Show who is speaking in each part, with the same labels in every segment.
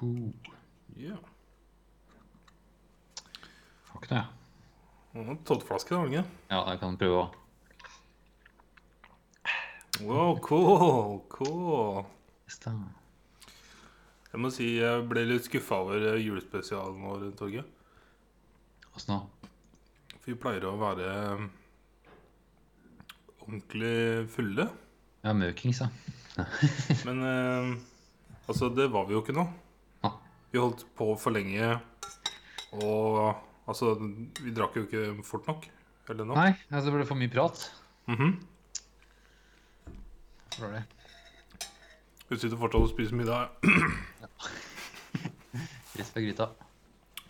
Speaker 1: Cool.
Speaker 2: Ja.
Speaker 1: Fuck det.
Speaker 2: Og en Toddflaske, har du ikke?
Speaker 1: Ja, jeg kan prøve å
Speaker 2: Wow, cool, cool.
Speaker 1: teste.
Speaker 2: Jeg må si jeg ble litt skuffa over eh, julespesialen vår, Torgeir.
Speaker 1: Åssen da?
Speaker 2: For vi pleier å være eh, ordentlig fulle.
Speaker 1: Ja, møkings, ja.
Speaker 2: Men eh, altså, det var vi jo ikke nå.
Speaker 1: Nei.
Speaker 2: Vi holdt på for lenge, og altså Vi drakk jo ikke fort nok. Eller nå.
Speaker 1: Nei, altså, det ble for mye prat.
Speaker 2: Mhm.
Speaker 1: Det var det.
Speaker 2: Vi sitter fortsatt og spiser middag.
Speaker 1: Rett fra gryta.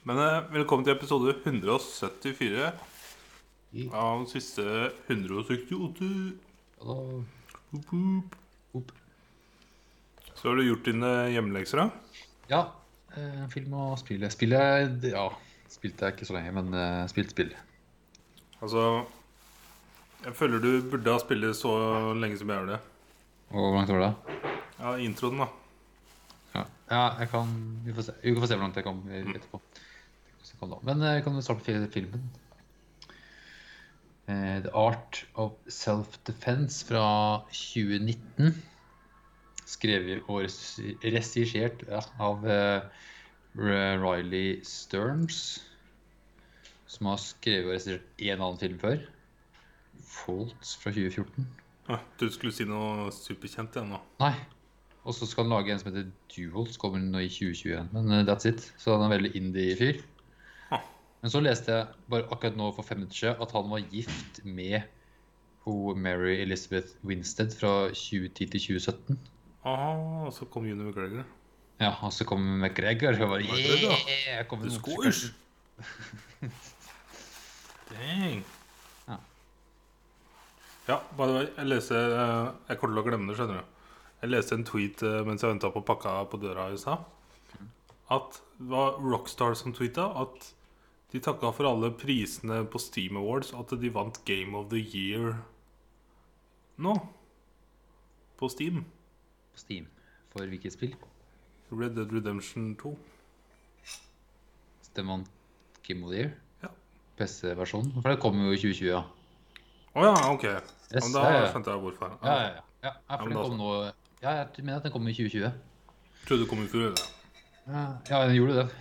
Speaker 2: Men eh, velkommen til episode 174 av siste 168.
Speaker 1: Og da
Speaker 2: Hoop, hoop.
Speaker 1: Hoop.
Speaker 2: Så har du gjort dine hjemmelekser, da?
Speaker 1: Ja. eh, Film og spill. Spillet Ja, spilte jeg ikke så lenge, men eh, spilt spill.
Speaker 2: Altså Jeg føler du burde ha spilt så lenge som jeg gjør det.
Speaker 1: Og hvor langt var det?
Speaker 2: Ja, introen, da.
Speaker 1: Ja, ja jeg kan Vi får se, vi får se hvor langt jeg kom etterpå. Hvordan jeg kom da. Men eh, vi kan jo starte med fil- filmen. Eh, The Art of Self-Defense fra 2019. Skrevet og regi- regissert ja, av eh, R- Riley Stearns. Som har skrevet og regissert én annen film før. Folds fra 2014.
Speaker 2: Ja, du skulle si noe superkjent igjen nå.
Speaker 1: Nei. Og så skal han lage en som heter Duholt, som kommer nå i 2021. Men eh, that's it. Så han er en veldig indie-fyr.
Speaker 2: Ah.
Speaker 1: Men så leste jeg bare akkurat nå for fem minutter siden at han var gift med ho Mary Elizabeth Winstead fra 2010 til 2017.
Speaker 2: Aha, og så kom Juni McGregor.
Speaker 1: Ja, og så kom McGregor og bare
Speaker 2: McGregor,
Speaker 1: yeah!
Speaker 2: ja.
Speaker 1: Jeg kom
Speaker 2: Det
Speaker 1: med noen
Speaker 2: skårs! Dang.
Speaker 1: Ja.
Speaker 2: Ja, by the way, jeg leste eh, Jeg kommer til å glemme det, skjønner du. Jeg leste en tweet eh, mens jeg venta på pakka på døra i stad. At det var Rockstar som tweeta at de takka for alle prisene på Steam Awards, at de vant Game of the Year nå. På Steam.
Speaker 1: på Steam for hvilket spill.
Speaker 2: Red Dead Redemption 2.
Speaker 1: Stemmer han Kim O'Dear?
Speaker 2: Ja.
Speaker 1: PC-versjonen? For det kom jo i 2020, ja.
Speaker 2: Å ja, ok. Ja, men da
Speaker 1: ja, ja.
Speaker 2: skjønte jeg hvorfor.
Speaker 1: Ja, ja, ja. ja, ja for
Speaker 2: men
Speaker 1: den
Speaker 2: da
Speaker 1: kom nå Ja, jeg mener at den kom i 2020.
Speaker 2: Trodde det kom i fjor. det.
Speaker 1: Ja, ja den gjorde det.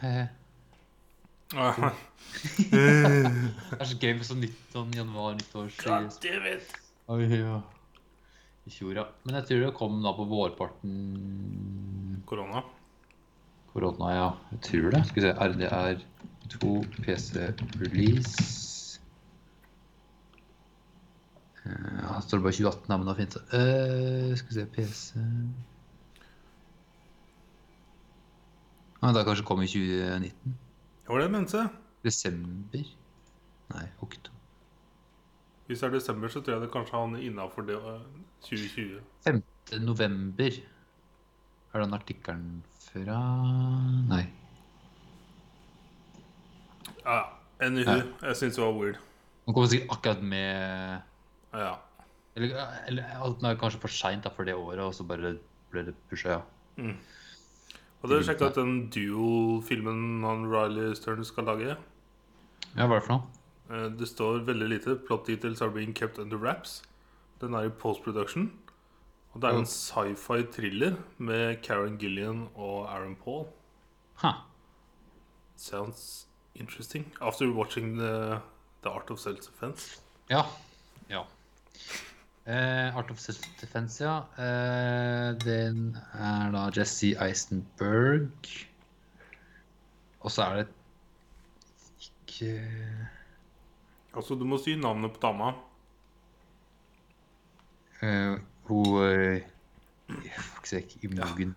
Speaker 2: Ja.
Speaker 1: Det er så gøy med sånn nytt, sånn januar, nyttårs eh, Oi, ja. I fjor, ja. Men jeg tror det kom da på vårparten
Speaker 2: Korona.
Speaker 1: korona, ja. Jeg tror det. Skal vi se. RDR2 PC release. Eh, Ja, det står bare 2018 her, men da finnes det. Eh, skal vi se, PC Nei, da kanskje kom i 2019.
Speaker 2: Det var det jeg mente.
Speaker 1: Desember? Nei, oktober.
Speaker 2: Hvis det er desember, så tror jeg det kanskje han er innafor det eh, 2020.
Speaker 1: 5. november er den artikkelen fra Nei.
Speaker 2: Ja, NIH. Jeg syns det var weird.
Speaker 1: Den kommer sikkert akkurat med
Speaker 2: Ja, ja.
Speaker 1: Eller, eller at den er kanskje for seint for det året, og så bare ble det pusha, ja.
Speaker 2: Hadde dere sjekka ut den duel-filmen han Riley Stern skal lage?
Speaker 1: Ja, hva er det for noe?
Speaker 2: Eh, Det står veldig lite. Plot details are being kept under wraps. Den er i post-production. Og det er
Speaker 1: Ja.
Speaker 2: en sci-fi thriller med Karen Gillian og Aaron Paul.
Speaker 1: Ha.
Speaker 2: Sounds interesting. After watching The, the Art of Self-Defense.
Speaker 1: Ja. ja. Eh, Art of Self-Defense, ja. Eh, den er da Jesse Eisenberg. Og så er det ikke
Speaker 2: Altså, du må si navnet på dama.
Speaker 1: Eh, hun eh, Fuck seg, Imogen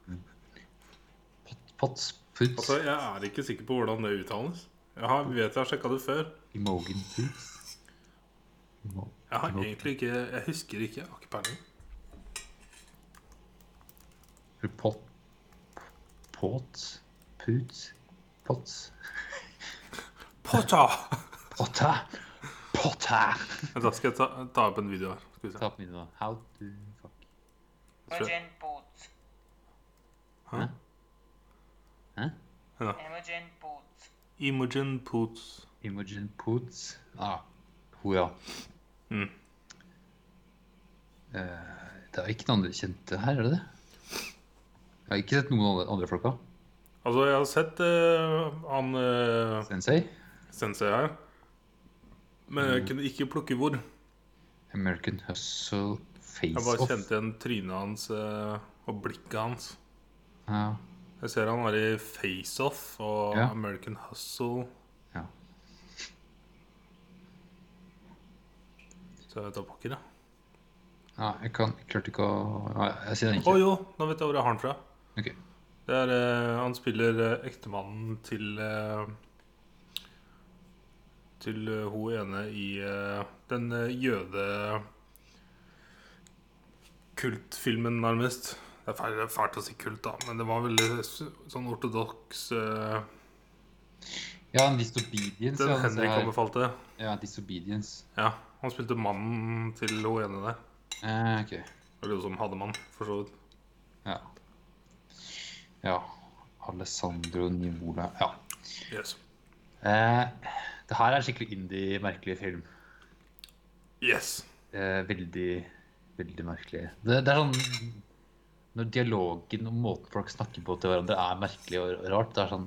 Speaker 1: Pot- Pots? Puts?
Speaker 2: Altså, jeg er ikke sikker på hvordan det uttales. Jeg har, vet jeg har sjekka det før.
Speaker 1: Imogen Puts? Imo-
Speaker 2: Jeg har
Speaker 1: Imogen.
Speaker 2: egentlig ikke Jeg husker ikke. Jeg har ikke peiling.
Speaker 1: Eller Pot? Pots? Puts? Pots?
Speaker 2: Potta!
Speaker 1: Potta! Potta!
Speaker 2: Da skal jeg ta, ta opp en video her. Skal vi se.
Speaker 1: Ta opp minnet nå. How to fuck
Speaker 2: Tror jeg-
Speaker 3: Pigeon boots.
Speaker 2: Hæ?
Speaker 1: Hæ?
Speaker 2: Ja.
Speaker 3: Imogen Boots.
Speaker 2: Imogen Poots.
Speaker 1: Imogen Poots. Ah, hun, ja.
Speaker 2: Mm.
Speaker 1: Eh, det er ikke noen andre kjente her, er det det? Jeg har ikke sett noen andre, andre folka.
Speaker 2: Altså, jeg har sett eh, han eh,
Speaker 1: Sensei,
Speaker 2: sensei her. Men jeg kunne ikke plukke hvor.
Speaker 1: American Hustle,
Speaker 2: Jeg
Speaker 1: Face
Speaker 2: bare
Speaker 1: Off.
Speaker 2: kjente igjen trynet hans eh, og blikket hans.
Speaker 1: Ja.
Speaker 2: Jeg ser han var i Face Off og
Speaker 1: Ja.
Speaker 2: American Hustle.
Speaker 1: Ja.
Speaker 2: Så jeg vet da pokker, ja.
Speaker 1: Nei, jeg kan, jeg klarte ikke å Nei, jeg sier den
Speaker 2: Å
Speaker 1: ikke.
Speaker 2: jo, nå vet jeg hvor jeg har han fra.
Speaker 1: Ok.
Speaker 2: Det er, eh, han spiller eh, ektemannen til eh, Til eh, hun ene i eh, den eh, jøde kultfilmen, nærmest. Det er fælt, det er fælt å si kult, da, men det var veldig s- sånn ortodoks eh,
Speaker 1: Ja, en Disobedience.
Speaker 2: Den
Speaker 1: ja, den ser
Speaker 2: Henrik
Speaker 1: jeg her.
Speaker 2: anbefalte.
Speaker 1: Ja, Disobedience.
Speaker 2: Ja, han spilte mannen til hun ene der.
Speaker 1: Eh, ok.
Speaker 2: Eller hun som hadde mann, for så vidt.
Speaker 1: Ja. ja. Alessandro Nivola. Ja.
Speaker 2: Yes.
Speaker 1: Eh, det her er skikkelig indie, merkelig film.
Speaker 2: yes.
Speaker 1: Eh, veldig, veldig merkelig. Det, det er sånn Når dialogen og måten folk snakker på til hverandre, er merkelig og rart, det er sånn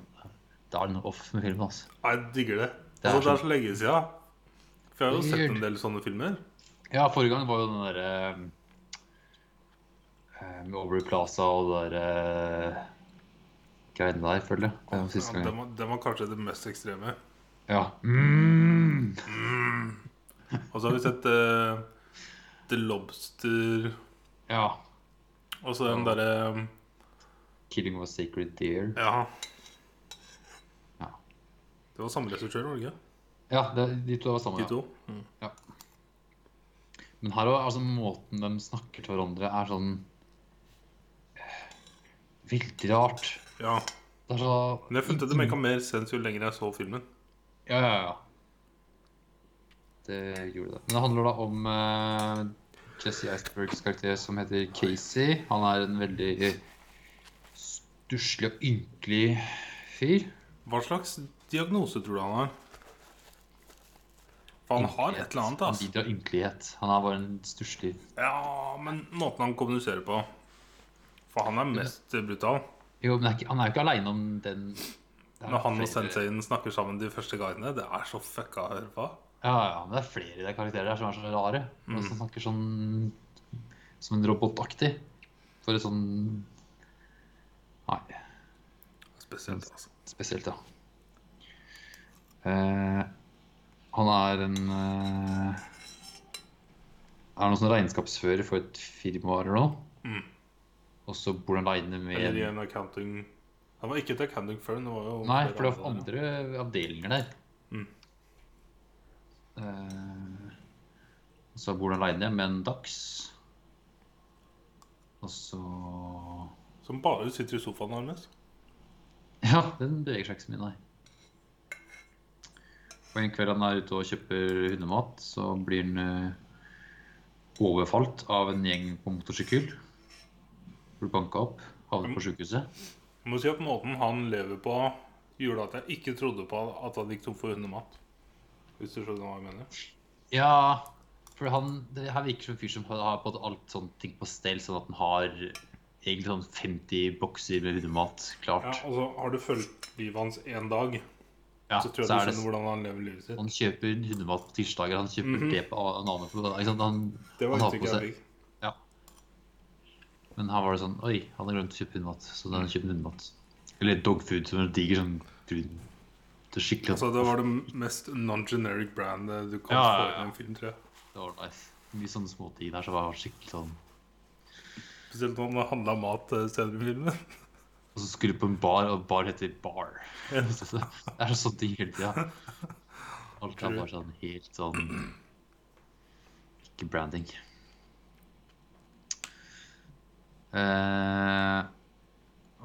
Speaker 1: Det er noe off med filmen, altså.
Speaker 2: Jeg digger det.
Speaker 1: Det er sånn-
Speaker 2: altså, det
Speaker 1: så-
Speaker 2: er så lenge siden. For jeg har jo sett
Speaker 1: Weird.
Speaker 2: en del sånne filmer.
Speaker 1: Ja, forrige gang var jo den derre eh, Med Overy Plaza og det derre eh, greiene der, føler jeg. Det var
Speaker 2: Ja,
Speaker 1: siste
Speaker 2: den,
Speaker 1: gang.
Speaker 2: var, den var kanskje det mest ekstreme.
Speaker 1: Ja. Mm.
Speaker 2: Og så har vi sett eh, The Lobster
Speaker 1: ja.
Speaker 2: Og så den derre eh,
Speaker 1: Killing of a Sacred Deer.
Speaker 2: Ja.
Speaker 1: Ja.
Speaker 2: Det var samme regissør, var det ikke?
Speaker 1: Ja, det, de to var sammen.
Speaker 2: De
Speaker 1: Ja.
Speaker 2: to. Mm.
Speaker 1: Men her òg, altså måten de snakker til hverandre, er sånn eh, Vilt rart.
Speaker 2: Ja.
Speaker 1: Det er så
Speaker 2: Men jeg følte det mekka mer sens jo lenger jeg så filmen.
Speaker 1: Ja, ja, ja. Det gjorde det. Men det handler da om eh, Jesse Icebergs karakter som heter Casey. Han er en veldig stusslig og ynkelig fyr.
Speaker 2: Hva slags diagnose tror du han har? For han har et eller annet,
Speaker 1: Han
Speaker 2: altså.
Speaker 1: lider av ynkelighet. Han er bare en stusslig
Speaker 2: Ja, men måten han kommuniserer på For han er mest brutal.
Speaker 1: Jo, men det er ikke, han er jo ikke aleine om den det er
Speaker 2: Når han og
Speaker 1: flere-
Speaker 2: senseien snakker sammen de første gangene, det er så fucka å høre på.
Speaker 1: Ja, ja, men det er flere i de karakterene der som er så rare.
Speaker 2: Mm.
Speaker 1: Og som snakker sånn som en robotaktig. For et sånn Nei,
Speaker 2: Spesielt, altså.
Speaker 1: spesielt, ja. Eh, han er en eh, Er noen sånn regnskapsfører for et firma eller noe.
Speaker 2: Mm.
Speaker 1: Og så bor han aleine med
Speaker 2: Eller i en accounting Han var ikke et accounting før, det var jo
Speaker 1: Nei,
Speaker 2: flere
Speaker 1: for det var
Speaker 2: andre.
Speaker 1: andre avdelinger der.
Speaker 2: Mm.
Speaker 1: Eh, og Eh, så bor han aleine med en dachs. Og så
Speaker 2: Som bare sitter i sofaen nærmest.
Speaker 1: Ja, den beveger seg ikke så mye, nei. Og en kveld han er ute og kjøper hundemat, så blir han eh, overfalt av en gjeng på motorsykkel. Blir banka opp, havner på sjukehuset.
Speaker 2: Jeg må si at måten han lever på, gjorde at jeg ikke trodde på at han gikk tom for hundemat. Hvis du skjønner hva jeg mener.
Speaker 1: Ja, for han det her virker som en fyr som har- har fått alt sånne ting på stell, sånn at han har egentlig sånn 50 bokser med hundemat
Speaker 2: Ja,
Speaker 1: klart.
Speaker 2: altså, Har du fulgt livet hans én dag,
Speaker 1: Ja,
Speaker 2: så tror jeg
Speaker 1: så
Speaker 2: du
Speaker 1: er det
Speaker 2: skjønner hvordan han lever livet sitt.
Speaker 1: Han kjøper hundemat på tirsdager, han kjøper
Speaker 2: Mhm.
Speaker 1: det på an- en annen på- ikke sant? Han,
Speaker 2: Det var
Speaker 1: han har på
Speaker 2: inntrykket jeg
Speaker 1: seg-
Speaker 2: fikk.
Speaker 1: Men her var det sånn Oi, han har glemt å kjøpe hundemat. Så da har han kjøpt hundemat. Eller dogfood, som er diger sånn brun. Det er skikkelig sånn-
Speaker 2: Altså, det var det mest non-generic brandet du kan
Speaker 1: Ja,
Speaker 2: få
Speaker 1: ja,
Speaker 2: i
Speaker 1: ja.
Speaker 2: en film, tror jeg.
Speaker 1: Det var nice. Mye sånne småting der som var skikkelig sånn
Speaker 2: Spesielt når han handla mat eh, senere i filmen.
Speaker 1: Og så skulle du på en bar, og bar heter bar.
Speaker 2: Ja.
Speaker 1: Så det er sånne ting hele tida. Alt er bare sånn helt sånn Ikke branding. Eh,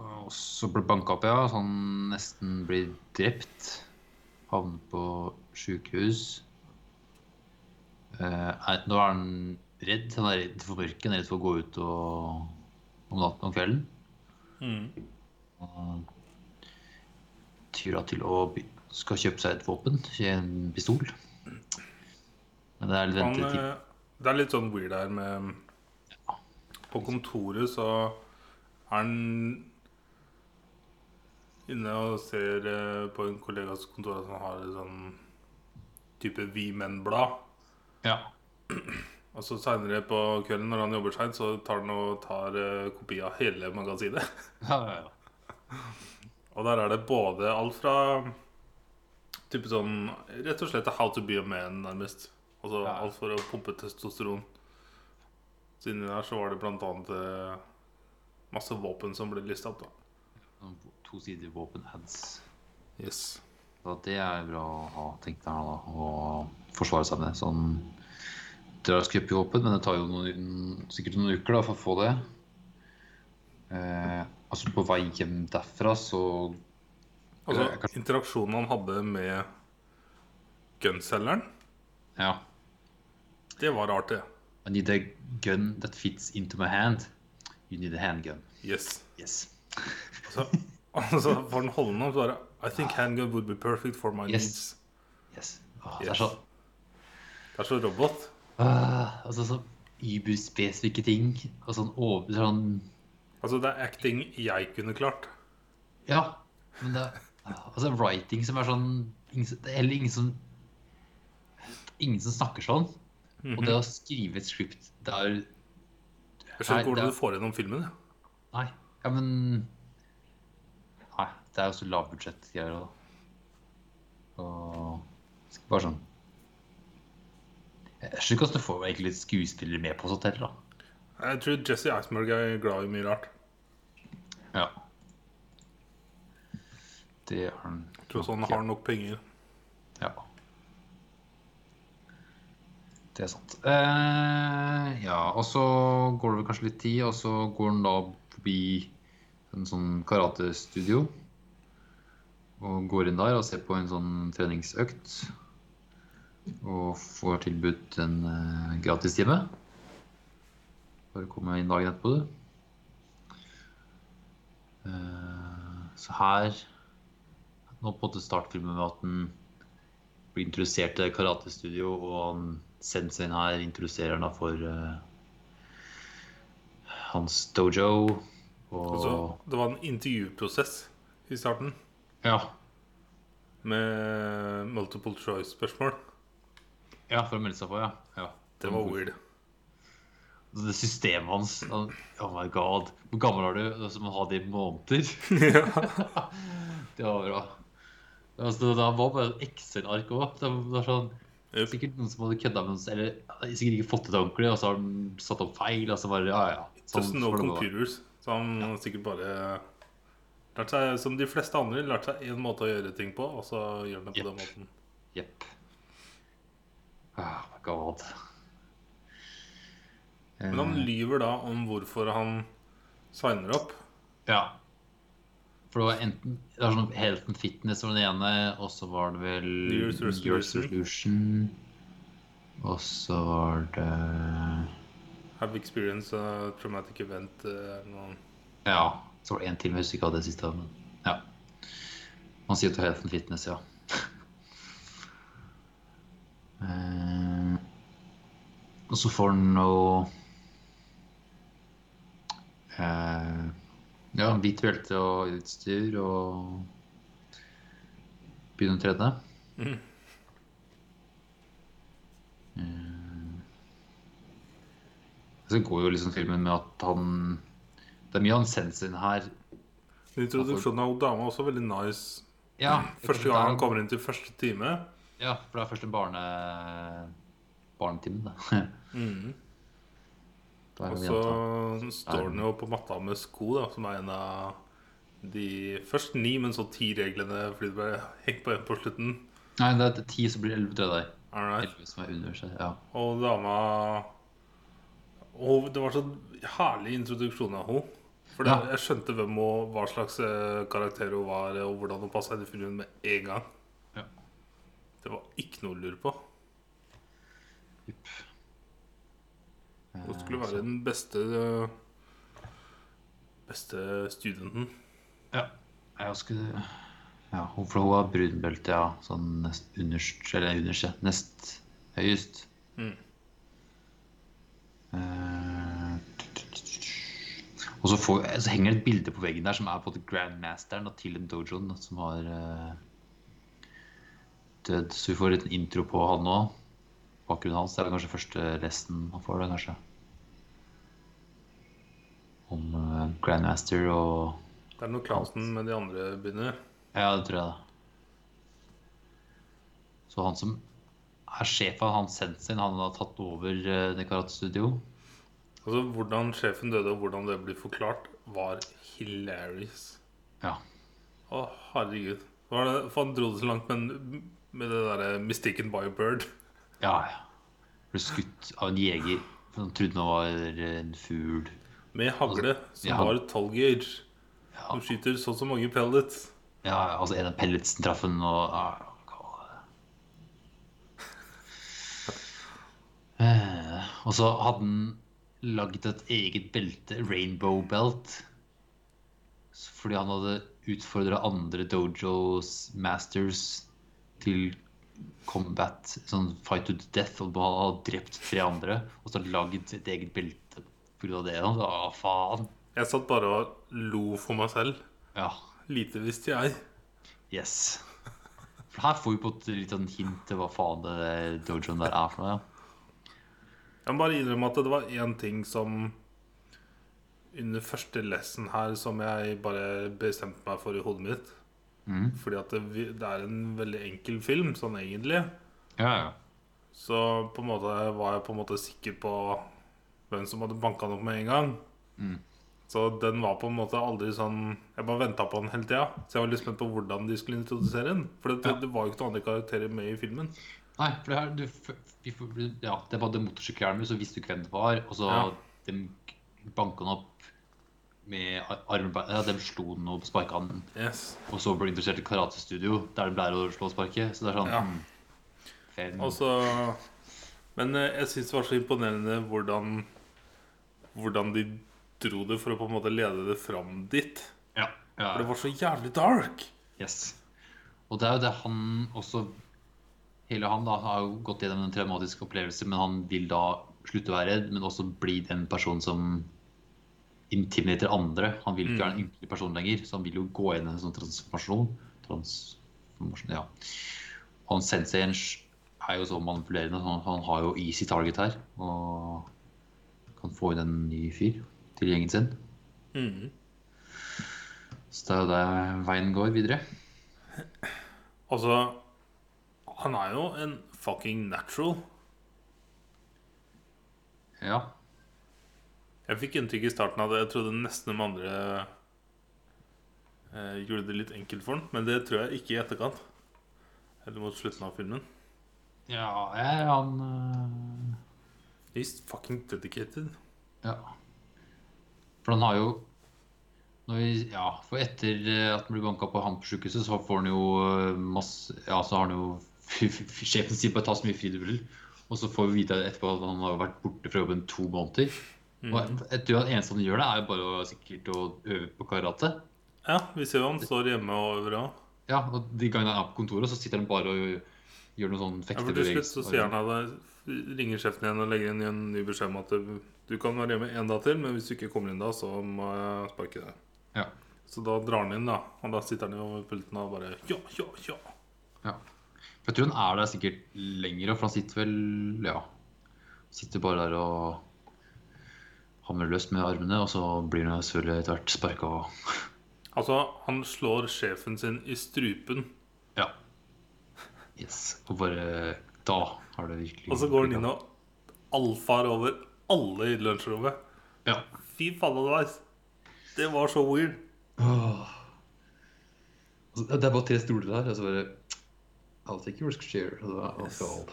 Speaker 1: og så ble banka opp, ja. Så han nesten blir drept. Havner på sjukehus. Eh, er- nå er han redd. Han er redd for mørket, han er redd for å gå ut Mm. og, om natten om kvelden.
Speaker 2: Mm.
Speaker 1: Og tyra til å by- skal kjøpe seg et våpen, en pistol. Men det er litt
Speaker 2: Han,
Speaker 1: ventetid.
Speaker 2: eh, det er litt sånn weird her med På kontoret så er han inne og ser eh, på en kollegas kontor at han har et sånn type Vi menn-blad.
Speaker 1: Ja.
Speaker 2: Og så seinere på kvelden når han jobber seint, så tar han og tar eh, kopi av hele magasinet.
Speaker 1: Ja, ja, ja.
Speaker 2: Og der er det både alt fra type sånn Rett og slett How to be a man, nærmest. Altså
Speaker 1: Ja.
Speaker 2: alt for å pumpe testosteron. Så inni der så var det blant annet eh, masse våpen som ble lista opp, da.
Speaker 1: Noen vå- To sider våpen-ads.
Speaker 2: Yes.
Speaker 1: Så det er bra å ha, tenkte han da, å forsvare seg med. Sånn, dere skal kjøpe våpen, men det tar jo noen, sikkert noen uker da, for å få det. Eh, altså på vei hjem derfra, så Eller,
Speaker 2: Altså
Speaker 1: kanskje-
Speaker 2: interaksjonen han hadde med gunselgeren,
Speaker 1: ja.
Speaker 2: det var rart, det.
Speaker 1: I need a gun that fits into my hand. You need a handgun.
Speaker 2: Yes.
Speaker 1: Yes.
Speaker 2: Altså, altså for den holdende så bare I think handgun would be perfect for my
Speaker 1: Yes.
Speaker 2: needs.
Speaker 1: Yes. Åh, Det er
Speaker 2: Yes.
Speaker 1: sånn, så
Speaker 2: Det er så robot.
Speaker 1: Ah, altså så überspesifikke ting. Og sånn over sånn
Speaker 2: Altså, det er acting jeg kunne klart.
Speaker 1: Ja. Men det er altså writing som er sånn ingen, som- Det er heller ingen som Ingen som snakker sånn.
Speaker 2: Mhm.
Speaker 1: Og det å skrive et script der
Speaker 2: Jeg skjønner ikke
Speaker 1: Nei,
Speaker 2: hvordan
Speaker 1: det-
Speaker 2: du får gjennom filmen. jeg.
Speaker 1: Nei. Ja, men Nei. Det er jo så lavbudsjettgreier og Og bare sånn Jeg skjønner ikke hvordan du får egentlig skuespillere med på sånt heller, da.
Speaker 2: Jeg tror Jesse Eisenberg er glad i mye rart.
Speaker 1: Ja. Det er han.
Speaker 2: Jeg tror også han har nok penger.
Speaker 1: Ja. Det er sant. Eh, ja, og så går det vel kanskje litt tid, og så går han da forbi en sånn karatestudio. Og går inn der og ser på en sånn treningsøkt. Og får tilbudt en eh, gratistime. Bare komme inn dagen etterpå, du. Eh, så her Nå på en måte startfilmen med at den blir introdusert til karatestudio, og han senseien her introduserer han da for eh, hans dojo. Og
Speaker 2: Altså, det var en intervjuprosess i starten
Speaker 1: ja,
Speaker 2: med multiple choice-spørsmål.
Speaker 1: ja, for å melde seg på, ja. ja.
Speaker 2: Det
Speaker 1: Mm.
Speaker 2: var weird.
Speaker 1: Altså, Det systemet hans han, Oh my god. Hvor gammel er du? Altså, man har det i måneder.
Speaker 2: ja.
Speaker 1: Det var bra. Altså, det der var bare et Excel-ark òg. Det var sånn,
Speaker 2: Yep.
Speaker 1: sikkert noen som hadde kødda med noe, eller sikkert ikke fått det til ordentlig, og så har de satt opp feil, og så bare ja, ja. Sånn
Speaker 2: Just no
Speaker 1: får det gå.
Speaker 2: computers. Så han har sikkert bare lært seg, som de fleste andre, lært seg én måte å gjøre ting på, og så gjør han det på den måten.
Speaker 1: Jepp. Oh my god.
Speaker 2: Men han
Speaker 1: Eh,
Speaker 2: lyver da om hvorfor han signer opp.
Speaker 1: Ja. For det var enten det var sånn Health and Fitness var den ene, og så var det vel
Speaker 2: New Year's Resolution.
Speaker 1: Resolution. Og så var det
Speaker 2: Have experienced a traumatic event. eh, noe.
Speaker 1: Ja. Så var det én til, men jeg husker ikke hva det siste var. Men ja. Man sier til Health and Fitness, ja. Eh, og så får han noe eh, Ja, hvitt belte og utstyr og begynner å trene.
Speaker 2: Mhm.
Speaker 1: Eh, så går jo liksom filmen med at han Det er mye han senser inn eh, her.
Speaker 2: Introduksjonen av dama er også veldig nice.
Speaker 1: Ja,
Speaker 2: Første
Speaker 1: Liksom
Speaker 2: gang han kommer inn til første time.
Speaker 1: Ja, for det er først en barne... barnetime, da. Mm. Da er
Speaker 2: Og
Speaker 1: det
Speaker 2: så
Speaker 1: jenta.
Speaker 2: står han jo på matta med sko, da, som er en av de først ni, men så ti reglene fordi det ble hengt på en på slutten.
Speaker 1: Nei, det er ti, så blir det elleve, tror jeg. det
Speaker 2: All
Speaker 1: er.
Speaker 2: right.
Speaker 1: Elleve som er under seg, ja.
Speaker 2: Og dama Og det var så herlig introduksjon av henne. For det,
Speaker 1: Ja.
Speaker 2: jeg skjønte hvem hun, hva slags eh, karakter hun var, og hvordan hun passa inn i filmen med en gang.
Speaker 1: Ja.
Speaker 2: Det var ikke noe å lure på.
Speaker 1: Jupp.
Speaker 2: Hun
Speaker 1: Eh,
Speaker 2: skulle være den beste beste studenten.
Speaker 1: Ja. Jeg husker Ja, hun- for hun har brunbelte, ja. Sånn nest underst, eller underst, ja. Nest høyest.
Speaker 2: Mm.
Speaker 1: Eh, og så, får, så henger det et bilde på veggen der som er på både grandmasteren og til dojoen da, som har eh, dødd. Så vi får en intro på han nå. Bakgrunnen hans det er kanskje første resten han får, da, kanskje. Om eh, grandmaster og
Speaker 2: Det er noe Clausen med de andre begynner.
Speaker 1: ja, det tror jeg det. Så han som er sjef av han sensen, han har tatt over eh, det karatstudio.
Speaker 2: Altså, Hvordan sjefen døde, og hvordan det blir forklart, var hilarious.
Speaker 1: Ja.
Speaker 2: Å, herregud. Var det, for han dro det så langt, men med det eh, derre 'mistaken by a bird'.
Speaker 1: Ja, ja. Ble skutt av en jeger. for Han trodde han var en fugl.
Speaker 2: Med hagle, som
Speaker 1: Altså, ja.
Speaker 2: var 12 gauge.
Speaker 1: Ja.
Speaker 2: Som skyter så og så mange pellets.
Speaker 1: Ja, altså en av pelletsen traff han, og ja, hva var det? Eh, Og så hadde han laget et eget belte, rainbow belt, s- fordi han hadde utfordra andre dojos masters til combat, sånn fight to the death, og han hadde drept tre andre, og så laget et eget belte pga. det. Han sa «Ah, faen.
Speaker 2: Jeg satt bare og lo for meg selv.
Speaker 1: Ja.
Speaker 2: Lite visste jeg.
Speaker 1: Yes. For her får vi på et litt sånn hint til hva faen det der dojoen der er for noe. ja.
Speaker 2: Jeg må bare innrømme at det var én ting som Under første lesson her som jeg bare bestemte meg for i hodet mitt.
Speaker 1: Mhm.
Speaker 2: Fordi at det, vi- det er en veldig enkel film, sånn egentlig.
Speaker 1: Ja, ja.
Speaker 2: Så på en måte var jeg på en måte sikker på hvem som hadde banka den opp med en gang.
Speaker 1: Mhm.
Speaker 2: Så den var på en måte aldri sånn Jeg bare venta på den hele tida. Så jeg var litt spent på hvordan de skulle introdusere den. For det,
Speaker 1: Ja.
Speaker 2: det var jo ikke noen andre karakterer med i filmen.
Speaker 1: Nei, for det her du, f- vi får, Ja, det var det motorsykkelhjelmen, så visste du ikke hvem det var. Og så
Speaker 2: Ja.
Speaker 1: dem banka han opp med ar- armbein... Ja, dem slo han og sparka han.
Speaker 2: Yes.
Speaker 1: Og så ble han interessert i karatestudio, der det ble å slå og sparke. Så det er sånn
Speaker 2: Ja.
Speaker 1: hmm, fair.
Speaker 2: Og så- men eh, jeg syns det var så imponerende hvordan Hvordan de dro det for å på en måte lede det fram dit.
Speaker 1: ja, ja.
Speaker 2: For det var så jævlig dark.
Speaker 1: Yes. Og det er jo det han også Hele han da har jo gått gjennom en traumatisk opplevelse, men han vil da slutte å være redd, men også bli den personen som intimiderer andre. Han vil ikke være en ynkelig person lenger, så han vil jo gå inn i en sånn transformasjon. transformasjon ja. Og han senseien er jo så manipulerende, så han, han har jo easy target her. Og kan få inn en ny fyr til gjengen sin. Så det er jo der veien går videre.
Speaker 2: Altså Han er jo en fucking natural.
Speaker 1: Ja.
Speaker 2: Jeg fikk inntrykk i starten av det. Jeg trodde nesten de andre eh, gjorde det litt enkelt for han, men det tror jeg ikke i etterkant. Eller mot slutten av filmen.
Speaker 1: Ja, jeg, han øh,
Speaker 2: He's fucking dedicated.
Speaker 1: Ja. For han har jo når vi, Ja, for etter øh, at han blir banka på han på sjukehuset, så får han jo øh, masse Ja, så har han jo Sjefen sier bare ta så mye fri du vil. Og så får vi vite etterpå at han har vært borte fra jobben to måneder.
Speaker 2: Mm.
Speaker 1: Og jeg tror det eneste han gjør, det er jo bare å, sikkert å øve på karate.
Speaker 2: Ja, vi ser jo han står hjemme og øver òg.
Speaker 1: Ja, og De gangene han er på kontoret, så sitter han bare og gjør noen sånn
Speaker 2: Ja, for til slutt så
Speaker 1: fektebevegelse.
Speaker 2: sier han at det- ringer sjefen igjen og legger inn i en ny beskjed om at du, du kan være hjemme en dag til, men hvis du ikke kommer inn da, så må jeg sparke deg.
Speaker 1: Ja.
Speaker 2: Så da drar han inn, da. Og da sitter han jo ved pulten og bare Ja, ja, ja.
Speaker 1: Ja. For jeg tror han er der sikkert lenger, for han sitter vel Ja. Sitter bare der og hamrer løs med armene, og så blir han selvfølgelig etter hvert sparka og
Speaker 2: Altså, han slår sjefen sin i strupen.
Speaker 1: Ja. Yes. Og bare Da har det virkelig
Speaker 2: Og så går han inn og alfar over alle i lunsjrommet.
Speaker 1: Ja.
Speaker 2: Fy faen, advice. Det var så weird.
Speaker 1: Åh. Altså, Det er bare tre stoler der, og så bare I'll take your share. Og så, og så, alt.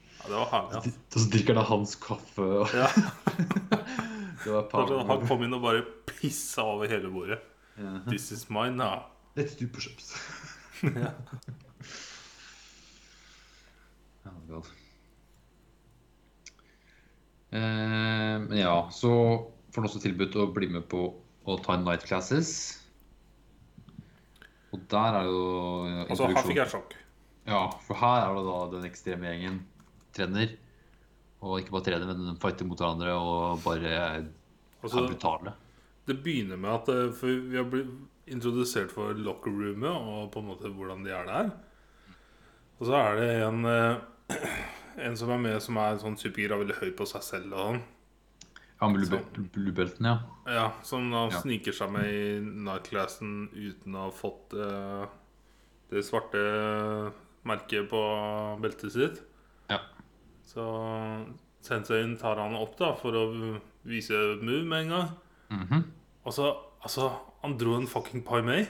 Speaker 2: Ja, det var herlig. ass.
Speaker 1: og så drikker han av hans kaffe. Og... det
Speaker 2: Ja.
Speaker 1: var
Speaker 2: Det var sånn, Han
Speaker 1: power.
Speaker 2: kom inn og bare pissa over hele bordet.
Speaker 1: Ja.
Speaker 2: This is mine, da.
Speaker 1: Let's do pushups.
Speaker 2: Ja.
Speaker 1: Ja, god. Eh, men ja, så får han også tilbudt å bli med på å ta en night classes. Og der er jo
Speaker 2: Og så her fikk
Speaker 1: introduksjon.
Speaker 2: jeg sjokk.
Speaker 1: Ja, for her er det da den ekstreme gjengen trener. Og ikke bare trener, men de fighter mot hverandre og bare er,
Speaker 2: Og
Speaker 1: er
Speaker 2: så
Speaker 1: brutale.
Speaker 2: Det begynner med at eh, for vi har blitt introdusert for locker roomet og på en måte hvordan de er der. Og så er det en, eh, en som er med som er sånn supergira, veldig høy på seg selv og sånn.
Speaker 1: Ja, med blue- bluebeltene, ja.
Speaker 2: Ja, som da
Speaker 1: Ja.
Speaker 2: sniker seg med i nightclassen uten å ha fått eh, det svarte merket på beltet sitt.
Speaker 1: Ja.
Speaker 2: Så senseien tar han opp da for å vise move med en gang.
Speaker 1: Mhm.
Speaker 2: Og så, altså, han dro en fucking Pai Mei.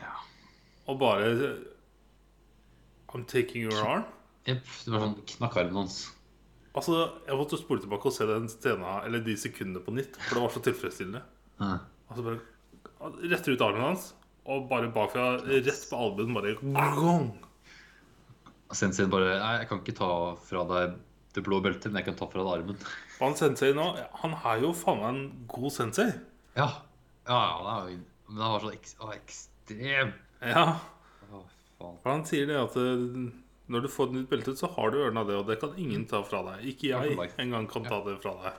Speaker 1: Ja.
Speaker 2: Og bare I'm taking your arm.
Speaker 1: Jepp. Det var sånn knakk armen hans.
Speaker 2: Altså, Jeg måtte spole tilbake og se den scena, eller de sekundene på nytt, for det var så tilfredsstillende.
Speaker 1: Ja.
Speaker 2: Altså bare han Retter ut armen hans, og bare bakfra, rett på albuen, bare gong.
Speaker 1: Og Sensei bare Nei, jeg kan ikke ta fra deg det blå beltet, men jeg kan ta fra deg armen.
Speaker 2: Og Han sensei nå, han er jo faen meg en god sensei.
Speaker 1: Ja. Ja, ja, det er jo Men det var så ek å, ekstrem.
Speaker 2: Ja,
Speaker 1: Å, faen.
Speaker 2: for han sier det at eh, når du får et nytt belte, så har du ørna det, og det kan ingen ta fra deg. Ikke jeg engang kan ta det fra deg.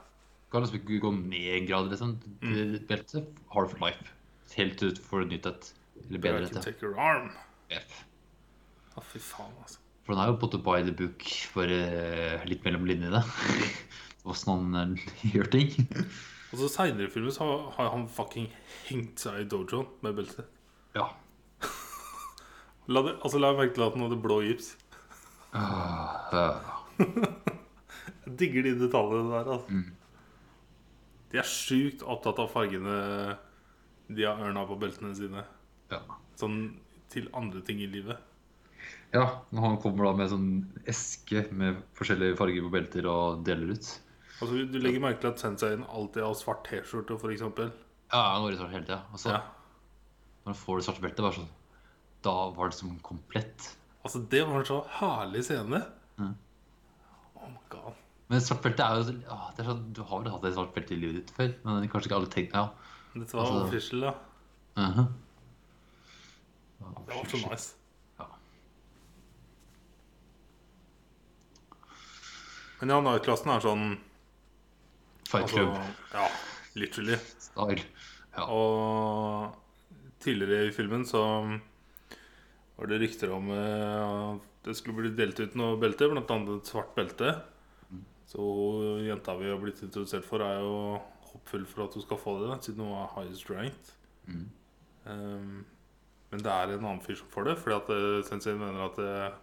Speaker 1: Kan liksom ikke gå ned en grad, liksom. Det Beltet har du for life. Helt ut for et nytt et. Eller
Speaker 2: But
Speaker 1: bedre
Speaker 2: I can
Speaker 1: et.
Speaker 2: take your arm.
Speaker 1: ja. Jepp.
Speaker 2: Å, fy faen, altså.
Speaker 1: For den er jo på en måte by the book, bare litt mellom linjene. Åssen han eh, gjør ting.
Speaker 2: Og så seinere i filmen så har- har han fucking hengt seg i dojoen med belte.
Speaker 1: Ja.
Speaker 2: La det, altså la merke til at han hadde blå gips.
Speaker 1: Ah, ja.
Speaker 2: Jeg digger de detaljene der, altså.
Speaker 1: Mm.
Speaker 2: De er sjukt opptatt av fargene de har ørna på beltene sine.
Speaker 1: ja.
Speaker 2: Sånn til andre ting i livet.
Speaker 1: ja. Når han kommer da med sånn eske med forskjellige farger på belter og deler ut.
Speaker 2: Altså Du legger merke til at senseien alltid har svart T-skjorte, for eksempel.
Speaker 1: Ja, han går i svart hele tida. Og så,
Speaker 2: Ja.
Speaker 1: når han får det svarte beltet, bare sånn Da var det som komplett.
Speaker 2: Altså, det var en så herlig scene.
Speaker 1: Mhm.
Speaker 2: Oh my god.
Speaker 1: Men svart belte er jo så, ah, det er sånn, Du har vel hatt et svart belte i livet ditt før? Men kanskje ikke alle tenker Ja.
Speaker 2: Dette var
Speaker 1: Altså-
Speaker 2: official, da.
Speaker 1: Mhm.
Speaker 2: Det var så nice.
Speaker 1: Ja.
Speaker 2: Men ja, Night-klassen er sånn
Speaker 1: Fight
Speaker 2: altså,
Speaker 1: club
Speaker 2: Ja, literally.
Speaker 1: style. Ja.
Speaker 2: Og tidligere i filmen så var det rykter om eh, at det skulle bli delt ut noe belte, blant annet et svart belte. Så hun jenta vi har blitt introdusert for, er jo håpfull for at hun skal få det, da, siden hun er highest ranked.
Speaker 1: Mhm.
Speaker 2: Um, men det er en annen fyr som får det, fordi at eh, senseien mener at eh,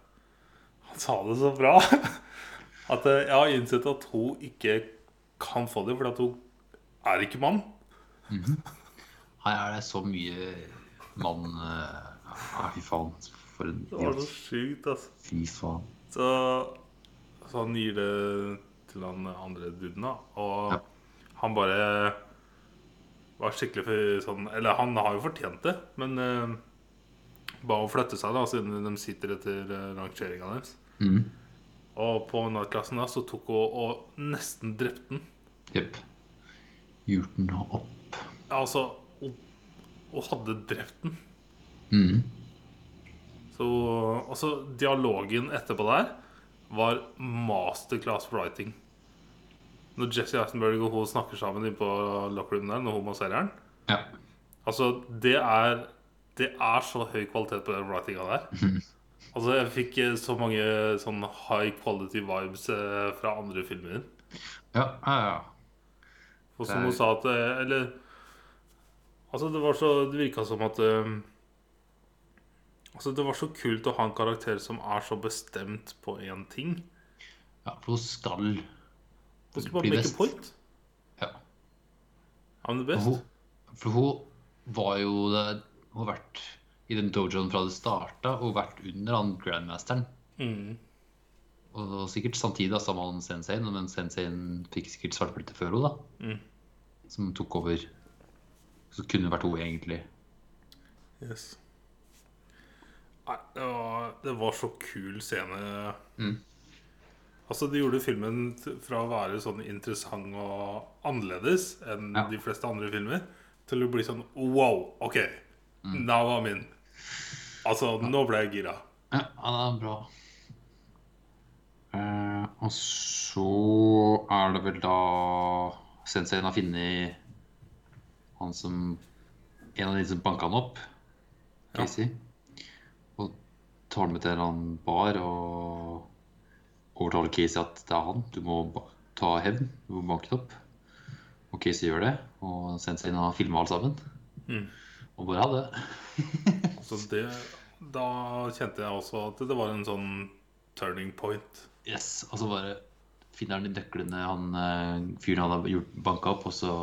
Speaker 2: han sa det så bra. at eh, jeg har innsett at hun ikke kan få det, fordi at hun er ikke mann.
Speaker 1: Her er det så mye mann eh, ja, Fy faen. For en
Speaker 2: Det var
Speaker 1: idiot.
Speaker 2: så sjukt, altså.
Speaker 1: Fy faen.
Speaker 2: Så, så han gir det til han andre duden, da. Og
Speaker 1: Ja.
Speaker 2: han bare var skikkelig for, sånn Eller han har jo fortjent det, men eh, ba å flytte seg, da, siden de sitter etter uh, rangeringa deres.
Speaker 1: Mhm.
Speaker 2: Og på nattklassen da, så tok hun og nesten drepte den.
Speaker 1: Jepp. Hjorten opp.
Speaker 2: Altså, hun, hun hadde drept den.
Speaker 1: Mhm.
Speaker 2: Så altså, dialogen etterpå der var masterclass writing. Når Jesse Eisenberg og hun snakker sammen inne på lockerroomen der, når hun masserer den
Speaker 1: Ja.
Speaker 2: Altså, det er Det er så høy kvalitet på den writinga der. Altså, jeg fikk eh, så mange sånn high quality vibes eh, fra andre filmer.
Speaker 1: Ja, ja, ja.
Speaker 2: Og
Speaker 1: Det
Speaker 2: som
Speaker 1: er-
Speaker 2: hun sa at eh, Eller Altså, det var så Det virka som at eh, Altså, det var så kult å ha en karakter som er så bestemt på én ting.
Speaker 1: ja for hun skal
Speaker 2: Du skulle bare
Speaker 1: Bli
Speaker 2: make a
Speaker 1: best.
Speaker 2: point.
Speaker 1: Ja.
Speaker 2: I'm the
Speaker 1: Og
Speaker 2: best.
Speaker 1: Hun, for hun var jo der, Hun har vært i den dojoen fra det starta og vært under han grandmasteren.
Speaker 2: Mm.
Speaker 1: Og det var sikkert samtidig da, sammen med han senseien, men senseien fikk sikkert svartbelte før henne, da.
Speaker 2: Mm.
Speaker 1: Som tok over. Så kunne det vært hun, egentlig.
Speaker 2: Yes. Nei, det var, det var så kul scene.
Speaker 1: Mm.
Speaker 2: Altså, de gjorde filmen t- fra å være sånn interessant og annerledes enn
Speaker 1: Ja. Mm.
Speaker 2: de fleste andre filmer, til å bli sånn wow, OK, now I'm in. Altså, nå ble jeg gira.
Speaker 1: Ja, ja, det er bra. Eh, og så er det vel da Senseien har funnet han som En av de som banka han opp,
Speaker 2: Ja.
Speaker 1: Casey. Og tar han med til en eller annen bar og overtaler Casey at det er han. Du må ba- ta hevn. Du må banke det opp. Og Casey gjør det. Og Senseien har filma alt sammen.
Speaker 2: Mm.
Speaker 1: Og bare ha det.
Speaker 2: Så det, da kjente jeg også at det var en sånn turning point.
Speaker 1: Yes, og så bare finner han de nøklene han eh, fyren han har gjort banka opp, og så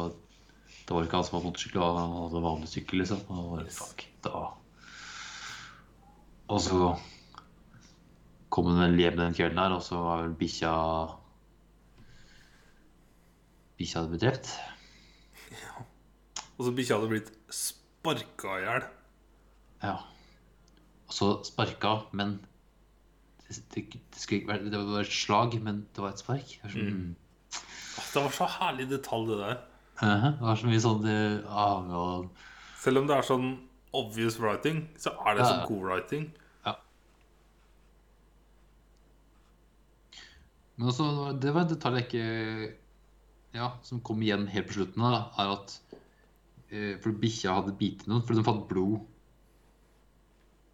Speaker 1: Det var ikke han som hadde motorsykkel, og han hadde vanlig sykkel, liksom. Og bare,
Speaker 2: Yes.
Speaker 1: fuck, da Og så kom han vel hjem den kvelden her, og så var vel bikkja Bikkja hadde blitt drept.
Speaker 2: Og så bikkja hadde blitt sparka i hjel.
Speaker 1: Ja. Og så sparka, men det, det, det, skulle ikke være, det var et slag, men det var et spark. Det var sånn,
Speaker 2: Mm. Det var så herlig detalj, det der.
Speaker 1: Mhm, Det var så mye sånn det- ah, ja.
Speaker 2: Selv om det er sånn obvious writing, så er det
Speaker 1: Ja.
Speaker 2: så god writing.
Speaker 1: Men også, det var en detalj jeg ikke Ja, som kom igjen helt på slutten her, da, er at eh, For bikkja hadde bitt noen, for de fant blod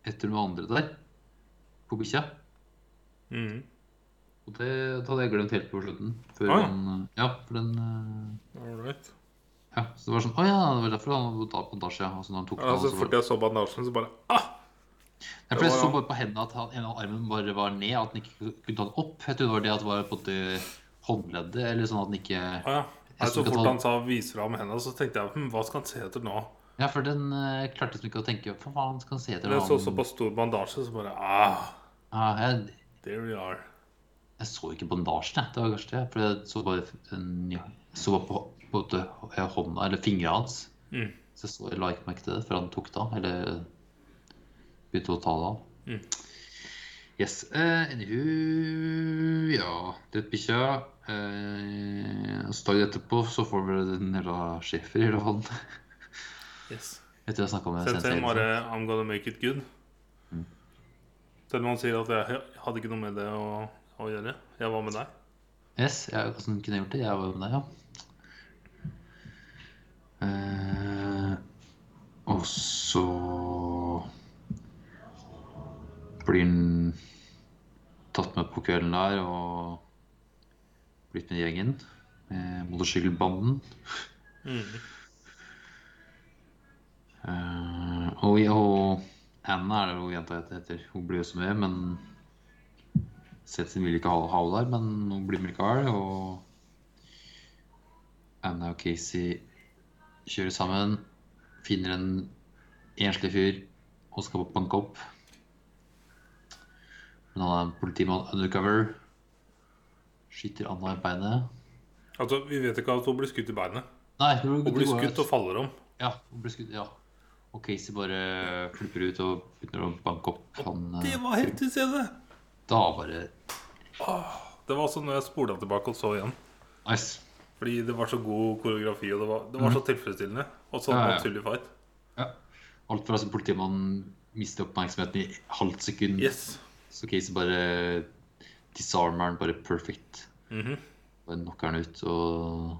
Speaker 1: etter noen andre der. På bikkja.
Speaker 2: Mm.
Speaker 1: Og det, det hadde jeg glemt helt på slutten. Før
Speaker 2: Ah, ja.
Speaker 1: han, ja, for den eh,
Speaker 2: All right.
Speaker 1: Ja, så det var sånn Å ja, det var derfor han hadde tatt bandasje. ja, Og så når han tok
Speaker 2: Ja,
Speaker 1: den,
Speaker 2: så
Speaker 1: så var
Speaker 2: fort
Speaker 1: det,
Speaker 2: jeg så bandasjen, så bare ah!
Speaker 1: Nei, for jeg
Speaker 2: det
Speaker 1: så
Speaker 2: var-
Speaker 1: bare på hendene at han, en av armen bare var ned, at han ikke kunne ta den opp. Jeg trodde det var det at det var på en måte håndleddet, eller sånn at han ikke
Speaker 2: ah ja. Nei,
Speaker 1: Jeg sånn-
Speaker 2: så
Speaker 1: skulle
Speaker 2: fort
Speaker 1: ta-
Speaker 2: han sa 'vis fram hendene', så tenkte jeg hm, hva skal han se etter nå?
Speaker 1: Ja, for den eh, klarte liksom ikke å tenke Hva faen skal han se etter?
Speaker 2: Men jeg så
Speaker 1: han-
Speaker 2: såpass stor bandasje, så bare ah,
Speaker 1: Ja, jeg,
Speaker 2: There we are.
Speaker 1: jeg så ikke bandasjen, jeg. Det var kanskje det. For jeg så bare den- ja, jeg så bare på, på en måte eh, hånda, eller fingra hans.
Speaker 2: Mm.
Speaker 1: Så jeg, så, jeg la ikke merke til det før han tok det av, eller begynte å ta det av.
Speaker 2: Mm.
Speaker 1: Yes. eh, anywho Ja, drept bikkja. Uh, Dagen etterpå så får vi den jævla schæfer, i hvert fall.
Speaker 2: Yes.
Speaker 1: Etter jeg snakka med
Speaker 2: Sensei
Speaker 1: sensei.
Speaker 2: bare I'm gonna make it good.
Speaker 1: Mm.
Speaker 2: Selv om han sier at jeg hadde ikke noe med det å, å gjøre. Jeg var med deg.
Speaker 1: Yes, jeg, hvordan kunne jeg gjort det? Jeg var jo med deg, ja. Eh, og så blir han tatt med på kvelden der og blitt med i gjengen. Eh, motorsykkelbanden. Eh, og, og Anna er det jo jenta het- heter. Hun blir jo også med, men Setsin vil ikke ha ha henne der, men hun blir med likevel. Og Anna og Casey kjører sammen, finner en enslig fyr og skal banke opp. Men han er en politimann undercover. Skyter Anna i beinet.
Speaker 2: Altså, Vi vet ikke at hun blir skutt i beinet.
Speaker 1: Nei, det går-
Speaker 2: Hun
Speaker 1: det
Speaker 2: blir
Speaker 1: går-
Speaker 2: skutt og faller om.
Speaker 1: ja, hun ble skutt, ja. Og Casey bare flipper ut og begynner å banke opp han eh,
Speaker 2: Det var heftig scene!
Speaker 1: Da bare
Speaker 2: Det var også når jeg spola tilbake og så igjen.
Speaker 1: Nice.
Speaker 2: Fordi det var så god koreografi, og det var, det var så tilfredsstillende. Og så
Speaker 1: Mhm. Ja, ja.
Speaker 2: naturlig fight.
Speaker 1: Alt fra at politimannen mister oppmerksomheten i halvt sekund,
Speaker 2: Yes.
Speaker 1: så Casey bare disarmer han bare perfect.
Speaker 2: Mhm.
Speaker 1: Bare knocker han ut og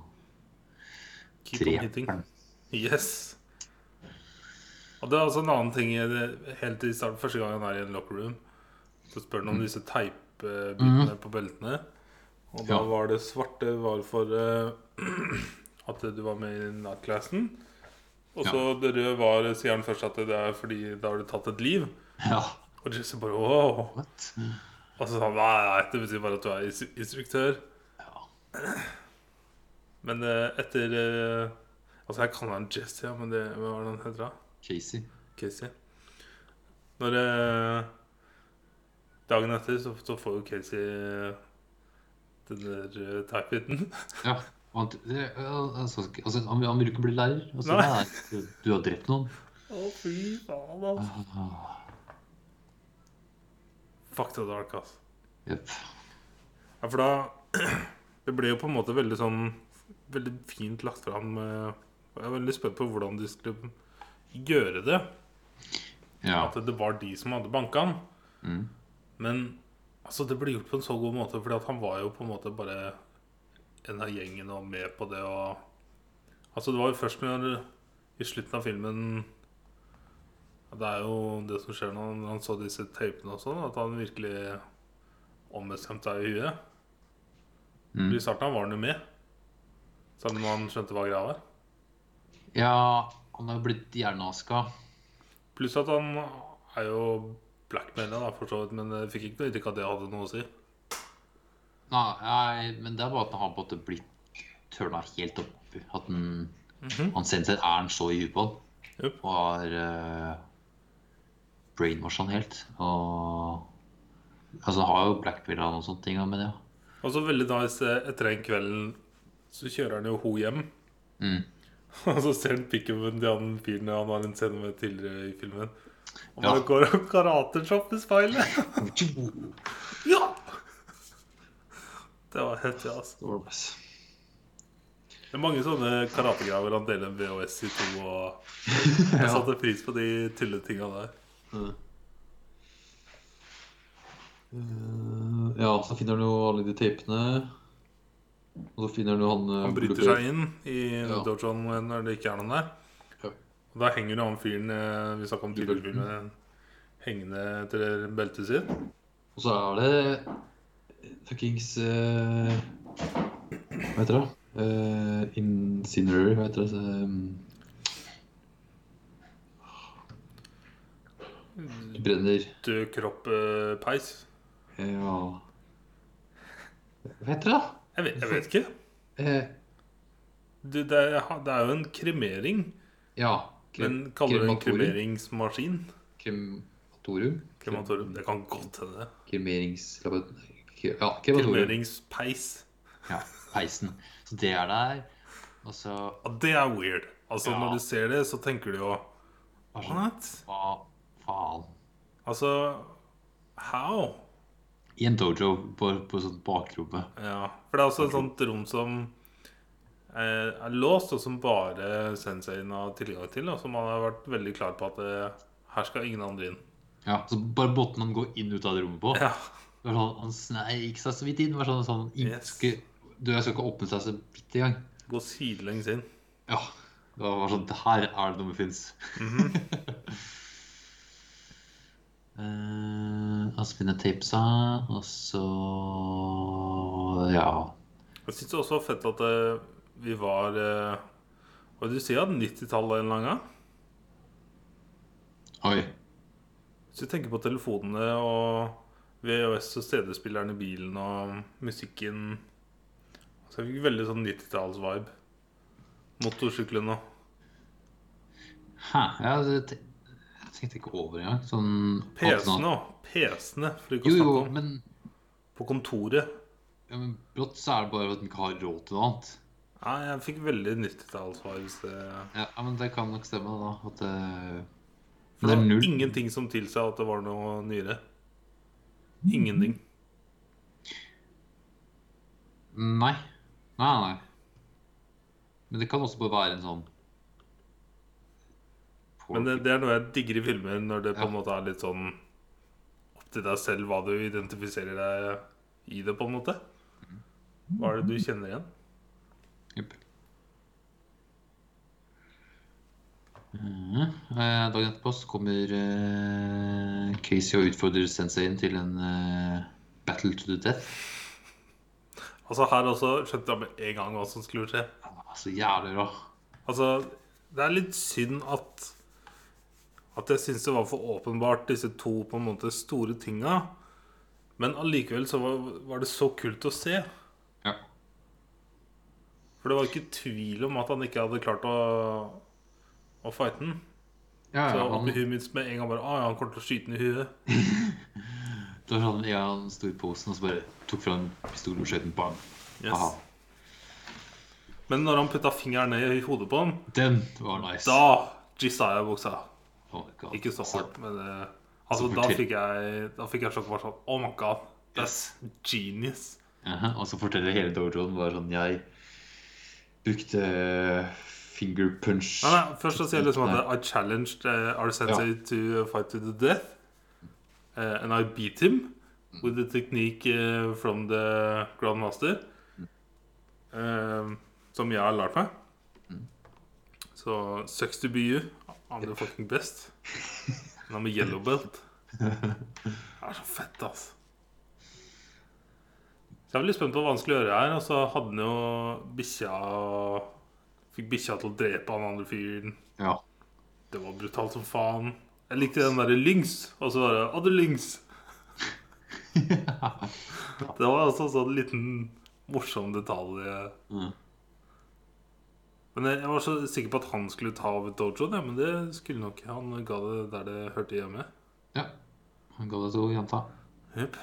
Speaker 2: Keep on hitting. Yes. Og det er også en annen ting i det- helt i starten, første gang han er i en locker room. Så spør
Speaker 1: Mhm.
Speaker 2: han om disse teipbitene på beltene. Og da
Speaker 1: Ja.
Speaker 2: var det svarte var for eh, at du var med i nattklassen. Og så det røde var, sier han først at det er fordi da har du tatt et liv.
Speaker 1: Ja.
Speaker 2: Og Jesse bare wow.
Speaker 1: What?
Speaker 2: Og så sa han nei, nei, det betyr bare at du er instru- instruktør.
Speaker 1: Ja.
Speaker 2: Men eh, etter eh, Altså, jeg kaller han Jesse, ja, men det, hva var det han heter da?
Speaker 1: Casey.
Speaker 2: Casey. Når eh, Dagen etter så, så får jo Casey eh, den der eh, teipbiten.
Speaker 1: Ja. Og han, det, altså, altså, han, han vil jo ikke bli lærer. Altså,
Speaker 2: Nei.
Speaker 1: nei. du- du har drept noen.
Speaker 2: Å, fy faen, altså. Fuck the dark, ass.
Speaker 1: Jepp.
Speaker 2: Ja, for da Det ble jo på en måte veldig sånn Veldig fint lagt fram. eh, og Jeg er veldig spent på hvordan de skulle gjøre det.
Speaker 1: Ja.
Speaker 2: At det var de som hadde banka han.
Speaker 1: Mm.
Speaker 2: Men altså, det ble gjort på en så god måte, fordi at han var jo på en måte bare en av gjengen og med på det og Altså, det var jo først når i slutten av filmen ja, Det er jo det som skjer når han så disse tapene og sånn, at han virkelig ombestemte seg i huet.
Speaker 1: Mm.
Speaker 2: I starten var han jo med, selv om han skjønte hva greia var.
Speaker 1: Ja, han har jo blitt hjerneaska.
Speaker 2: Pluss at han er jo blackmailer, da, for så vidt, men jeg fikk ikke noe inntrykk av at det hadde noe å si.
Speaker 1: Nei, men det er bare at han har på en måte blitt tørna helt opp. At han, han sender seg æren så i huet på han.
Speaker 2: Mhm. Jupp.
Speaker 1: Og har uh, brainwasha han helt. Og Altså, han har jo blackpill og sånne ting, men ja.
Speaker 2: Og så veldig nice eh, etter den kvelden så kjører han jo ho hjem.
Speaker 1: Mm.
Speaker 2: Og så ser han pickupen til han fyren han har en scene med tidligere i filmen. Og
Speaker 1: Ja.
Speaker 2: bare går og karateshopper speilet.
Speaker 1: Det
Speaker 2: ja! Det var heftig, altså.
Speaker 1: var det best.
Speaker 2: Det er mange sånne karategreier hvor han deler en VHS i to, og jeg satte pris på de tulletinga der.
Speaker 1: Eh, ja, så finner han jo alle de tapene. Og så finner han jo han eh,
Speaker 2: Han bryter
Speaker 1: Bluebeard.
Speaker 2: seg inn i
Speaker 1: Ja.
Speaker 2: dojoen når det ikke er noen der.
Speaker 1: Ja.
Speaker 2: Og da henger jo han fyren eh, vi snakket om tidligere i
Speaker 1: Gilbertsen.
Speaker 2: filmen, eh, hengende etter beltet sitt.
Speaker 1: Og så er det fuckings eh, Hva heter det? Uh, Incinerator, hva heter det? Så, eh,
Speaker 2: Mm.
Speaker 1: brenner
Speaker 2: Død kropp, eh, peis.
Speaker 1: Eh, Ja Hva heter det, da?
Speaker 2: Jeg vet, jeg vet ikke.
Speaker 1: Eh,
Speaker 2: Du, det, er, det er jo en kremering.
Speaker 1: ja
Speaker 2: Men kaller du det en
Speaker 1: krematorium.
Speaker 2: kremeringsmaskin?
Speaker 1: Krematorium?
Speaker 2: Krematorium. Det kan godt hende.
Speaker 1: Kremeringslabor... Ja, krematorium.
Speaker 2: Kremeringspeis.
Speaker 1: Ja, peisen. Så det er der. Og så
Speaker 2: Ja, det er weird. Altså,
Speaker 1: Ja.
Speaker 2: når du ser det, så tenker du jo What?
Speaker 1: Hva faen?
Speaker 2: Altså How?
Speaker 1: I en dojo på, på sånn sånt bakrommet.
Speaker 2: Ja, for det er også et sånt rom som eh, er låst, og som bare senseien har tilgang til, og som han har vært veldig klar på at eh, her skal ingen andre inn.
Speaker 1: Ja, så bare måten han går inn ut av det rommet på
Speaker 2: Ja,
Speaker 1: det var sånn, Han sneik seg så vidt inn. det Var sånn, sånn ingen
Speaker 2: Yes.
Speaker 1: skulle- Døra skal ikke åpne seg så vidt i gang.
Speaker 2: Gå sidelengs inn.
Speaker 1: Ja. Det var sånn det Her er det noe med fins.
Speaker 2: Mhm.
Speaker 1: Eh, Og så begynner tapesa, og så Ja.
Speaker 2: Jeg syns også det var fett at eh, vi var eh, Hva vil du si, at 90-tallet en eller annen gang?
Speaker 1: Oi.
Speaker 2: Hvis du tenker på telefonene og VHS og CD-spilleren i bilen og musikken Så jeg fikk veldig sånn 90-talls-vibe. Motorsyklene og
Speaker 1: Hæ. Ja, det, te- jeg tenkte ikke over engang. Sånn
Speaker 2: PC-ene òg. PC-ene, for ikke
Speaker 1: Jo,
Speaker 2: å
Speaker 1: jo,
Speaker 2: snakke om.
Speaker 1: men,
Speaker 2: På kontoret.
Speaker 1: ja, men brått så er det bare at en ikke har råd til noe annet.
Speaker 2: Nei, jeg fikk veldig 90-tallsvibes. eh.
Speaker 1: Ja, ja, men det kan nok stemme, da. At eh, det
Speaker 2: For
Speaker 1: Det
Speaker 2: det
Speaker 1: er
Speaker 2: var
Speaker 1: null.
Speaker 2: ingenting som tilsa at det var noe nyere. Ingenting.
Speaker 1: Nei. Nei, nei. Men det kan også bare være en sånn
Speaker 2: Men det, det er noe jeg digger i filmer, når det på en
Speaker 1: Ja.
Speaker 2: måte er litt sånn opp til deg selv hva du identifiserer deg i det, på en måte. Hva er det du kjenner igjen?
Speaker 1: Jupp. Mhm. Eh, Dagen etterpå så kommer eh, Casey og utfordrer senseien til en eh, battle to the death.
Speaker 2: Altså Her også skjønte jeg med en gang hva som skulle skje.
Speaker 1: Ah, Så jævlig bra.
Speaker 2: Altså, det er litt synd at At jeg syns det var for åpenbart, disse to på en måte store tinga. Men allikevel så var, var det så kult å se.
Speaker 1: Ja.
Speaker 2: For det var ikke tvil om at han ikke hadde klart å, å fighte den.
Speaker 1: Ja,
Speaker 2: Så
Speaker 1: ja,
Speaker 2: opp
Speaker 1: han,
Speaker 2: i huet mitt med en gang bare ah, ja, han kommer til å skyte den i huet.
Speaker 1: det var sånn, ja, han sto i posen og så bare tok fra en pistol og skjøt den. Bang. Aha.
Speaker 2: Yes. Men når han putta fingeren ned i hodet på ham,
Speaker 1: Den var nice.
Speaker 2: da jizza jeg buksa.
Speaker 1: Oh my God.
Speaker 2: Ikke så
Speaker 1: Altså,
Speaker 2: hardt, men eh, altså,
Speaker 1: Så
Speaker 2: da
Speaker 1: fortell-
Speaker 2: fikk jeg Da fikk jeg sjokk. Bare sånn Oh my god, that's genius.
Speaker 1: Jaha, Og så forteller hele dojoen bare sånn Jeg brukte finger punch.
Speaker 2: Nei, nei, først så sier jeg liksom at I challenged eh, our sensei to fight to the death. eh, and I beat him with the technique eh, from the grandmaster. eh, som jeg har lært meg. Så sucks to be you. I'm the fucking best. And I'm a yellow belt. Det er så fett, altså. Så jeg var litt spent på hva han skulle gjøre her. Og så hadde han jo bikkja Fikk bikkja til å drepe han andre fyren.
Speaker 1: Ja.
Speaker 2: Det var brutalt som faen. Jeg likte den derre Lynx. Og så bare Adde Lynx. Det var altså en sånn liten morsom detalj.
Speaker 1: Mm.
Speaker 2: Men jeg jeg var så sikker på at han skulle ta over dojoen, ja, men det skulle nok ikke. Han ga det der det hørte hjemme.
Speaker 1: ja. Han ga det til jenta.
Speaker 2: Jep.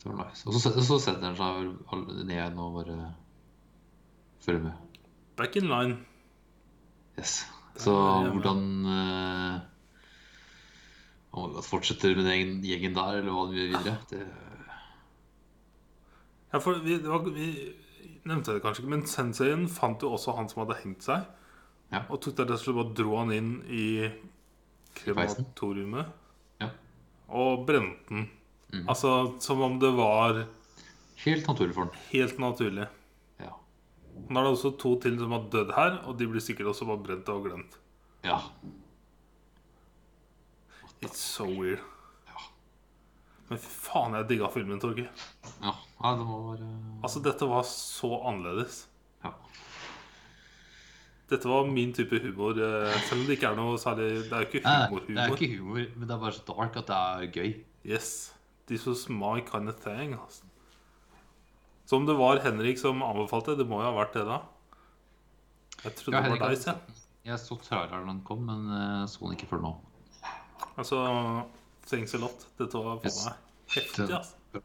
Speaker 1: Det var nice. Og så, så setter han seg vel alle ned igjen og bare følger med.
Speaker 2: Back in line.
Speaker 1: Yes. Så
Speaker 2: Der, ja,
Speaker 1: hvordan eh, Om han fortsetter med den egen- gjengen der, eller hva han gjør videre det,
Speaker 2: Ja, for vi, det var, vi nevnte det kanskje ikke, men senseien fant jo også han som hadde hengt seg.
Speaker 1: Ja.
Speaker 2: Og tok det rett og slett bare dro han inn i
Speaker 1: peisen?
Speaker 2: krematoriumet
Speaker 1: Ja. Mhm.
Speaker 2: og brente den. Altså som om det var
Speaker 1: Helt naturlig for han.
Speaker 2: helt naturlig.
Speaker 1: Ja.
Speaker 2: Nå er det også to til som har dødd her, og de blir sikkert også bare brent og glemt.
Speaker 1: ja.
Speaker 2: It's so weird.
Speaker 1: Ja.
Speaker 2: Men fy faen, jeg digga filmen, Torgeir.
Speaker 1: ja. Nei, det må være
Speaker 2: Altså, dette var så annerledes.
Speaker 1: Ja.
Speaker 2: Dette var min type humor, eh, selv om det ikke er noe særlig Det er jo ikke
Speaker 1: Nei,
Speaker 2: humor-humor.
Speaker 1: det er ikke humor, men det er bare så dark at det er gøy.
Speaker 2: Yes, this was my kind of thing. Altså. Så om det var Henrik som anbefalte, det må jo ha vært det, da. Jeg trodde
Speaker 1: Ja,
Speaker 2: det
Speaker 1: Henrik
Speaker 2: var
Speaker 1: hadde
Speaker 2: deg, jeg.
Speaker 1: Jeg så traileren da den kom, men eh, så den ikke før nå.
Speaker 2: Altså, thanks a lot. Dette var faen
Speaker 1: Yes.
Speaker 2: meg heftig, altså. Det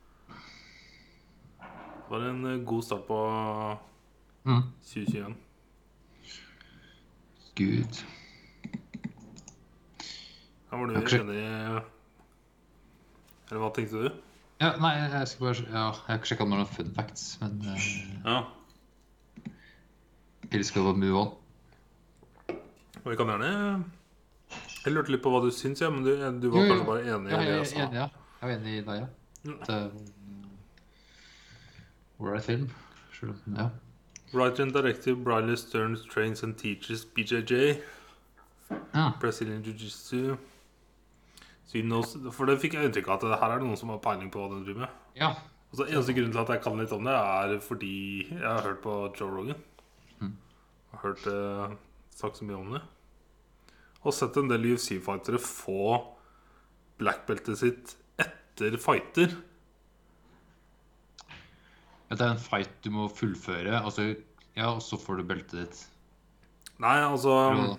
Speaker 2: var en eh, god start på
Speaker 1: Mm.
Speaker 2: 2021.
Speaker 1: Gud.
Speaker 2: Da var du
Speaker 1: Ja, kanskje-
Speaker 2: enig i Eller hva tenkte du?
Speaker 1: Ja, nei, jeg skal bare ja, Jeg har ikke sjekka noen fun facts, men eh,
Speaker 2: Ja.
Speaker 1: Eller skal vi bare move on?
Speaker 2: Og vi kan gjerne Jeg lurte litt på hva du syns, ja, men du, du var
Speaker 1: Jo, jo.
Speaker 2: kanskje bare enig
Speaker 1: Ja,
Speaker 2: i
Speaker 1: jeg
Speaker 2: det altså. jeg
Speaker 1: er
Speaker 2: sa?
Speaker 1: enig, ja. Jeg er enig i deg, ja. eh,
Speaker 2: Mm.
Speaker 1: Det er ålreit film. Selv om Ja.
Speaker 2: Writer and director Briley Stearns trains and teaches BJJ.
Speaker 1: ja.
Speaker 2: Brazilian jiu-jitsu. So you know- For det fikk jeg inntrykk av at det her er noen som har peiling på hva den driver med.
Speaker 1: ja.
Speaker 2: Og så Altså, Eneste grunnen til at jeg kan litt om det, er fordi jeg har hørt på Joe Rogan. Jeg har hørt eh, sagt så mye om det. Og sett en del UFC-fightere få blackbeltet sitt etter fighter.
Speaker 1: Det er en fight du må fullføre, altså, ja, og så får du beltet ditt.
Speaker 2: Nei, altså
Speaker 1: Jo.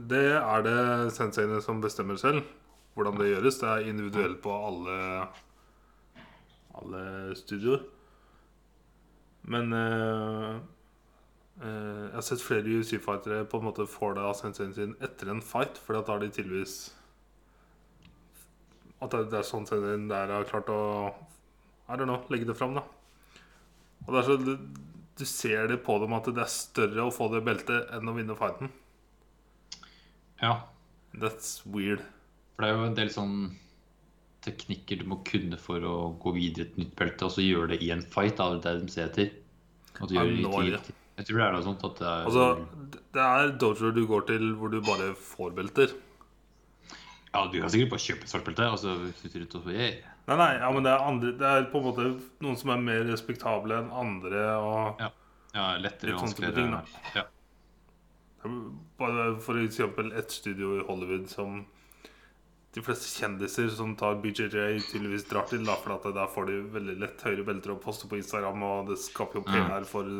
Speaker 2: Det er det senseiene som bestemmer selv hvordan det gjøres. Det er individuelt på alle alle studioer. Men eh, eh, jeg har sett flere UFC-fightere på en måte får det av senseien sin etter en fight, for da har de tydeligvis At det, det er sånn senseien der har klart å I don't know, legge det fram, da. Og det er så du, du ser det på dem at det er større å få det beltet enn å vinne fighten.
Speaker 1: Ja.
Speaker 2: That's weird.
Speaker 1: For det er jo en del sånn teknikker du må kunne for å gå videre til et nytt belte, og så gjøre det i en fight. Da, det er det de ser etter. At du
Speaker 2: Ja,
Speaker 1: gjør det
Speaker 2: nå
Speaker 1: ikke
Speaker 2: er det.
Speaker 1: riktig. Jeg tror det er noe sånt at det er
Speaker 2: Altså, det er dojoer du går til hvor du bare får belter.
Speaker 1: Ja, du kan sikkert bare kjøpe et svart belte, og så flytte rundt og så yeah.
Speaker 2: Nei, nei, ja, men det er, andre, det er på en måte noen som er mer respektable enn andre. Og
Speaker 1: Ja. ja, lettere
Speaker 2: Litt
Speaker 1: og
Speaker 2: sånn type ting,
Speaker 1: vanskeligere.
Speaker 2: da.
Speaker 1: Ja.
Speaker 2: bare for eksempel et studio i Hollywood som de fleste kjendiser som tar BJJ, tydeligvis drar til. Da, for at der får de veldig lett høyere belter å poste på Instagram, og det skaper jo
Speaker 1: Mm.
Speaker 2: PR for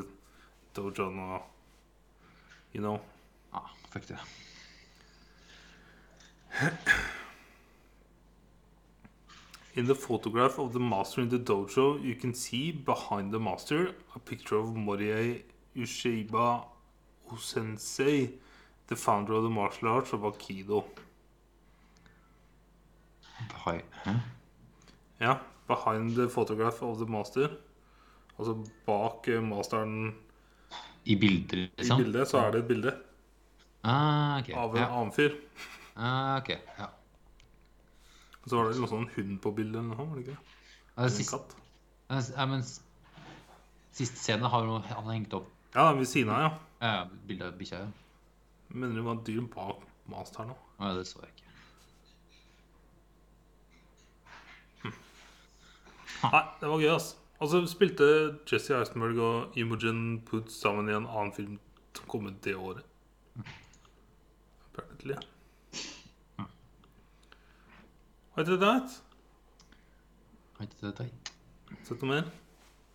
Speaker 2: dojoen og You know.
Speaker 1: ja, Ah, fuck det.
Speaker 2: In the photograph of the master in the dojo, you can see behind the master a picture of Morie Ushiba Osensei, the founder of the martial arts of Aikido.
Speaker 1: Hai. Hæ?
Speaker 2: Ja, behind the photograph of the master. Altså bak eh, masteren
Speaker 1: I bilder,
Speaker 2: I
Speaker 1: liksom?
Speaker 2: bildet så er det et bilde
Speaker 1: Ah, ok.
Speaker 2: av en
Speaker 1: Ja.
Speaker 2: annen fyr.
Speaker 1: Ah, ok, ja.
Speaker 2: Og så var det liksom en hund på bildet eller noe, var det ikke det?
Speaker 1: Ja,
Speaker 2: En
Speaker 1: sist,
Speaker 2: katt.
Speaker 1: ja, men s- siste scene har jo- han har hengt opp
Speaker 2: Ja, den ved siden av, ja.
Speaker 1: ja, bilde av bikkja. ja.
Speaker 2: Mener du det var et dyr bak mast her nå?
Speaker 1: Nei, det så jeg ikke.
Speaker 2: Nei, det var gøy, ass. Og så spilte Jesse Eisenberg og Imogen Poots sammen i en annen film som kom ut det året. Apparently. Har ikke det deg?
Speaker 1: Har ikke det tatt?
Speaker 2: Sett noe mer?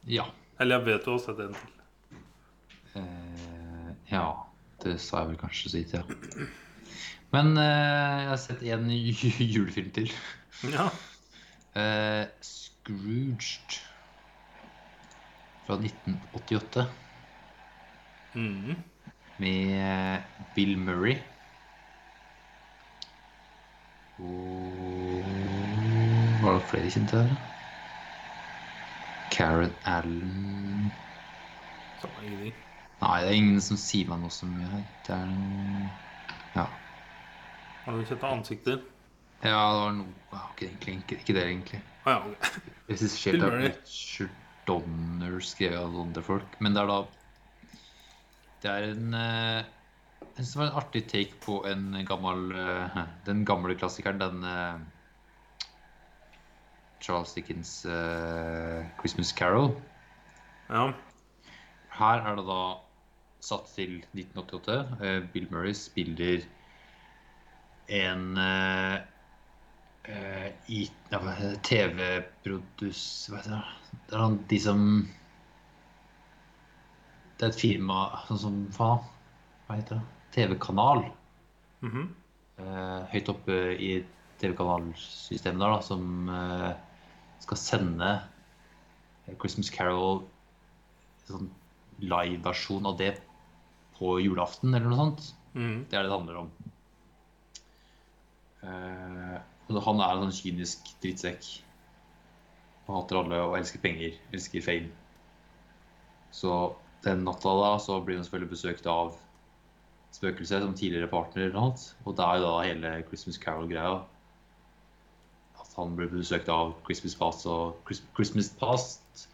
Speaker 1: Ja.
Speaker 2: Eller jeg vet du har sett en til.
Speaker 1: Eh, ja, det sa jeg vel kanskje så vidt, ja. Men eh, jeg har sett en ju- julefilm til.
Speaker 2: Ja.
Speaker 1: Eh, Scrooged fra 1988
Speaker 2: Mhm.
Speaker 1: med eh, Bill Murray. Og Var det flere kjente der? da? Karen Allen
Speaker 2: Samme ingenting.
Speaker 1: Nei, det er ingen som sier meg noe så mye her. Det er noen Ja.
Speaker 2: Har du sett ansikter?
Speaker 1: Ja, det var noe ja, ikke, egentlig, ikke, ikke det, egentlig.
Speaker 2: Å ah, ja, ok.
Speaker 1: Regissert av
Speaker 2: Bill Murray.
Speaker 1: Richard Donner, skrevet av andre folk. Men det er da Det er en eh, Jeg synes det var en artig take på en gammel eh, Den gamle klassikeren, den eh, Charles Dickens' eh, 'Christmas Carol'.
Speaker 2: Ja.
Speaker 1: Her er det da satt til 1988. Eh, Bill Murray spiller en eh, eh, i- ja, hva heter det? TV-produs... Hva heter det? Det er han de som Det er et firma sånn som Faen, hva heter det? TV-kanal.
Speaker 2: Mhm.
Speaker 1: eh, høyt oppe i TV-kanalsystemet der, da, som eh, skal sende Christmas Carol en sånn live-versjon av det på julaften, eller noe sånt.
Speaker 2: Mhm.
Speaker 1: Det er det det handler om. Eh, og han er en sånn kynisk drittsekk. Han hater alle og elsker penger, elsker fame. Så den natta da, så blir han selvfølgelig besøkt av spøkelset som tidligere partner eller noe. Og det er jo da hele Christmas Carol-greia. At han blir besøkt av Christmas Past og Chris- Christmas Past.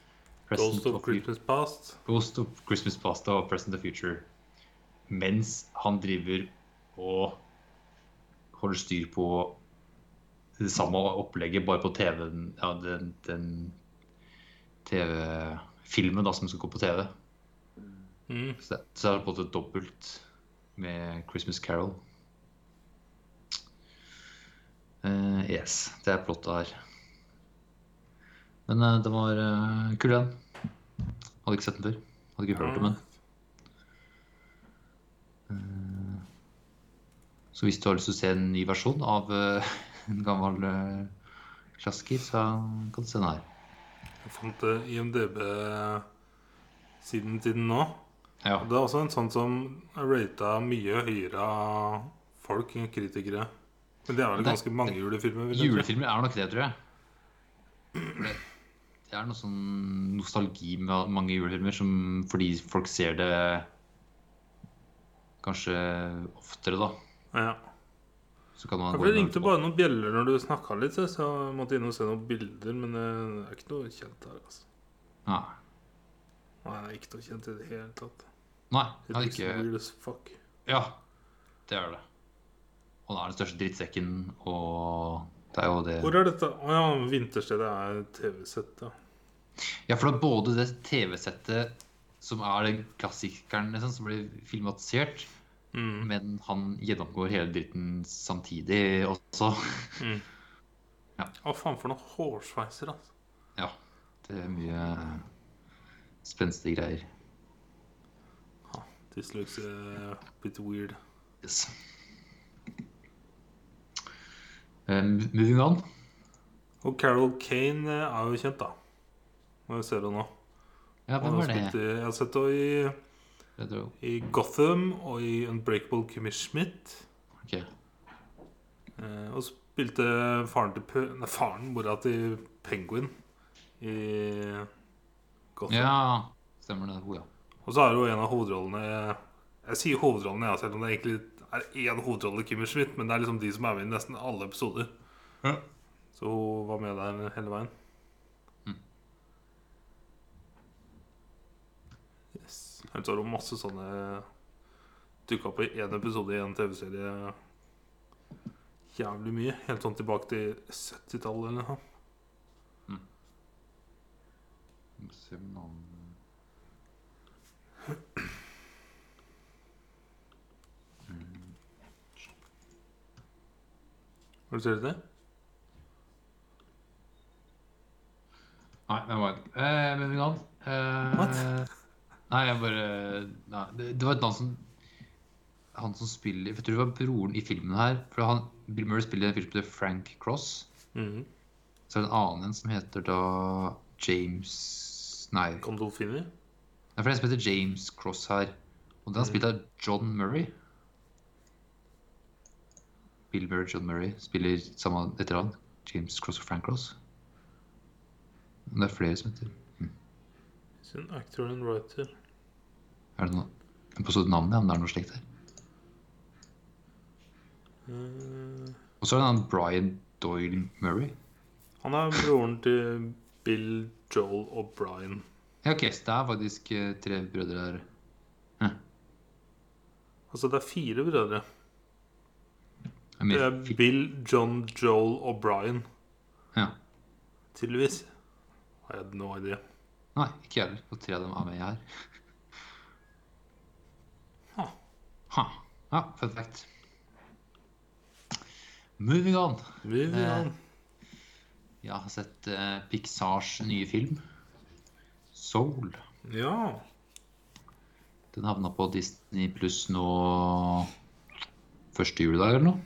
Speaker 2: Ghost
Speaker 1: Present
Speaker 2: of
Speaker 1: Future-
Speaker 2: Christmas Past.
Speaker 1: Ghost of Christmas Past og Present the Future mens han driver og holder styr på det samme opplegget, bare på TV-en ja, den, den TV-filmen da som skal gå på TV.
Speaker 2: Mhm.
Speaker 1: Så det, så det er på en måte dobbelt med Christmas Carol. Eh, yes, det er plotta her. Men eh, det var eh, kul, den. Hadde ikke sett den før. Hadde ikke hørt om den. Så hvis du har lyst til å se en ny versjon av eh, en gammel uh, klassiker, så kan du se den her.
Speaker 2: Jeg fant eh, IMDb-siden til den nå.
Speaker 1: Ja.
Speaker 2: Det er også en sånn som rata mye høyere av folk enn kritikere. Men det er vel
Speaker 1: Det-
Speaker 2: ganske mange julefilmer? Vil jeg tro.
Speaker 1: Julefilmer er nok det, tror jeg. For Det det er noe sånn nostalgi med mange julefilmer som fordi folk ser det kanskje oftere, da.
Speaker 2: Ja.
Speaker 1: Så kan man
Speaker 2: Ja,
Speaker 1: gå
Speaker 2: for Det
Speaker 1: inn og-
Speaker 2: ringte bare noen bjeller når du snakka litt, så jeg måtte inn og se noen bilder. Men eh, det er ikke noe kjent her, altså.
Speaker 1: Nei.
Speaker 2: Nei, det er ikke noe kjent i det hele tatt.
Speaker 1: Nei, det
Speaker 2: Det
Speaker 1: er
Speaker 2: er liksom
Speaker 1: ikke
Speaker 2: weird as fuck.
Speaker 1: Ja, det er det. Han er den største drittsekken, og det er jo det
Speaker 2: Hvor er dette? Å ja, Vinterstedet er TV-sett, ja.
Speaker 1: Ja, for det er både det TV-settet som er den klassikeren liksom, som blir filmatisert,
Speaker 2: Mm.
Speaker 1: men han gjennomgår hele dritten samtidig også.
Speaker 2: Å faen, for noen hårsveiser, altså.
Speaker 1: Ja, det er mye spenstige greier.
Speaker 2: This looks a bit eh, weird.
Speaker 1: Yes. Um, moving on.
Speaker 2: Og Carol Kane eh, er jo kjent, da. Når vi ser henne nå.
Speaker 1: Ja,
Speaker 2: Og
Speaker 1: hvem
Speaker 2: hun
Speaker 1: var
Speaker 2: spilte
Speaker 1: det?
Speaker 2: i- Jeg har sett henne i,
Speaker 1: det er jo-
Speaker 2: i Gotham og i Unbreakable Kimmy Schmidt.
Speaker 1: ok.
Speaker 2: Eh, og spilte faren til Pe- Nei, faren, mora til Penguin i Gotham.
Speaker 1: Ja, stemmer det. Hun, ja.
Speaker 2: Og så er jo en av hovedrollene Jeg sier hovedrollene, ja, selv om det egentlig er én hovedrolle Kimmer Schmidt, men det er liksom de som er med i nesten alle episoder.
Speaker 1: Ja.
Speaker 2: Så hun var med der hele veien. Yes. Her så har hun masse sånne dukka opp i én episode i en TV-serie. Jævlig mye. Helt sånn tilbake til 70-tallet eller noe.
Speaker 1: Må se om noen-
Speaker 2: Har du sett det?
Speaker 1: Nei, det var det. Eh, men vi kan. Eh,
Speaker 2: What?
Speaker 1: Nei, jeg bare nei, det, det var et navn som Han som spiller for Jeg tror det var broren i filmen her. For han, Bill Murray spiller i en film som heter Frank Cross.
Speaker 2: Mm.
Speaker 1: Så er det en annen en som heter da James Nei. Det
Speaker 2: Gondolfini?
Speaker 1: er for en som heter James Cross her. Og den er spilt av John Murray. Bill Murray John Murray spiller samme veteran. James Cross og Frank Cross. Men det er flere som heter
Speaker 2: He's an actor and writer.
Speaker 1: Er det noe Jeg påstod navnet, ja, men det er noe slikt her.
Speaker 2: Eh,
Speaker 1: Og så er det han Brian Doyle Murray.
Speaker 2: han er broren til Bill, Joel og Brian.
Speaker 1: Ja, ok, så det er faktisk eh, tre brødre her.
Speaker 2: Altså, det er fire brødre.
Speaker 1: Jeg
Speaker 2: Det
Speaker 1: mener,
Speaker 2: er Bill, John, Joel og Brian.
Speaker 1: Ja.
Speaker 2: Tydeligvis. I had no idea.
Speaker 1: Nei, ikke jeg heller. Og tre av dem er med her.
Speaker 2: Ha.
Speaker 1: Ha. Ja, fun fact. Moving on.
Speaker 2: Vivian.
Speaker 1: Jeg har sett eh, Pixars nye film, Soul.
Speaker 2: Ja.
Speaker 1: Den havna på Disney pluss nå første juledag eller noe.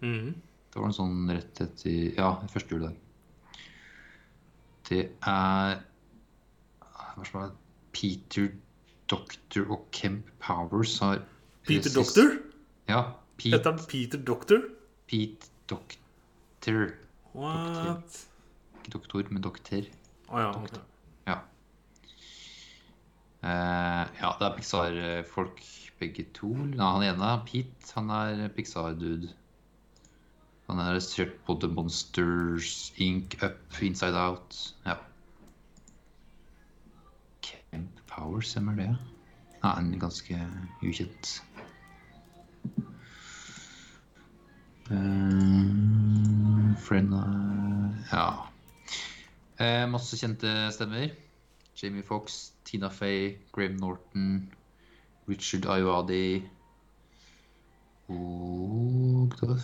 Speaker 2: Mhm.
Speaker 1: Det var en sånn rett etter Ja, første juledag. Det er Hva skal det Peter Doctor og Kemp Powers har
Speaker 2: Peter
Speaker 1: regissert-
Speaker 2: Doctor?
Speaker 1: Ja. Pete,
Speaker 2: Heter han Peter Doctor?
Speaker 1: Pete Doctor.
Speaker 2: What?
Speaker 1: Ikke doktor, men dokter.
Speaker 2: Å ja. ok.
Speaker 1: Ja. Eh, ja, det er Pixar-folk begge to. Nei, han ene, Pete, han er Pixar-dude. Han er regissert på The Monsters, Ink, Up, Inside Out. Ja. Camp Powers, hvem er det? Nei, en ganske ukjent. Eh, friend eh, Ja. Eh, masse kjente stemmer. Jamie Fox, Tina Fey, Graham Norton, Richard Ayoade Og det var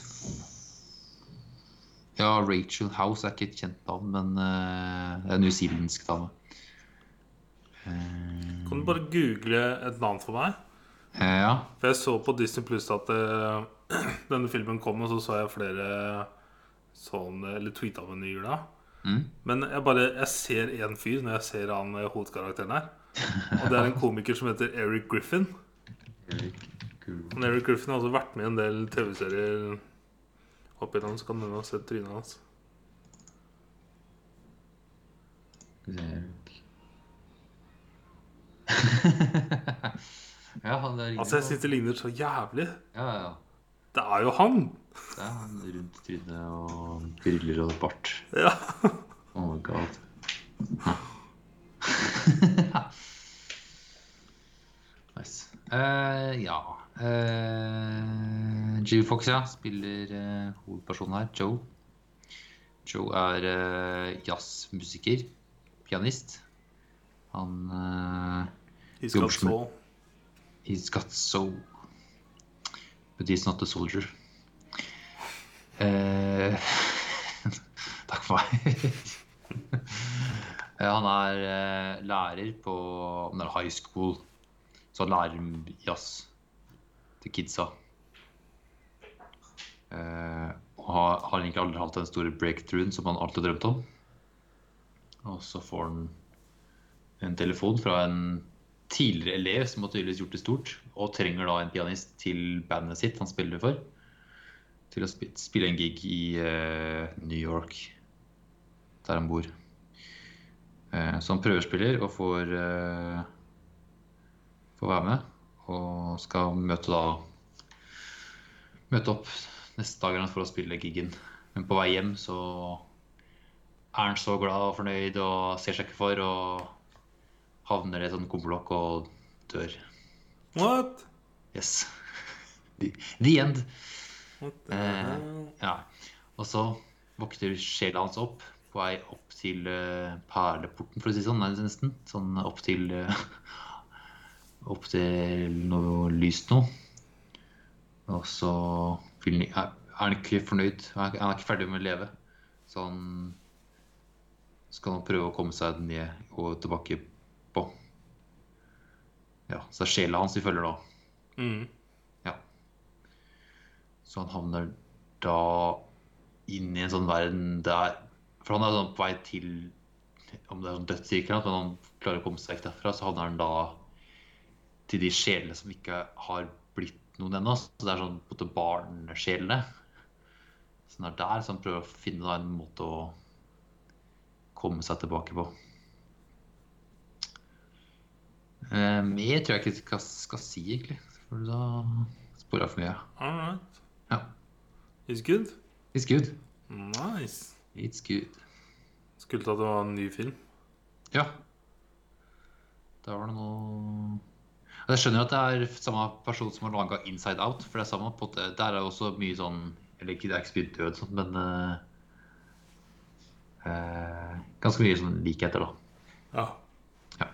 Speaker 1: Ja, Rachel House er ikke et kjent navn, men eh, det er en newzealandsk dame. Eh,
Speaker 2: Kan du bare google et navn for meg?
Speaker 1: eh, ja.
Speaker 2: For jeg så på Disney Pluss at eh, denne filmen kom, og så så jeg flere sånn Eller tweeta om henne i jula.
Speaker 1: Mm.
Speaker 2: Men jeg bare Jeg ser én fyr når jeg ser han eh, hovedkarakteren her. Og det er en komiker som heter Eric Griffin. Men Eric Griffin har også vært med i en del TV-serier opp igjennom, så kan denne ha sett trynet hans.
Speaker 1: ja, han der
Speaker 2: Altså, jeg syns det ligner så jævlig.
Speaker 1: Ja, ja.
Speaker 2: Det er jo han!
Speaker 1: Det er han rundt trynet og briller og bart.
Speaker 2: Ja.
Speaker 1: Oh my god. nice. Eh, ja uh, Jimmy Fox ja, spiller eh, hovedpersonen her, Joe. Joe er eh, jazzmusiker. Pianist. Han eh,
Speaker 2: He's got soul.
Speaker 1: He's got soul. But he's not a soldier. Eh, takk for meg. Eh, han er eh, lærer på han er high school, så han lærer m- jazz til kidsa. Eh, og har, har egentlig aldri hatt den store breakthroughen som han alltid drømte om. Og så får han en telefon fra en tidligere elev som har tydeligvis gjort det stort, og trenger da en pianist til bandet sitt han spiller for, til å spi- spille en gig i eh, New York, der han bor. Eh, så han prøvespiller og får eh, får være med. Og skal møte da Møte opp neste dagen for å spille gigen. Men på vei hjem så er han så glad og fornøyd og ser seg ikke for og havner i et sånt kumlokk og dør.
Speaker 2: What?
Speaker 1: Yes. The, the end.
Speaker 2: What the
Speaker 1: Eh,
Speaker 2: hell?
Speaker 1: Ja. Og så våkner sjela hans opp på vei opp til eh, perleporten, for å si det sånn. nærmest nesten. Sånn opp til eh, Opp til noe lyst nå. Og så vil han, er er han ikke fornøyd. Han er, han er ikke ferdig med å leve. Så han skal nå prøve å komme seg ned og tilbake på. Ja, så det er sjela hans vi følger da.
Speaker 2: Mm.
Speaker 1: Så han havner da inn i en sånn verden der For han er sånn på vei til om det er sånn dødsirkel, men han klarer å komme seg vekk derfra. Så havner han da til de sjelene som ikke har blitt noen ennå. Så det er sånn på en måte barnesjelene. Så han er der, så han prøver å finne da en måte å komme seg tilbake på. Eh, Mer tror jeg ikke jeg skal, skal si, egentlig. For da sporer jeg for mye.
Speaker 2: All right.
Speaker 1: Ja.
Speaker 2: It's good.
Speaker 1: It's good.
Speaker 2: Nice.
Speaker 1: It's good.
Speaker 2: Skulle tatt det var en ny film.
Speaker 1: Ja. Der var det noe Ja, Jeg skjønner jo at det er samme person som har laga Inside Out. For det er samme på det. Der er jo også mye sånn Eller ikke, det er ikke spydd død, sånn, men eh, eh, Ganske mye sånn likheter, da.
Speaker 2: Ja.
Speaker 1: Ja.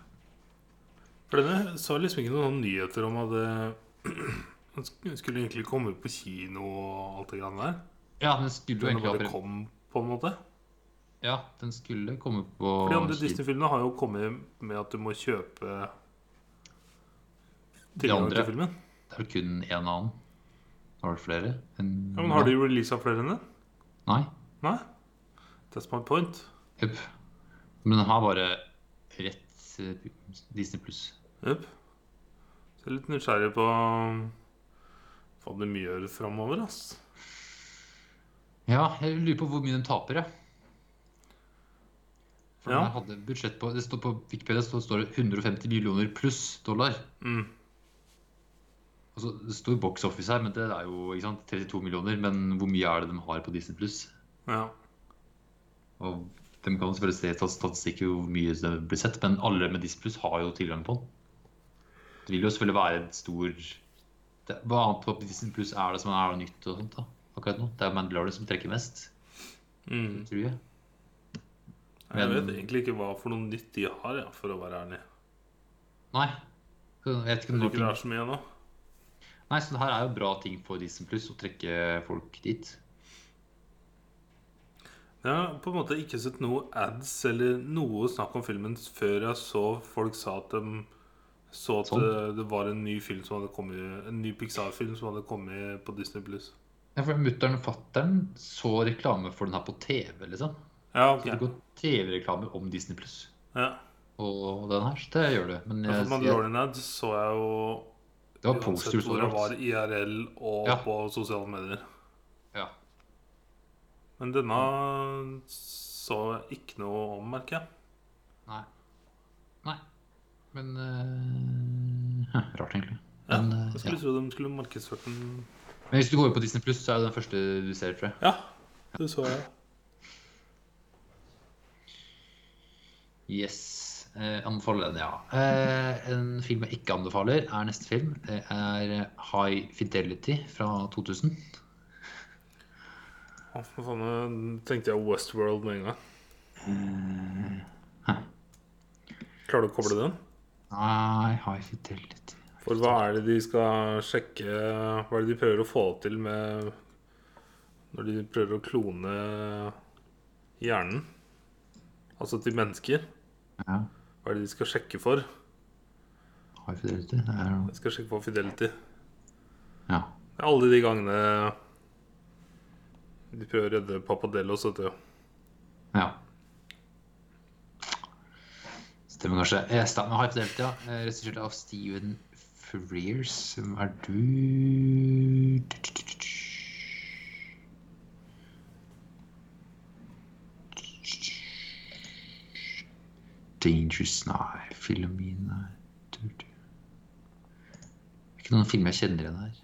Speaker 2: For denne så jeg liksom ikke noen nyheter om at det- den sk- skulle egentlig komme på kino og alt det grann der.
Speaker 1: Ja, den skulle jo
Speaker 2: Den
Speaker 1: egentlig
Speaker 2: bare
Speaker 1: ha pre-
Speaker 2: kom, på en måte.
Speaker 1: Ja, den skulle komme på
Speaker 2: For de andre
Speaker 1: kino.
Speaker 2: Disney-filmene har jo kommet med at du må kjøpe
Speaker 1: De
Speaker 2: tilgang
Speaker 1: andre.
Speaker 2: til filmen.
Speaker 1: Det er vel kun én annen. Har det flere? En-
Speaker 2: Ja, men har de releasa flere enn det?
Speaker 1: Nei.
Speaker 2: Nei? That's my point.
Speaker 1: Jepp. Men den har bare rett eh, Disney pluss.
Speaker 2: Jepp. Så jeg er litt nysgjerrig på um, hva de gjør framover, ass.
Speaker 1: Ja, jeg lurer på hvor mye de taper, ja. For
Speaker 2: Ja.
Speaker 1: de hadde budsjett på Det står på Wikipedia så står det 150 millioner pluss dollar.
Speaker 2: Mm.
Speaker 1: Altså, det står box office her, men det er jo ikke sant, 32 millioner. Men hvor mye er det de har på Disney pluss?
Speaker 2: Ja.
Speaker 1: Og de kan selvfølgelig se stat- statistikk hvor mye det blir sett, men alle med Disney pluss har jo tilgang på den. Det vil jo selvfølgelig være et stor det, Hva annet på Disney pluss er det som er nytt og sånt da? Akkurat nå? Det er Mandalorian som trekker mest,
Speaker 2: Mm.
Speaker 1: tror jeg.
Speaker 2: Jeg
Speaker 1: Men-
Speaker 2: vet egentlig ikke hva for noe nytt de har, ja, for å være ærlig.
Speaker 1: Nei. Så Jeg vet ikke
Speaker 2: Jeg
Speaker 1: om
Speaker 2: tror
Speaker 1: det
Speaker 2: ikke det
Speaker 1: er
Speaker 2: er så mye nå.
Speaker 1: Nei, så det her er jo bra ting for Disney Pluss å trekke folk dit.
Speaker 2: Jeg har på en måte ikke sett noe ads eller noe snakk om filmen før jeg så folk sa at de så at eh,
Speaker 1: Sånn.
Speaker 2: det- det var en ny film som hadde kommet En ny Pixar-film som hadde kommet på Disney Plus.
Speaker 1: Ja, for Mutter'n og fatter'n så reklame for den her på TV, liksom.
Speaker 2: Ja, ok.
Speaker 1: Det går TV-reklamer om Disney Pluss
Speaker 2: Ja.
Speaker 1: og den her. Så det gjør det. Men
Speaker 2: Ja,
Speaker 1: jeg,
Speaker 2: for
Speaker 1: jeg,
Speaker 2: Mandalorian Ads så jeg jo
Speaker 1: det var
Speaker 2: uansett
Speaker 1: posters
Speaker 2: hvor jeg var
Speaker 1: overalt.
Speaker 2: IRL og
Speaker 1: Ja.
Speaker 2: på sosiale medier.
Speaker 1: Ja.
Speaker 2: Men denne så jeg ikke noe om, merker jeg.
Speaker 1: Nei. Nei. Men eh, hæ, Rart, egentlig.
Speaker 2: Ja,
Speaker 1: Men, eh,
Speaker 2: jeg
Speaker 1: ja.
Speaker 2: skulle tro de skulle markedsført den
Speaker 1: Men hvis du går inn på Disney Pluss, så er det den første du ser, tror jeg.
Speaker 2: Ja, det så jeg.
Speaker 1: Yes. Eh, anbefaler den, ja. Eh, en film jeg ikke anbefaler, er neste film. Det er High Fidelity fra 2000.
Speaker 2: Å, for faen, nå tenkte jeg Westworld med en gang.
Speaker 1: hæ.
Speaker 2: Klarer du å koble den?
Speaker 1: Nei, High Fidelity
Speaker 2: For hva er det de skal sjekke Hva er det de prøver å få til med Når de prøver å klone hjernen? Altså til mennesker?
Speaker 1: Ja,
Speaker 2: Hva er det de skal sjekke for?
Speaker 1: High Fidelity det er,
Speaker 2: De skal sjekke for fidelity.
Speaker 1: Ja.
Speaker 2: Det er alle de gangene de prøver å redde Papadellos, vet du.
Speaker 1: ja. Stemmer kanskje. Eh, Stemmer High Fidelity, ja. Eh, Regissert av Steven Frears. Hvem er du Dangerous Nei, Filomena ikke noen film jeg kjenner igjen her.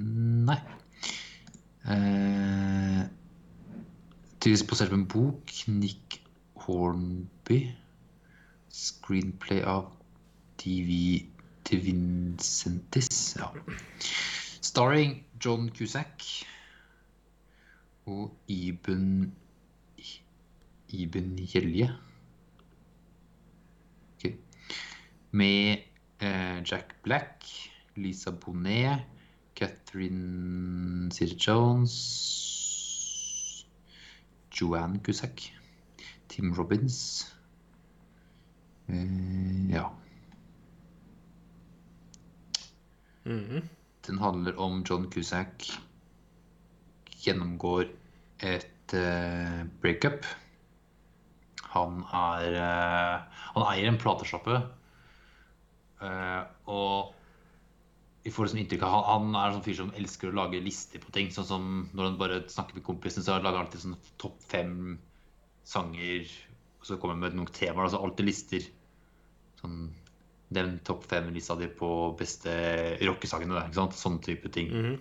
Speaker 1: Nei. Eh, Tydeligvis basert på en bok. Nick Hornby. Screenplay av DV Devincentis. Ja. Starring John Cusack og Iben Iben Gjelje. Ok. Med eh, Jack Black, Lisa Bonet, Catherine Zeta Jones, Joanne Cusack, Tim Robbins eh, Ja.
Speaker 2: Mhm.
Speaker 1: Den handler om John Cusack gjennomgår et eh, breakup. Han er eh, Han eier en platesjappe. eh, og vi får liksom inntrykk av han, han er en sånn fyr som elsker å lage lister på ting. Sånn som når han bare snakker med kompisen, så lager han alltid sånn topp fem sanger. Og så kommer han med noen temaer. Altså alltid lister. Sånn Nevn topp fem-lista di på beste rockesangene. da, Ikke sant? Sånne type ting.
Speaker 2: Mhm.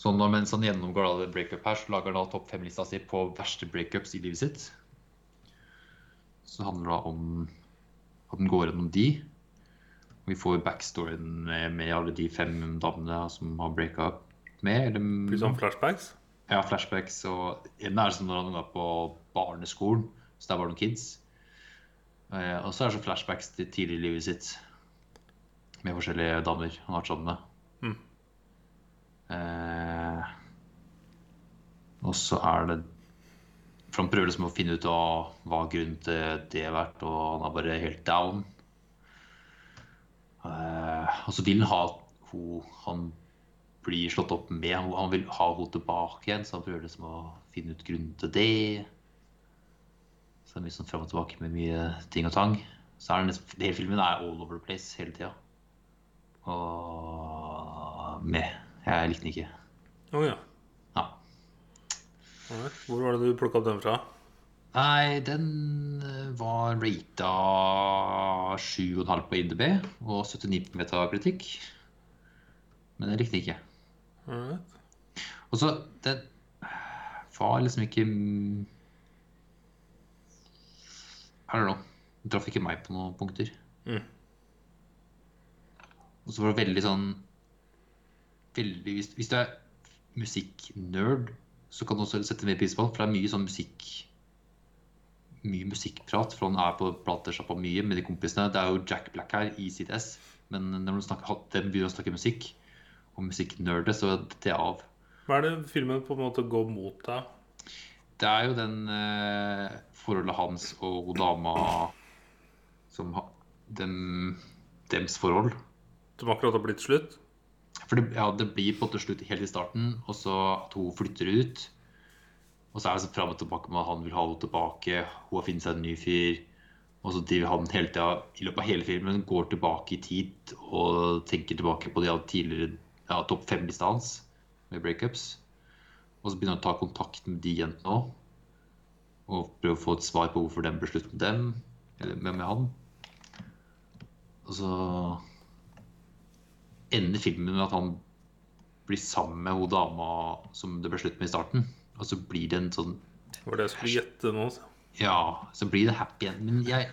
Speaker 1: Så nå, mens han gjennomgår da det breakup her, så lager han da topp fem-lista si på verste breakups i livet sitt. Så det handler da om at den går gjennom de. Vi får backstoryen med, med alle de fem damene som har breaka opp med. Eller,
Speaker 2: Blir sånn flashbacks.
Speaker 1: ja, flashbacks. Og en er som når han var på barneskolen, så der var det noen kids. Eh, og så er det sånn flashbacks til tidlig i livet sitt med forskjellige damer han har vært sammen med.
Speaker 2: Mm.
Speaker 1: Eh, og så er det For han prøver liksom å finne ut av hva grunnen til det har vært, og han er bare helt down. Eh, og så vil han ha ho, han blir slått opp med. Han- Han vil ha henne tilbake igjen, så han prøver liksom å finne ut grunnen til det. Så det er mye sånn fram og tilbake med mye ting og tang. Så er den liksom, Hele filmen er all over the place hele tida. Og med. Jeg likte den ikke.
Speaker 2: Å ja.
Speaker 1: Ja.
Speaker 2: All right. Hvor var det du plukka opp den fra?
Speaker 1: Nei, den eh, var rata 7,5 på IDB og 79 på metakritikk. Men jeg likte den ikke.
Speaker 2: All right.
Speaker 1: Og så, det var liksom ikke mm, I don't know. Den traff ikke meg på noen punkter.
Speaker 2: Mm.
Speaker 1: Og så var det veldig sånn veldig, hvis, hvis du er musikknerd, så kan du også sette mer pris på den, for det er mye sånn musikk mye musikkprat, for han er på platesjappa mye med de kompisene. Det er jo Jack Black her i sitt ess, men når de, snakker, de begynner å snakke musikk, og musikknerdet, så detter jeg av.
Speaker 2: Hva er det filmen på en måte går mot deg?
Speaker 1: Det er jo den eh, forholdet hans og hun dama som ha, dem, Dems forhold.
Speaker 2: Som akkurat har blitt slutt?
Speaker 1: For det, ja, det blir på en måte slutt helt i starten, og så at hun flytter ut. Og så er det så fram og tilbake med at han vil ha henne tilbake, hun har funnet seg en ny fyr. Og så driver han hele tida, i løpet av hele filmen, går tilbake i tid og tenker tilbake på de av tidligere ja, topp fem-lista hans med breakups. Og så begynner han å ta kontakt med de jentene òg. Og prøve å få et svar på hvorfor den ble slutt med dem, eller med, med han. Og så ender filmen med at han blir sammen med hun dama som det ble slutt med i starten. Og så blir det en sånn
Speaker 2: Var det jeg skulle gjette nå? altså? så.
Speaker 1: Ja, så blir det happy end. Men jeg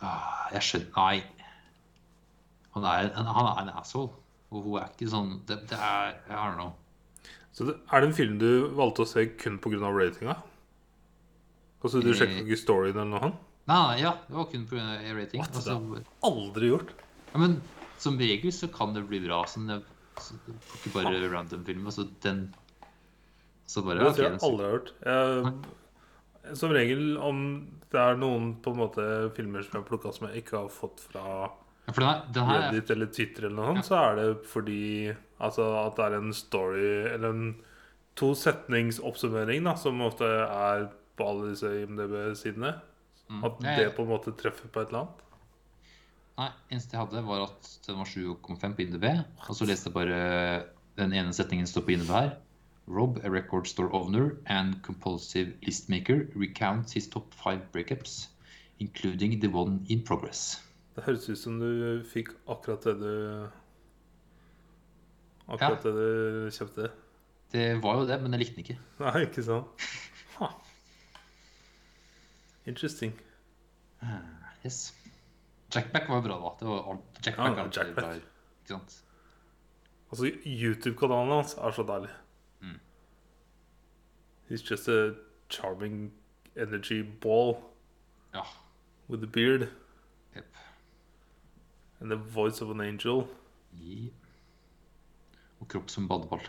Speaker 1: Ah, Jeg skjønner Nei. Han er en, han er en asshole. Og hun er ikke sånn Det, det er I don't know.
Speaker 2: Så det, Er det en film du valgte å se kun pga. ratinga? Altså Du
Speaker 1: Eh.
Speaker 2: sjekka ikke storyen eller noe? annet?
Speaker 1: Nei, nei, ja, det var kun pga. rating.
Speaker 2: What
Speaker 1: Altså,
Speaker 2: Aldri gjort.
Speaker 1: ja, men som regel så kan det bli bra. Sånn, det, så, ikke bare random film. Altså, den Så bare
Speaker 2: Det
Speaker 1: ok,
Speaker 2: tror jeg
Speaker 1: den så-
Speaker 2: aldri har gjort. Jeg, som regel, om det er noen på en måte filmer som jeg har plukka som jeg ikke har fått fra
Speaker 1: Ah, Ja, For den her, den her
Speaker 2: Reddit eller Twitter, eller noe sånt, så er det fordi altså, at det er en story Eller en to setningsoppsummering, da, som ofte er på alle disse IMDb-sidene. At
Speaker 1: Mm. Ja, ja.
Speaker 2: det på en måte treffer på et eller annet.
Speaker 1: Nei, eneste jeg hadde var at den var 7,5 på INDB. Og så leste jeg bare eh, den ene setningen står på INDB her. Rob, a record store owner and compulsive listmaker, recounts his top five breakups, including the one in progress.
Speaker 2: Det høres ut som du fikk akkurat det du Akkurat det du kjøpte.
Speaker 1: Det var jo det, men jeg likte den ikke.
Speaker 2: Nei, ikke sant? Ha. Interesting.
Speaker 1: Yes. Jackback var jo bra, da. Det var alt. Jackback
Speaker 2: Ja,
Speaker 1: er alltid
Speaker 2: Jackback.
Speaker 1: bra, Ikke sant?
Speaker 2: Altså, YouTube-kanalen hans er så deilig.
Speaker 1: Mm.
Speaker 2: He's just a charming energy ball
Speaker 1: Ja.
Speaker 2: with a beard
Speaker 1: Jep.
Speaker 2: and the voice of an angel.
Speaker 1: Gi. Og kropp som badeball.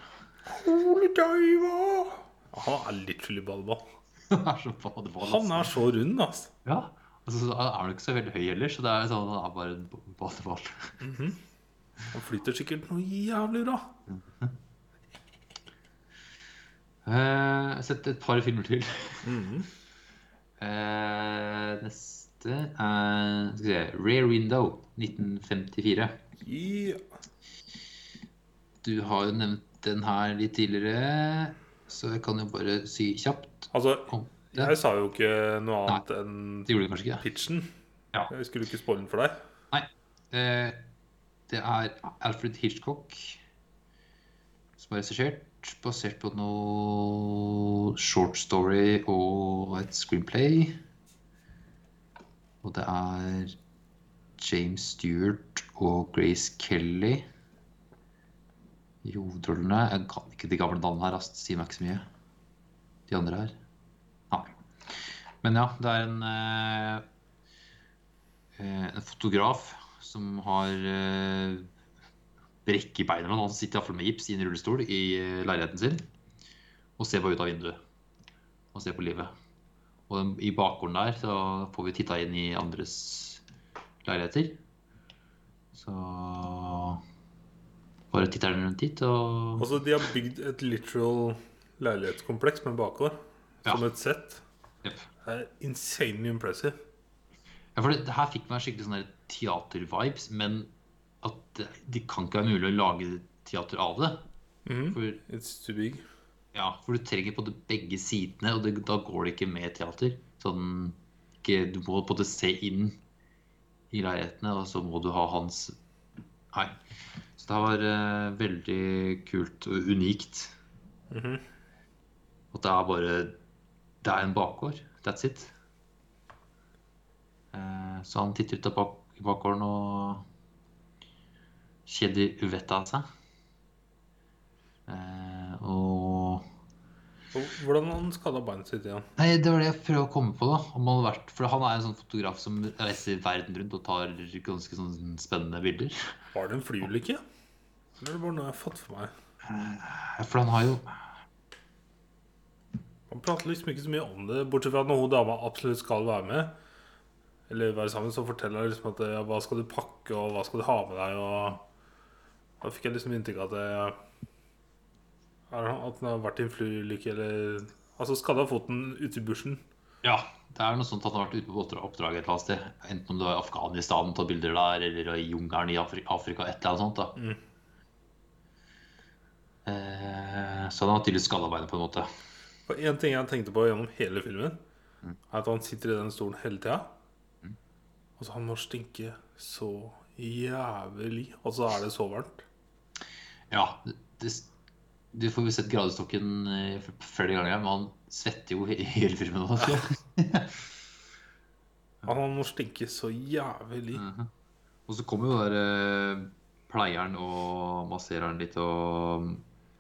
Speaker 2: Ole Daiva! Han er literally ballball.
Speaker 1: Han er så badeball.
Speaker 2: Han er så rund, altså.
Speaker 1: Ja. Altså, så er han ikke så veldig høy heller, så det er sånn, han er bare en b- badeball.
Speaker 2: Han flyter sikkert noe jævlig bra.
Speaker 1: Eh, Jeg har sett et par filmer til. Mm. Eh, neste er Skal vi se Rare Window 1954.
Speaker 2: Yeah.
Speaker 1: Du har jo nevnt den her litt tidligere, så jeg kan jo bare si kjapt
Speaker 2: Altså,
Speaker 1: om det.
Speaker 2: jeg sa jo ikke noe annet enn
Speaker 1: Det gjorde du kanskje ikke?
Speaker 2: pitchen.
Speaker 1: Ja.
Speaker 2: Jeg skulle ikke spoile den for deg.
Speaker 1: Nei. Eh, Det er Alfred Hitchcock som er regissert, basert på noe short story og et screenplay. Og det er James Stewart og Grace Kelly i hovedrollene. Jeg kan ikke de gamle navnene her, ass. Det sier meg ikke så mye. De andre her. Nei. Men ja, det er en eh, eh, en fotograf som har eh, brekk i beina. men Han sitter iallfall med gips i en rullestol i eh, leiligheten sin og ser bare ut av vinduet og ser på livet. Og den, i bakgården der så får vi titta inn i andres leiligheter. Så bare titter den rundt dit og
Speaker 2: Altså, de har bygd et literal leilighetskompleks med bakgård.
Speaker 1: Ja.
Speaker 2: Som et sett.
Speaker 1: Jep.
Speaker 2: Det er insanely impressive.
Speaker 1: Ja, for det, det her fikk meg skikkelig sånn der teater-vibes, men at det, det kan ikke være mulig å lage teater av det.
Speaker 2: Mhm.
Speaker 1: For
Speaker 2: It's too big.
Speaker 1: Ja, for du trenger på en måte begge sidene, og det, da går det ikke med teater. Sånn, ikke, du må på en måte se inn i leilighetene, og så må du ha hans Nei. Så det var eh, veldig kult og unikt.
Speaker 2: Mhm.
Speaker 1: At det er bare Det er en bakgård. That's it. Eh, så han titter ut av bak, bakgården og kjeder vettet av seg. Eh, og
Speaker 2: Og Hvordan han skada beinet sitt igjen?
Speaker 1: Nei, Det var det jeg prøvde å komme på. da Om han, hadde vært, for han er en sånn fotograf som reiser verden rundt og tar ganske sånn spennende bilder.
Speaker 2: Var det en flyulykke? Eller er det bare noe jeg har fått for meg?
Speaker 1: Ja, For han har jo
Speaker 2: Man prater liksom ikke så mye om det, bortsett fra at når hun dama absolutt skal være med, eller være sammen, så forteller hun liksom at ja, hva skal du pakke, og hva skal du ha med deg, og da fikk jeg liksom inntrykk av at det er han- at han har vært i en flyulykke, eller altså skada foten ute i bushen.
Speaker 1: Ja, det er noe sånt at han har vært ute på oppdra- oppdrag et eller annet sted. Enten om det var i Afghanistan, ta bilder der, eller i jungelen i Afri Afrika, et eller annet sånt. da
Speaker 2: Mm.
Speaker 1: eh, Så han har tydeligvis skada beinet på en måte.
Speaker 2: For en ting jeg tenkte på gjennom hele filmen, er at han sitter i den stolen hele tida. Altså, han må stinke så jævlig, og så er det så varmt.
Speaker 1: Ja, det, det- det får vi sett gradestokken eh, f- flere ganger, men han svetter jo he- hele filmen. Også.
Speaker 2: Han må stinke så jævlig.
Speaker 1: Og så kommer jo der eh, pleieren og masserer den litt og mm,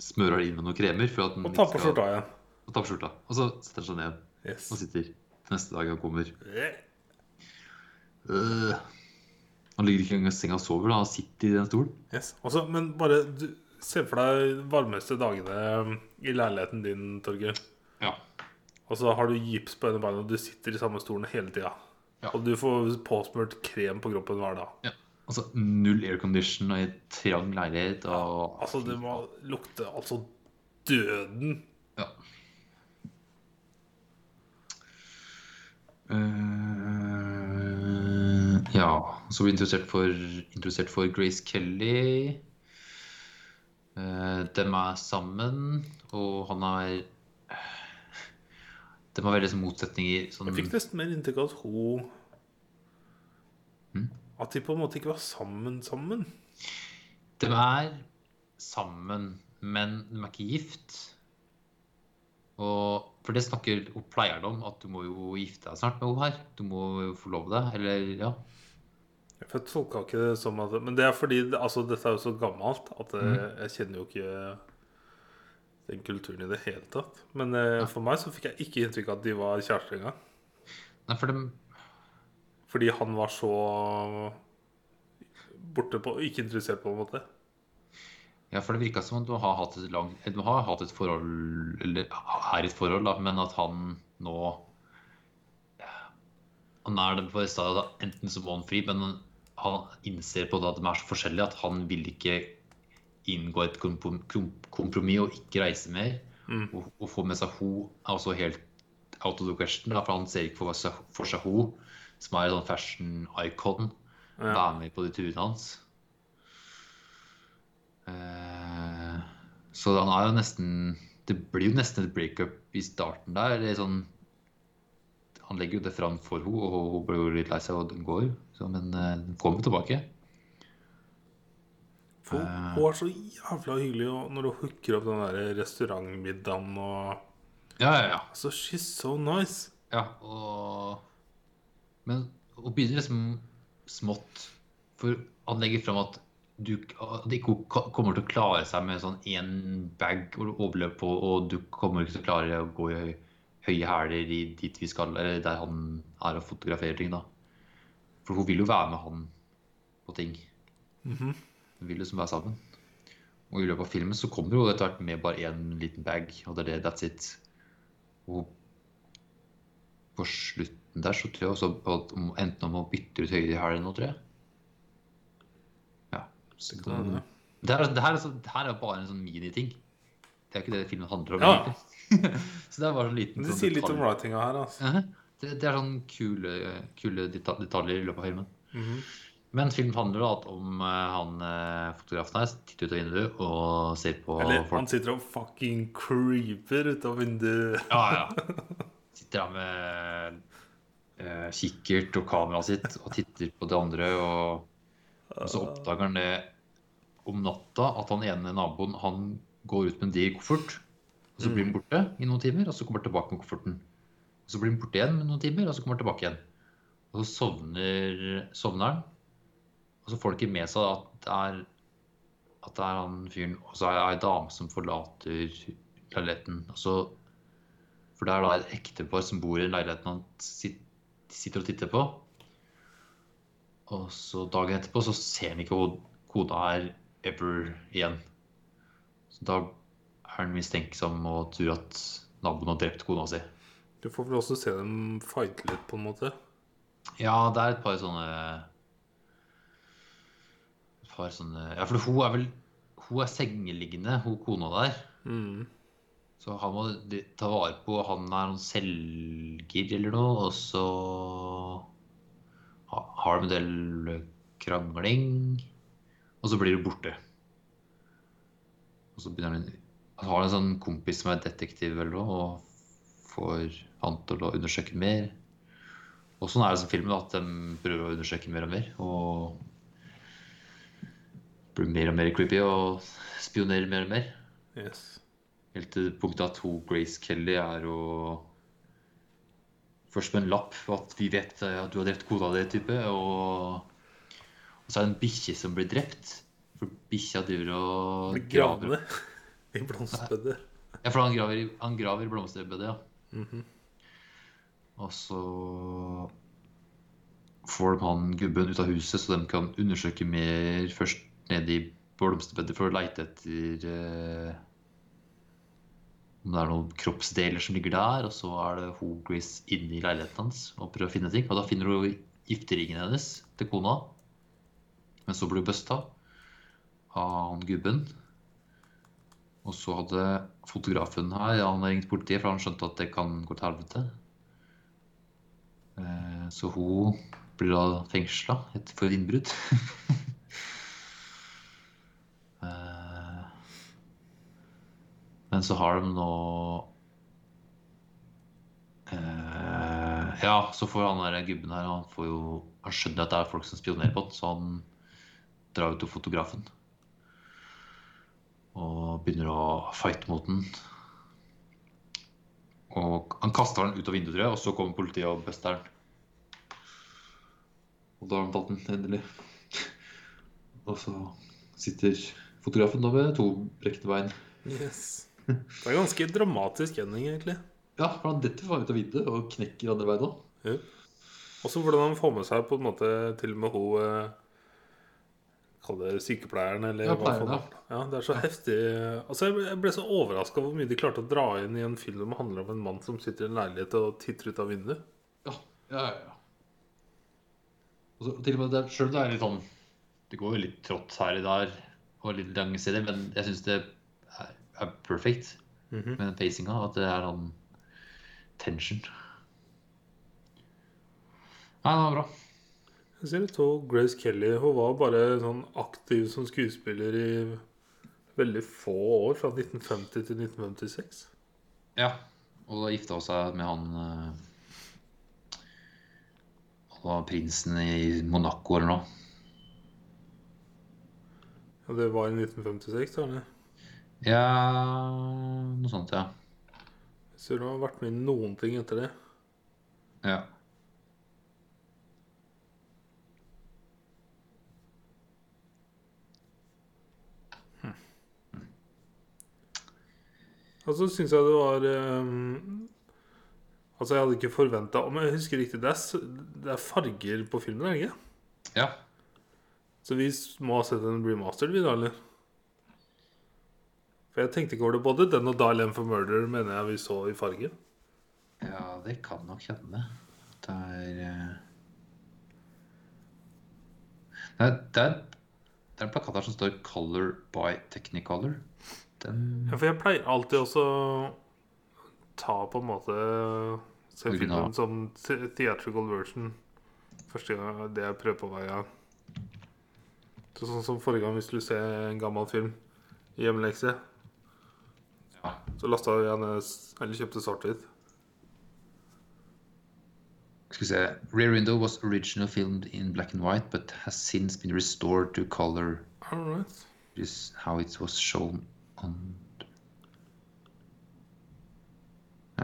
Speaker 1: smører den inn med noen kremer. For at den
Speaker 2: Og ta
Speaker 1: ikke
Speaker 2: på
Speaker 1: skal-
Speaker 2: skjorta igjen.
Speaker 1: Og tar på skjorta. Og så setter han seg ned
Speaker 2: Yes.
Speaker 1: og sitter til neste dag han kommer.
Speaker 2: Ja,
Speaker 1: Øh. Han ligger ikke engang i senga og sover, da. han sitter i den stolen.
Speaker 2: Yes. Altså, men bare du, se for deg de varmeste dagene um, i leiligheten din, Torgeir.
Speaker 1: Ja.
Speaker 2: Og så har du gips på ene beinet, og du sitter i samme stolen hele tida.
Speaker 1: Ja.
Speaker 2: Og du får påsmurt krem på kroppen hver dag.
Speaker 1: Altså null aircondition og i trang leilighet og
Speaker 2: Altså, det må lukte altså døden.
Speaker 1: Ja. Eh, ja. Så blir vi interessert for, interessert for Grace Kelly. Uh, dem er sammen, og han er De Mm. har veldig sånn motsetninger. Sånn, Mm.
Speaker 2: Jeg fikk nesten mer inntrykk av at hun At de på en måte ikke var sammen sammen.
Speaker 1: De er sammen, men de er ikke gift. Og, for det snakker og pleier de om, at du må jo gifte deg snart med henne her. Du må jo forlove deg, eller ja.
Speaker 2: For jeg tolka ikke det som at Men det er fordi det- altså, dette er jo så gammelt at eh,
Speaker 1: Mm.
Speaker 2: jeg kjenner jo ikke den kulturen i det hele tatt. Men eh, for meg så fikk jeg ikke inntrykk av at de var kjærester engang.
Speaker 1: Nei, for de
Speaker 2: Fordi han var så borte på Ikke interessert, på en måte.
Speaker 1: Ja, for det virka som om du har hatt et lang, du har hatt et forhold Eller er i et forhold, da, men at han nå Han er på det stadiet at enten så må han fri, men han innser på det at de er så forskjellige at han vil ikke inngå et komprom- kom- kompromiss og ikke reise mer.
Speaker 2: Mm.
Speaker 1: Og, og få med seg ho er også helt out of the question, da, for han ser ikke for seg, for seg ho, som er en sånn fashion icon,
Speaker 2: Ja.
Speaker 1: være med på de turene hans. Eh, Så han er jo nesten Det blir jo nesten et breakup i starten der. Eller sånn Han legger jo det fram for henne, og hun blir jo litt lei seg og den går. Så, men eh, den kommer tilbake.
Speaker 2: For
Speaker 1: eh.
Speaker 2: hun- hun er så jævla hyggelig og når hun hooker opp den der restaurantmiddagen og
Speaker 1: Ja, ja, ja.
Speaker 2: Altså, she's so nice.
Speaker 1: ja og, men hun begynner liksom smått. For han legger fram at du, at ikke hun ka- kommer til å klare seg med sånn én bag og overløp på, og du kommer ikke til å klare å gå i høy- høye hæler i dit vi skal, eller der han er og fotograferer ting, da. For hun vil jo være med han på ting.
Speaker 2: Mhm.
Speaker 1: Hun vil liksom være sammen. Og i løpet av filmen så kommer hun etter hvert med bare én liten bag, og det er det. That's it. Og på slutten der så tror jeg også at om- enten om hun bytter ut høyre hæl eller noe, tror jeg. Ja. Så
Speaker 2: Det kan hende.
Speaker 1: det her, det her, er så, det her er jo bare en sånn miniting. Det er ikke det filmen handler om.
Speaker 2: Ja.
Speaker 1: egentlig. så det er bare en liten
Speaker 2: Men det
Speaker 1: sånn
Speaker 2: sier litt om
Speaker 1: detalj.
Speaker 2: writinga her, altså.
Speaker 1: Ja, Det, det er sånn kule, kule deta- detaljer i løpet av filmen.
Speaker 2: Mhm.
Speaker 1: Men filmen handler da at om eh, han eh, fotografen her titter ut av vinduet og ser på
Speaker 2: Eller
Speaker 1: folk.
Speaker 2: han sitter og fucking creeper ut av vinduet.
Speaker 1: Ja, ja. Sitter der med eh, kikkert og kameraet sitt og titter på det andre. Og, og så oppdager han det om natta at han ene naboen han går ut med en diger koffert. Og så blir han borte i noen timer, og så kommer han tilbake med kofferten. Og så blir han borte igjen med noen timer, og så kommer han tilbake igjen. Og så sovner, sovner han. Og så får han ikke med seg at det er, at det er han fyren Og så er det ei dame som forlater leiligheten. Og så for det er da et ektepar som bor i leiligheten han sit- sitter og titter på. Og så dagen etterpå så ser han ikke ho- kona her ever igjen. Så da er han mistenksom og tror at naboen har drept kona si.
Speaker 2: Du får vel også se dem fighte litt, på en måte.
Speaker 1: Ja, det er et par sånne Et par sånne Ja, for hun er vel Hun er sengeliggende, hun kona der.
Speaker 2: Mhm.
Speaker 1: Så han må de- ta vare på Han er noen selger eller noe, og så ha- har de en del krangling, og så blir det borte. Og så begynner han Han har en sånn kompis som er detektiv eller noe, og får han til å undersøke mer. Og sånn er det som filmen, da, at de prøver å undersøke mer og mer. Og blir mer og mer creepy og spionerer mer og mer.
Speaker 2: Yes.
Speaker 1: Helt til punktet at hun, Grace Kelly er å Først med en lapp for at vi vet eh, at du har drept kona di, type. Og, og så er det en bikkje som blir drept. For bikkja driver og
Speaker 2: Blir gravende i blomsterbedet.
Speaker 1: Ja, for han graver, i- han graver i blomsterbedet, ja.
Speaker 2: Mhm.
Speaker 1: Og så får de han gubben ut av huset, så de kan undersøke mer først nede i blomsterbedet for å leite etter eh, om det er noen kroppsdeler som ligger der. Og så er det hun, Grace inne i leiligheten hans og prøver å finne ting. Og da finner hun gifteringen hennes til kona. Men så blir hun busta av han gubben. Og så hadde fotografen her han hadde ringt politiet, for han skjønte at det kan gå til helvete. Eh, Så hun blir da fengsla for et innbrudd. Eh, Men så har de nå eh, Ja, så får han der gubben her Han, får jo, han skjønner at det er folk som spionerer på han, så han drar jo til fotografen. Og begynner å fighte mot den. Og han kaster den ut av vinduet, tror jeg, og så kommer politiet og buster den. Og da har han tatt den, endelig. Og så sitter fotografen da med to brekte bein.
Speaker 2: Yes. Det er ganske dramatisk ending, egentlig.
Speaker 1: Ja, for han detter faen ut av vinduet og knekker andre beina.
Speaker 2: Jo. Også hvordan han får med seg på en måte til og med hun eh, Kall det sykepleieren, eller
Speaker 1: Ja,
Speaker 2: hva faen.
Speaker 1: pleieren,
Speaker 2: Ja, det er så heftig. Altså, jeg ble- jeg ble så overraska over hvor mye de klarte å dra inn i en film som handler om en mann som sitter i en leilighet og titter ut av vinduet.
Speaker 1: Ja, ja, ja, ja. Og så, og til og med der, selv det er litt sånn Det går jo litt trått her og der og litt lange steder, men jeg syns det er, er perfekt
Speaker 2: Mhm.
Speaker 1: med den pacinga. At det er sånn tension. Nei, det var bra.
Speaker 2: Jeg ser det to Grace Kelly. Hun var bare sånn aktiv som skuespiller i veldig få år, fra 1950 til 1956.
Speaker 1: Ja. Og da gifta hun seg med han eh, Han var prinsen i Monaco eller noe.
Speaker 2: Og det var i 1956, da. eller?
Speaker 1: Ja Noe sånt, ja.
Speaker 2: Jeg ser hun har vært med i noen ting etter det.
Speaker 1: Ja.
Speaker 2: Og så syns jeg det var ehm, Altså, jeg hadde ikke forventa Om jeg husker riktig, det er, s- det er farger på filmen, er det ikke?
Speaker 1: ja.
Speaker 2: Så vi s- må ha sett en remastered, vi da, eller? For jeg tenkte ikke over det. Både den og Dial M for Murder mener jeg vi så i fargen.
Speaker 1: Ja, det kan nok hende. Det er eh, Det er, det er, det er plakater som står 'Color by Technicolor'. Den
Speaker 2: Ja, for jeg pleier alltid også ta på en måte Se
Speaker 1: Original.
Speaker 2: filmen som the- theatrical version første gang det jeg prøver på hver gang. Så sånn som forrige gang vi skulle se en gammel film i hjemmelekse,
Speaker 1: ja.
Speaker 2: så lasta jeg ned s- Eller kjøpte svart-hvitt.
Speaker 1: Skal vi se Rear Window was originally filmed in black and white, but has since been restored to color.
Speaker 2: All right.
Speaker 1: Is how it was shown on
Speaker 2: Ja,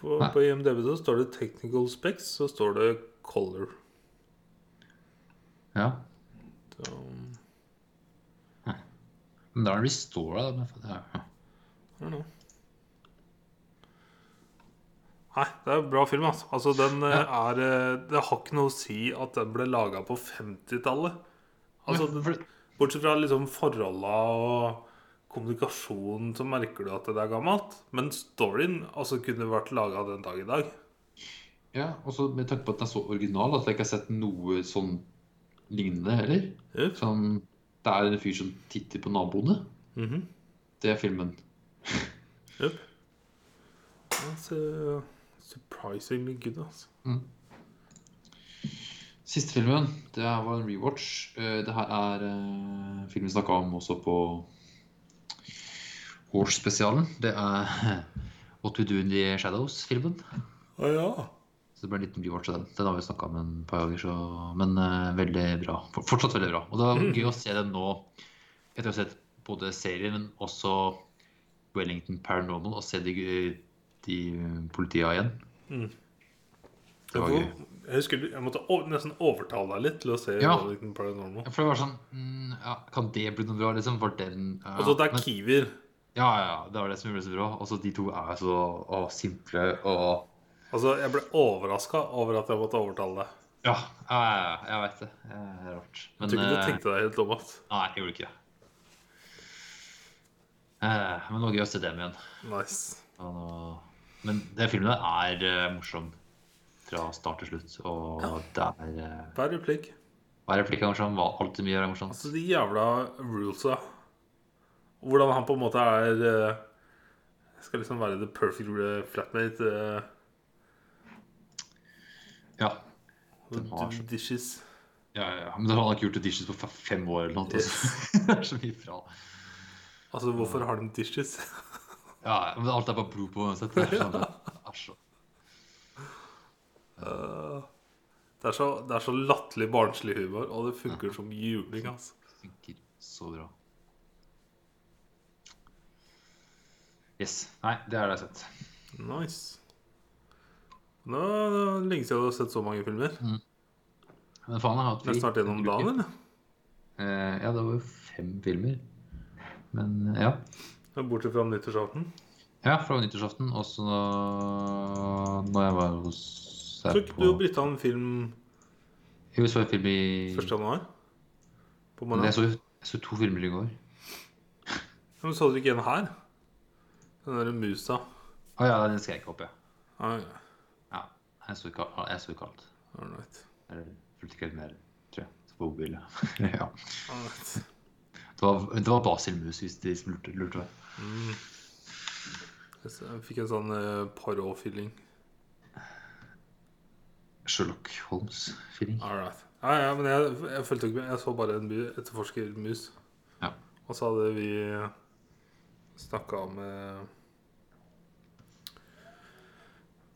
Speaker 2: for- På IMDb så står det 'Technical Specs', så står det 'Color'.
Speaker 1: Ja.
Speaker 2: Så, um,
Speaker 1: Men da er det restora, da. men- Ja. ja.
Speaker 2: I don't know. Nei, det er en bra film, altså. altså den eh, er eh, Det har ikke noe å si at den ble laga på 50-tallet. Altså,
Speaker 1: Men for-
Speaker 2: bortsett fra liksom forholda og kommunikasjonen, så merker du at det er gammelt. Men storyen altså, kunne vært laga den dag i dag.
Speaker 1: ja, og så med tanke på at den er så original at jeg ikke har sett noe sånn lignende heller.
Speaker 2: Ja.
Speaker 1: Sånn, det er en fyr som titter på naboene.
Speaker 2: Mhm.
Speaker 1: Det er filmen.
Speaker 2: Jep. That's, eh, surprisingly good, altså.
Speaker 1: Siste filmen det her var en rewatch. Eh, Det her er eh, filmen vi snakka om også på Horse-spesialen. Det er What We Do In The Shadows-filmen.
Speaker 2: Å ja.
Speaker 1: Så det ble en liten rewatch av den. Den har vi snakka om en par ganger, så Men eh, veldig bra. For- Fortsatt veldig bra. Og det
Speaker 2: Mm.
Speaker 1: var gøy å se den nå etter å ha sett både serien, men også Wellington Paranormal, og se de, de politia igjen.
Speaker 2: Mm.
Speaker 1: Det var gøy.
Speaker 2: Jeg husker du- jeg måtte o- nesten overtale deg litt til å se
Speaker 1: Ja.
Speaker 2: Wellington Paranormal.
Speaker 1: Ja, For det var sånn mm, ja, Kan det bli noe bra, liksom? For den ja,
Speaker 2: Altså, det er
Speaker 1: men-
Speaker 2: kiwier.
Speaker 1: ja, ja, ja, det var det som gjorde det så bra. Altså, de to er så å, simple og
Speaker 2: Altså, jeg ble overraska over at jeg måtte overtale deg.
Speaker 1: Ja, ja, ja, ja, jeg veit det. Ja, Det er rart.
Speaker 2: Jeg
Speaker 1: Men
Speaker 2: tror ikke du
Speaker 1: eh,
Speaker 2: tenkte deg helt om. ass.
Speaker 1: Nei, jeg gjorde ikke det. Eh, men det var gøy å se dem igjen.
Speaker 2: Nice.
Speaker 1: Ja, nå- Men den filmen der er eh, morsom fra start til slutt. Og det er eh,
Speaker 2: Hver replikk.
Speaker 1: Hver replikk er morsom. hva- Alltid mye er morsomt.
Speaker 2: Altså, de jævla rulesa. Hvordan han på en måte er eh, Skal liksom være the perfect eh, flatmate. eh,
Speaker 1: Ja. Den har
Speaker 2: the
Speaker 1: så-
Speaker 2: dishes.
Speaker 1: Ja, ja, ja. Men han har ikke gjort The Dishes på f- fem år eller noe. altså. Det er så mye fra.
Speaker 2: Altså, hvorfor har de dishes?
Speaker 1: Ja, ja, men alt er bare blod på uansett. Det er sånn, det er så.
Speaker 2: Eh, det er så, det er så latterlig barnslig humor, og det funker som juling. altså.
Speaker 1: Funker så bra. Yes. Nei, det har jeg sett.
Speaker 2: Nice. Nå det er lenge siden du har sett så mange filmer.
Speaker 1: Mm. Men faen, jeg har hatt
Speaker 2: Det er snart gjennom dagen, eller?
Speaker 1: Eh, ja, det var jo fem filmer. Men eh, ja.
Speaker 2: Bortsett fra nyttårsaften.
Speaker 1: Ja, fra nyttårsaften. Og så da jeg var hos
Speaker 2: Så
Speaker 1: her
Speaker 2: ikke du
Speaker 1: på
Speaker 2: og Britta en film
Speaker 1: Mm. Jo, så en film i
Speaker 2: 1. januar? På
Speaker 1: Men Jeg
Speaker 2: morgenen?
Speaker 1: så, jeg så to filmer i går.
Speaker 2: Ja, Men så dere ikke en her? Den derre musa.
Speaker 1: Å ja, den skal jeg ikke hoppe.
Speaker 2: Ah, ja.
Speaker 1: Ja, jeg så ikke, jeg så ikke alt.
Speaker 2: All right.
Speaker 1: Jeg fulgte ikke helt med, tror jeg. Så på mobilen. ja.
Speaker 2: All right.
Speaker 1: Det var, det var basilmus, hvis de som lurte, lurte meg.
Speaker 2: Jeg s- Jeg fikk en sånn eh, Poirot-feeling.
Speaker 1: Sherlock Holmes-feeling.
Speaker 2: All right. Ja, ja, men jeg, jeg fulgte ikke med. Jeg så bare en by- etterforskermus.
Speaker 1: Ja.
Speaker 2: Og så hadde vi snakka om eh,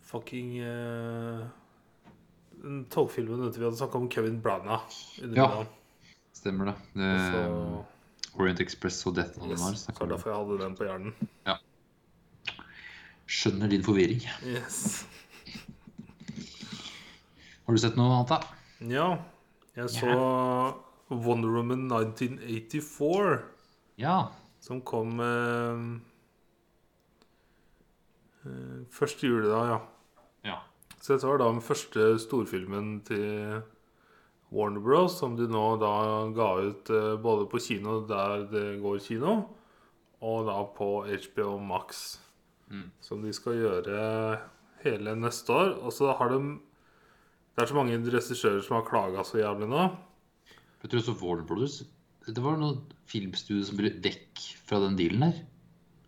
Speaker 2: Fucking eh, Den togfilmen vet du, vi hadde snakka om Kevin Brana.
Speaker 1: Ja. Eh, Stemmer det. det
Speaker 2: Så,
Speaker 1: Orient Express og Death on the
Speaker 2: yes,
Speaker 1: Mars.
Speaker 2: så er
Speaker 1: snakker
Speaker 2: det
Speaker 1: vi om.
Speaker 2: derfor jeg hadde den på hjernen.
Speaker 1: Skjønner din forvirring.
Speaker 2: Yes.
Speaker 1: Har du sett noe annet, da?
Speaker 2: Ja, jeg så Wonder Woman 1984.
Speaker 1: Ja.
Speaker 2: Som kom eh, eh, Første juledag, ja.
Speaker 1: Ja.
Speaker 2: Så dette var da den første storfilmen til Warner Bros. Som de nå da ga ut eh, både på kino der det går kino, og da på HBO Max.
Speaker 1: Mm.
Speaker 2: Som de skal gjøre hele neste år. Og så har de Det er så mange regissører som har klaga så jævlig nå.
Speaker 1: Jeg tror også Warner Brothers Det var noen filmstudio som ble vekk fra den dealen her.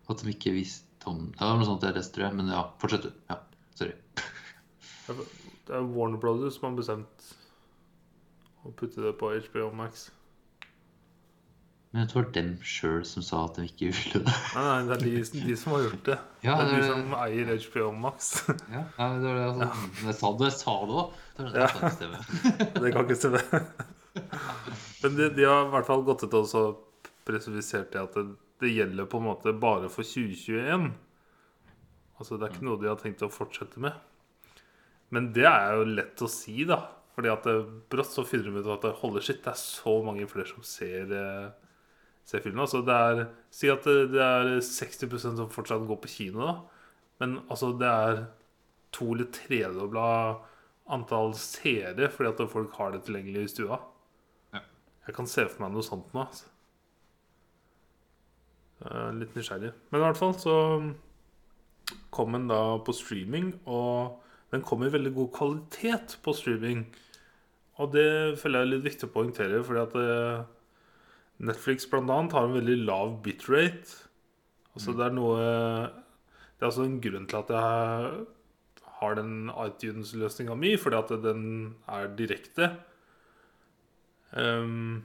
Speaker 1: At de ikke visste om Det var noe sånt jeg leste, tror jeg. Men ja, fortsett du. Ja, sorry.
Speaker 2: Det er Warner Brothers som har bestemt å putte det på HBO Max.
Speaker 1: Men jeg tror det var dem sjøl som sa at de ikke ville det.
Speaker 2: Nei, nei, det er de, de som har gjort det.
Speaker 1: Ja, eh,
Speaker 2: det er
Speaker 1: det-
Speaker 2: de som eier HBO Max.
Speaker 1: Ja, nei, men det var det altså, men Jeg sa det, jeg sa det òg. Det var det
Speaker 2: Ja.
Speaker 1: jeg sa til TV.
Speaker 2: Det kan ikke stemme. Men de, de har i hvert fall gått ut og så presifisert det at det, det gjelder på en måte bare for 2021. Altså det er ikke noe de har tenkt å fortsette med. Men det er jo lett å si, da. Fordi at det brått så finner de ut at det holder sitt. Det er så mange flere som ser, eh, ser filmen. Altså det er Si at det, det er 60 som fortsatt går på kino, da. Men altså det er to- eller tredobla antall seere fordi at folk har det tilgjengelig i stua.
Speaker 1: Ja.
Speaker 2: Jeg kan se for meg noe sånt nå. Altså. Jeg er litt nysgjerrig. Men i hvert fall så mm, kom den da på streaming, og den kom i veldig god kvalitet på streaming. Og det føler jeg er litt viktig å poengtere, fordi at eh, Netflix blant annet har en veldig lav bitrate. Altså det er noe Det er altså en grunn til at jeg har den iTunes-løsninga mi, fordi at den er direkte. Ehm,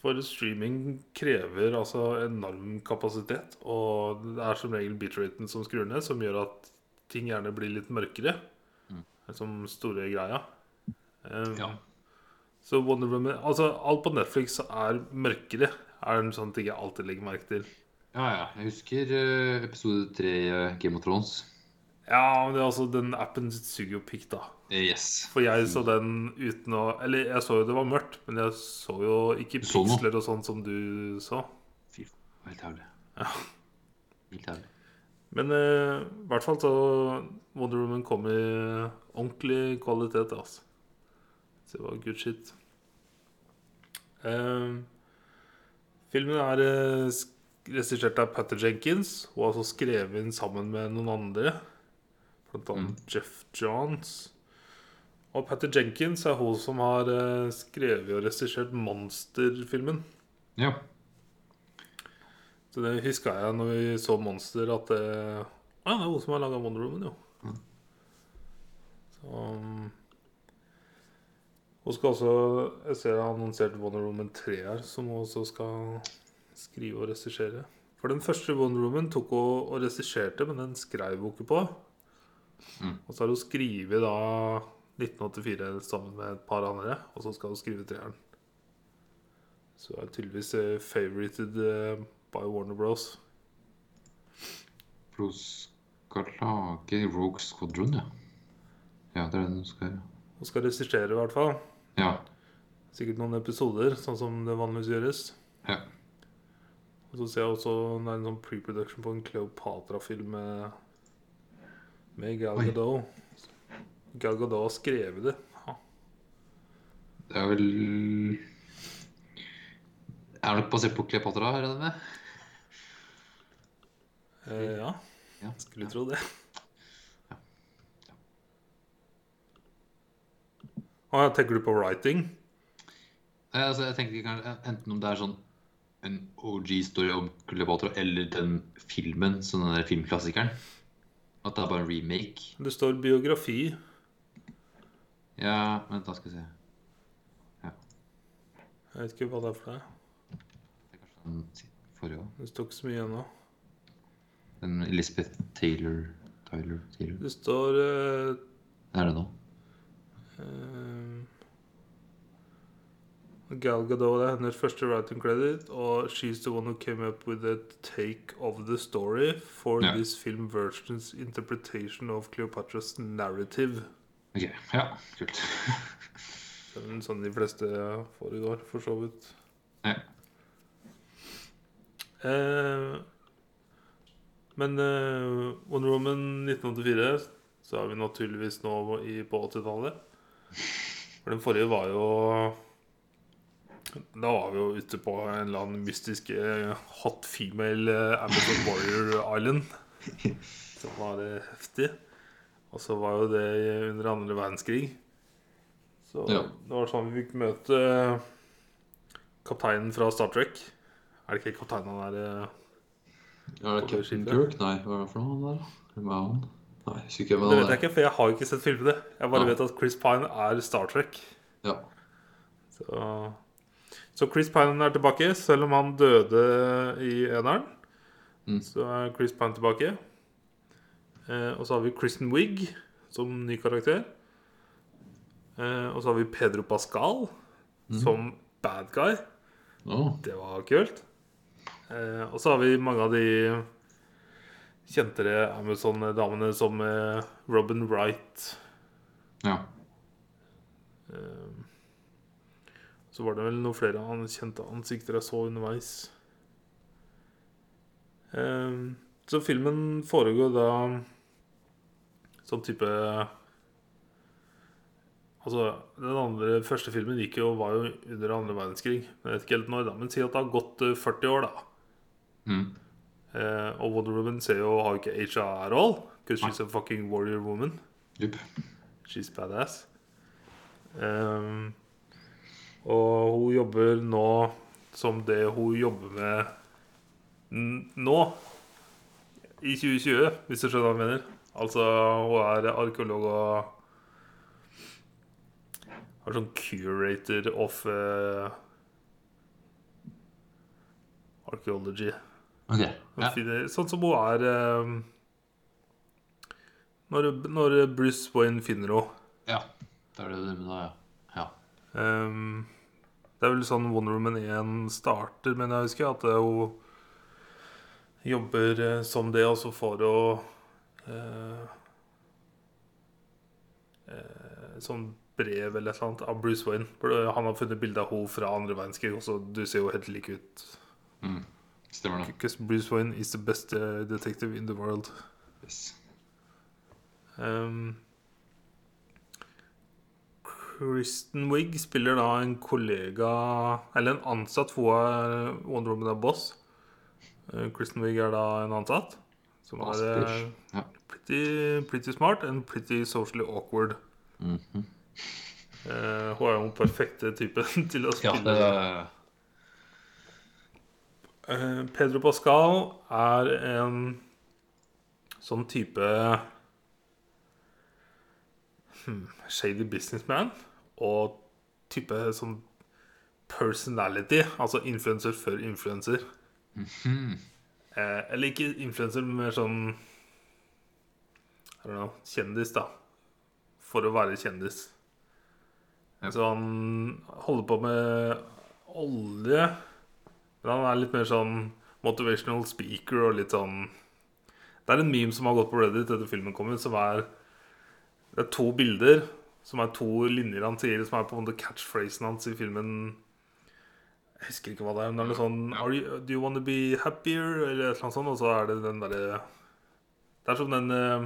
Speaker 2: for streaming krever altså enorm kapasitet, og det er som regel bitraten som skrur ned, som gjør at ting gjerne blir litt mørkere. Som store greia. Ehm,
Speaker 1: Ja.
Speaker 2: Så Wonder Woman Altså, alt på Netflix er mørkere, er en sånn ting jeg alltid legger merke til.
Speaker 1: ja, ja. Jeg husker eh, episode tre i eh, Game of Thrones.
Speaker 2: Ja, men det er altså, den appen suger jo pikk, da.
Speaker 1: Eh, Yes.
Speaker 2: For jeg så den uten å Eller jeg så jo det var mørkt, men jeg så jo ikke
Speaker 1: Du så noe?
Speaker 2: piksler og sånn som du så.
Speaker 1: Fy faen, det var helt jævlig.
Speaker 2: Ja.
Speaker 1: Helt jævlig.
Speaker 2: Men eh, i hvert fall så Wonder Woman kom i ordentlig kvalitet, altså. Så det var good shit. Eh, filmen er eh, sk- regissert av Patter Jenkins, og altså skrevet inn sammen med noen andre. Blant annet Jeff Johns. Og Patter Jenkins er hun som har eh, skrevet og regissert Monster-filmen.
Speaker 1: Ja.
Speaker 2: Så det huska jeg når vi så Monster, at det Å ja, det er hun som har laga Wonder Woman, jo. Så um, Hun skal også Jeg ser jeg har annonsert Wonder Woman 3 her, som hun også skal skrive og regissere. For den første Wonder Woman tok hun og regisserte, men den skrev hun ikke på.
Speaker 1: Mm.
Speaker 2: Og så har hun skrevet da 1984 sammen med et par andre, og så skal hun skrive treeren. Så hun er tydeligvis eh, favorited eh, by Warner Bros.
Speaker 1: For hun skal lage Rogue Squadron, ja. Ja, det er den hun skal gjøre.
Speaker 2: Hun skal regissere, i hvert fall.
Speaker 1: Ja.
Speaker 2: Sikkert noen episoder, sånn som det vanligvis gjøres.
Speaker 1: ja.
Speaker 2: Og så ser jeg også det er en sånn pre-production på en Cleopatra-film med, med Gal
Speaker 1: Oi.
Speaker 2: Gadot. Gal Gadot har skrevet det. Ja.
Speaker 1: Det er vel Er det basert på Kleopatra, regner jeg med?
Speaker 2: Eh, ja,
Speaker 1: Ja.
Speaker 2: skulle tro det. Å ja, tenker du på writing?
Speaker 1: Nei, altså, jeg tenker kanskje enten om det er sånn en OG-story om Kleopatra, eller den filmen, som den der filmklassikeren. At det er bare en remake.
Speaker 2: Det står biografi.
Speaker 1: Ja, vent, da skal vi se.
Speaker 2: Jeg vet ikke hva det er for deg.
Speaker 1: Det er kanskje den si- forrige også.
Speaker 2: Det står ikke så mye ennå.
Speaker 1: Den Elizabeth Taylor Tyler Taylor.
Speaker 2: Det står eh,
Speaker 1: Det er det nå.
Speaker 2: eh, Ehm, Gal Gadot det er hennes første writing credit, og she's the one who came up with the take of the story for
Speaker 1: Ja.
Speaker 2: this film version's interpretation of Cleopatra's narrative.
Speaker 1: Ok, ja, kult.
Speaker 2: Det er vel sånn de fleste foregår, for så vidt.
Speaker 1: Ja.
Speaker 2: Eh, men eh, Wonder Woman 1984 så er vi naturligvis nå i, på 80-tallet. For den forrige var jo Da var vi jo ute på en eller annen mystisk eh, hot female eh, Amazon Warrior Island. Som var eh, heftig. Og så var jo det under andre verdenskrig. Så
Speaker 1: Ja.
Speaker 2: det var sånn vi fikk møte eh, kapteinen fra Star Trek. Er det ikke kapteinen han er eh,
Speaker 1: Var det Captain Kirk? Nei, hva er det for noe han der, da? Hvem er han? Nei, jeg husker ikke hvem
Speaker 2: Det
Speaker 1: han
Speaker 2: vet jeg ikke, for jeg har ikke sett filmene. Jeg bare
Speaker 1: Nei.
Speaker 2: vet at Chris Pine er Star Trek.
Speaker 1: Ja.
Speaker 2: Så, så Chris Pine er tilbake, selv om han døde i eneren.
Speaker 1: Mm.
Speaker 2: Så er Chris Pine tilbake. Eh, og så har vi Kristen Wiig som ny karakter. Eh, og så har vi Pedro Pascal som bad guy.
Speaker 1: Å,
Speaker 2: Det var kult. Eh, og så har vi mange av de kjentere Amazon-damene som eh, Robin Wright.
Speaker 1: ja.
Speaker 2: Eh, Så var det vel noen flere an- kjente ansikter jeg så underveis. Eh, Så filmen foregår da som type Altså, den andre, første filmen gikk jo, var jo under andre verdenskrig. Jeg vet ikke helt når, da, men si at det har gått eh, 40 år, da.
Speaker 1: Mm.
Speaker 2: Eh, og Wonder Woman ser jo, har jo ikke Asia at all. Because she's a fucking warrior woman.
Speaker 1: Jupp.
Speaker 2: She's badass. Ehm, og hun jobber nå som det hun jobber med n nå. I 2020, hvis du skjønner hva jeg mener. Altså, hun er arkeolog og er sånn curator of eh, archaeology.
Speaker 1: Ok.
Speaker 2: Hun
Speaker 1: Ja.
Speaker 2: finner- Sånn som hun er ehm, når, når Bruce Wayne finner henne.
Speaker 1: ja. Det er det du mener, ja. Ja.
Speaker 2: Ehm, det er vel sånn Wonder Woman 1 starter, men jeg husker at eh, hun jobber eh, som det, og så får hun eh, eh, sånn brev eller et eller annet av Bruce Wayne. For det- Han har funnet bilde av henne fra andre verdenskrig, og så du ser jo helt lik ut.
Speaker 1: Mm. Stemmer det.
Speaker 2: Because Bruce Wayne is the best eh, detective in the world.
Speaker 1: Yes.
Speaker 2: Ehm, Kristen Wiig spiller da en kollega Eller en ansatt, for hun er Wonder Woman er boss. Eh, Kristen Wiig er da en ansatt. Som er eh,
Speaker 1: Asper. Ja.
Speaker 2: pretty, pretty smart and pretty socially awkward.
Speaker 1: Mhm.
Speaker 2: Eh, hun er jo den perfekte typen til å
Speaker 1: ja,
Speaker 2: spille.
Speaker 1: det er
Speaker 2: Eh, Pedro Pascal er en sånn type hmm, shady businessman og type sånn personality, altså influenser før influenser. Eh, eller ikke influenser, men mer sånn eller noe, kjendis, da. For å være kjendis.
Speaker 1: Ja.
Speaker 2: Så han holder på med olje. Men han er litt mer sånn motivational speaker og litt sånn Det er en meme som har gått på Reddit etter filmen kom ut, som er Det er to bilder som er to linjer han sier, som er på en måte catchphrasen hans i filmen. Jeg husker ikke hva det er. Men det er noe sånn Are you, Do you wanna be happier? Eller et eller annet sånt. Og så er det den derre Det er som den eh,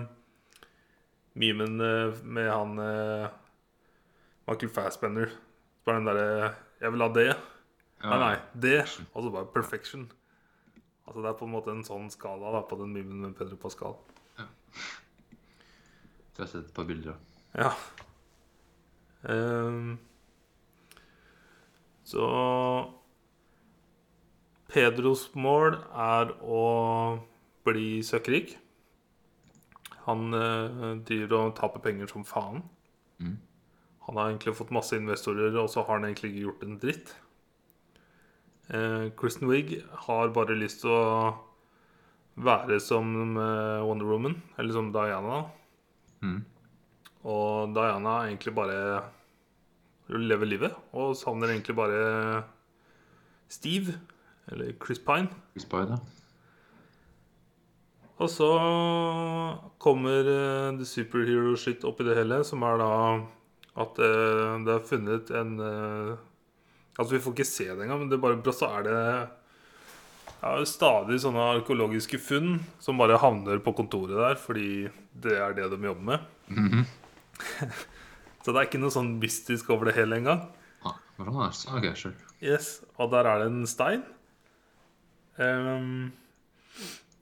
Speaker 2: memen eh, med han eh, Michael Fassbender. Som er den derre Jeg vil ha det. Nei, Ah, nei, det. Og så bare perfection. Altså Det er på en måte en sånn skala da på den memen med Pedro Pascal.
Speaker 1: Jeg har sett et par bilder av.
Speaker 2: Ja. Ehm, så Pedros mål er å bli søkkrik. Han eh, driver og taper penger som faen.
Speaker 1: Mm.
Speaker 2: Han har egentlig fått masse investorer, og så har han egentlig ikke gjort en dritt. Eh, Kristen Wiig har bare lyst til å være som eh, Wonder Woman, eller som Diana.
Speaker 1: Mm.
Speaker 2: Og Diana er egentlig bare lever livet, og savner egentlig bare Steve, eller Chris Pine.
Speaker 1: Chris Pine, ja.
Speaker 2: Og så kommer eh, the superhero shit opp i det hele, som er da at eh, det er funnet en eh, Altså, vi får ikke se det engang, men det er bare bra, så er det ja, stadig sånne arkeologiske funn som bare havner på kontoret der, fordi det er det de jobber med. så det er ikke noe sånn mystisk over det hele engang.
Speaker 1: Ah, hvordan er det? Så, ok, sure.
Speaker 2: Yes, og der er det en stein. Ehm,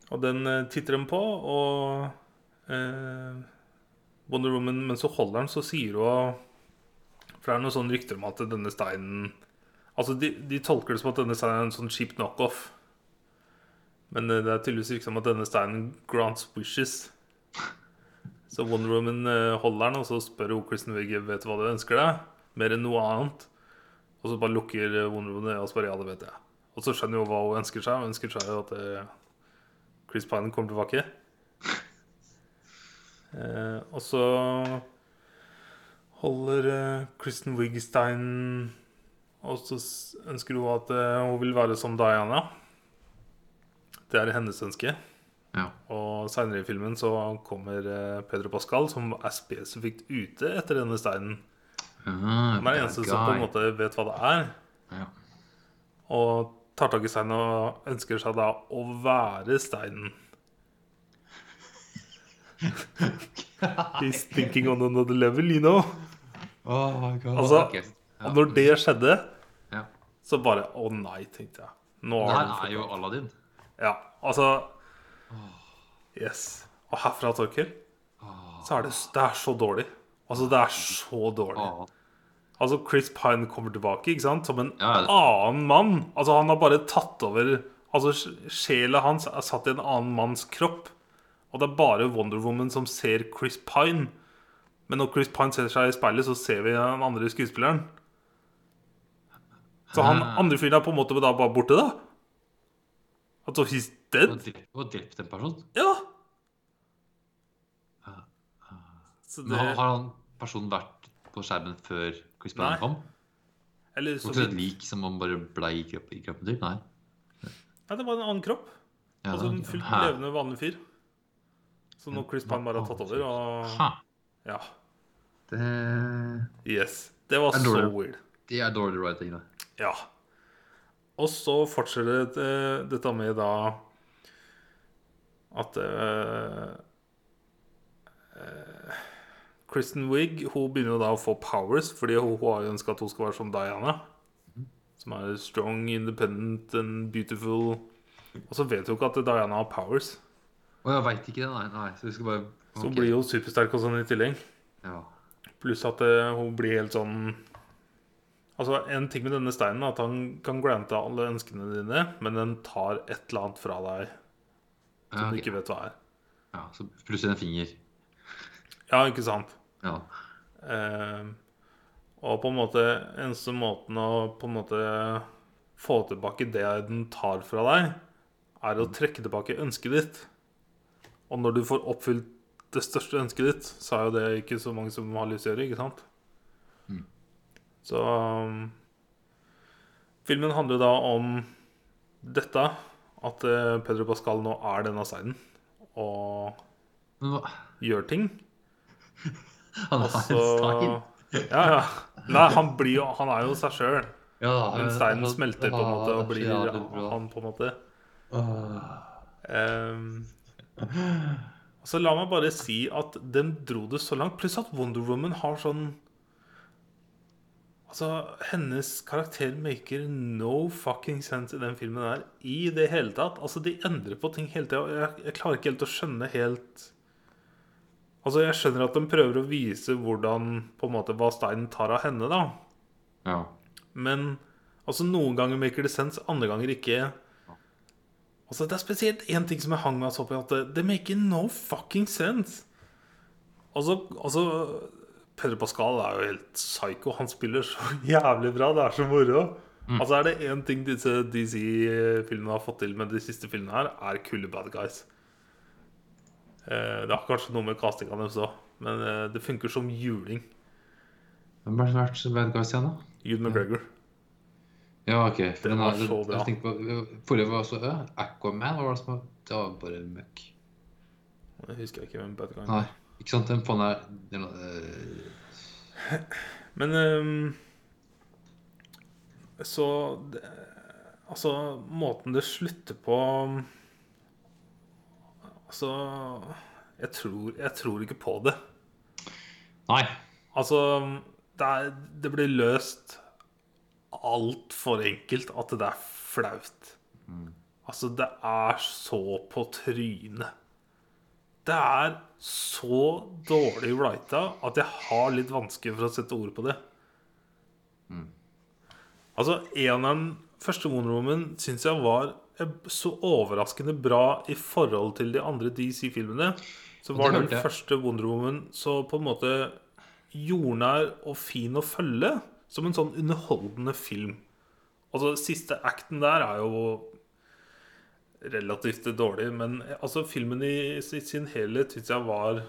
Speaker 2: og den eh, titter de på, og eh, Wonder Woman, mens hun holder den, så sier hun For det er noen sånne rykter om at denne steinen Altså, de, de tolker det som at denne steinen er en sånn cheap knockoff. Men eh, det er tydeligvis virker som at denne steinen grants wishes. Så Wonder Woman eh, holder den, og så spør hun Kristen Wiig vet du hva du ønsker deg. Mer enn noe annet. Og så bare lukker Wonder Woman øya og spør ja, det vet jeg. Og så skjønner hun hva hun ønsker seg. Hun ønsker seg jo at eh, Chris Pine kommer tilbake. Eh, og så holder eh, Kristen Wigstein Og så s- ønsker hun at eh, hun vil være som Diana. Det er hennes ønske.
Speaker 1: Ja.
Speaker 2: Og seinere i filmen så kommer eh, Pedro Pascal, som er spesifikt ute etter denne steinen.
Speaker 1: Ah,
Speaker 2: Han er den eneste som på en måte vet hva det er.
Speaker 1: Ja.
Speaker 2: Og tar tak i steinen og ønsker seg da å være steinen. He's thinking on another level, you know.
Speaker 1: Oh my god.
Speaker 2: Altså,
Speaker 1: Ok. ja.
Speaker 2: Og når det skjedde,
Speaker 1: ja.
Speaker 2: så bare Å nei, tenkte jeg. Nå
Speaker 1: Det
Speaker 2: har
Speaker 1: her
Speaker 2: han fått
Speaker 1: er jo Aladdin.
Speaker 2: Ja, altså Yes. Og herfra, Torkel, så er det, det er så dårlig. Altså, det er så dårlig.
Speaker 1: Ah,
Speaker 2: Altså, Chris Pine kommer tilbake, ikke sant? Som en
Speaker 1: Ja, det-
Speaker 2: annen mann. Altså, han har bare tatt over Altså, sj- sjela hans er satt i en annen manns kropp. Og det er bare Wonder Woman som ser Chris Pine. Men når Chris Pine ser seg i speilet, så ser vi den andre skuespilleren. Så han
Speaker 1: Ah.
Speaker 2: andre fyren er på en måte da bare borte, da. Altså, he's
Speaker 1: Du
Speaker 2: dead.
Speaker 1: har drept- du har drept en person.
Speaker 2: Ja. Så
Speaker 1: Ah, Men har,
Speaker 2: det
Speaker 1: har han personen vært på skjermen før Chris Pine
Speaker 2: Nei.
Speaker 1: kom?
Speaker 2: Eller
Speaker 1: Det
Speaker 2: så
Speaker 1: var ikke
Speaker 2: vidt
Speaker 1: et lik som han bare blei i kroppen, i kroppen til? Nei.
Speaker 2: Nei, det var en annen kropp.
Speaker 1: Ja,
Speaker 2: Altså en
Speaker 1: det-
Speaker 2: fullt
Speaker 1: Hæ?
Speaker 2: levende, vanlig fyr. Så nå Chris Pine bare har tatt over, og
Speaker 1: Hæ?
Speaker 2: ja.
Speaker 1: Det,
Speaker 2: Yes. Det var
Speaker 1: Det er
Speaker 2: så
Speaker 1: dårlig.
Speaker 2: weird.
Speaker 1: det er dårlig writing, da.
Speaker 2: Ja. Og så fortsetter det, eh, dette med da at eh, eh, Kristen Wiig hun begynner jo da å få powers, fordi hun, hun har jo ønska at hun skal være som Diana. Som er strong, independent and beautiful. Og så vet hun ikke at Diana har powers.
Speaker 1: Å, jeg veit ikke det, nei. nei. Så vi skal bare
Speaker 2: Så hun
Speaker 1: ok.
Speaker 2: blir jo supersterk og sånn i tillegg.
Speaker 1: ja.
Speaker 2: Pluss at eh, hun blir helt sånn Altså, En ting med denne steinen er at han kan grante alle ønskene dine, men den tar et eller annet fra deg
Speaker 1: Ja,
Speaker 2: som du
Speaker 1: Ah, ok.
Speaker 2: ikke vet hva er.
Speaker 1: ja, så plutselig en finger.
Speaker 2: Ja, ikke sant?
Speaker 1: Ja.
Speaker 2: Eh, og på en måte eneste måten å på en måte få tilbake det den tar fra deg, er å trekke tilbake ønsket ditt. Og når du får oppfylt det største ønsket ditt, sa jo det ikke så mange som har livsserie, ikke sant?
Speaker 1: Mm.
Speaker 2: Så um, Filmen handler da om dette, at eh, Pedro Pascal nå er denne seiden og
Speaker 1: Men hva-
Speaker 2: gjør ting.
Speaker 1: Han
Speaker 2: Og
Speaker 1: har
Speaker 2: så
Speaker 1: en stein.
Speaker 2: Ja, ja. Nei, han, blir jo, han er jo seg sjøl.
Speaker 1: Ja,
Speaker 2: Men steinen smelter på en måte og blir
Speaker 1: ja, det er bra.
Speaker 2: han, på en måte.
Speaker 1: Åh.
Speaker 2: Ehm, og så la meg bare si at den dro det så langt. Pluss at Wonder Woman har sånn Altså, hennes karakter maker no fucking sense i den filmen der i det hele tatt. Altså, de endrer på ting hele tida, og jeg, jeg klarer ikke helt å skjønne helt Altså, jeg skjønner at de prøver å vise hvordan På en måte hva steinen tar av henne, da.
Speaker 1: Ja.
Speaker 2: Men altså noen ganger maker det sense, andre ganger ikke. Altså Det er spesielt én ting som jeg hang meg så opp i, at det- det maker no fucking sense. Altså, altså Pedro Pascal er jo helt psycho. Han spiller så jævlig bra. Det er så moro. Altså Er det én ting disse DC-filmene har fått til med de siste filmene her, er kule bad guys. Eh, Det har kanskje noe med castinga deres òg, men eh, det funker som juling.
Speaker 1: Hvem har vært så bad guys igjen, da?
Speaker 2: Hugh McGregor.
Speaker 1: Ja, ok. for Den
Speaker 2: Den var
Speaker 1: er, den,
Speaker 2: så bra.
Speaker 1: jeg tenkte på, forrige var også øh, Aquaman. Var det, som, var- det var bare møkk.
Speaker 2: Jeg husker ikke hvem bad guyen
Speaker 1: Nei, ikke sant? Den faen er den, øh,
Speaker 2: Men ehm, Så det, Altså, måten det slutter på Altså Jeg tror, jeg tror ikke på det.
Speaker 1: Nei.
Speaker 2: Altså Det, er, det blir løst altfor enkelt at det er flaut. Altså, det er så på trynet. Det er så dårlig writa at jeg har litt vansker for å sette ord på det. Mm. Altså, en av den første Wonder Woman syns jeg var eh, så overraskende bra i forhold til de andre DC-filmene. Så
Speaker 1: Det
Speaker 2: var det
Speaker 1: hørte
Speaker 2: den
Speaker 1: jeg.
Speaker 2: første Wonder Woman så på en måte jordnær og fin å følge. Som en sånn underholdende film. Altså, siste acten der er jo relativt dårlig, men altså, filmen i si- sin helhet syns jeg var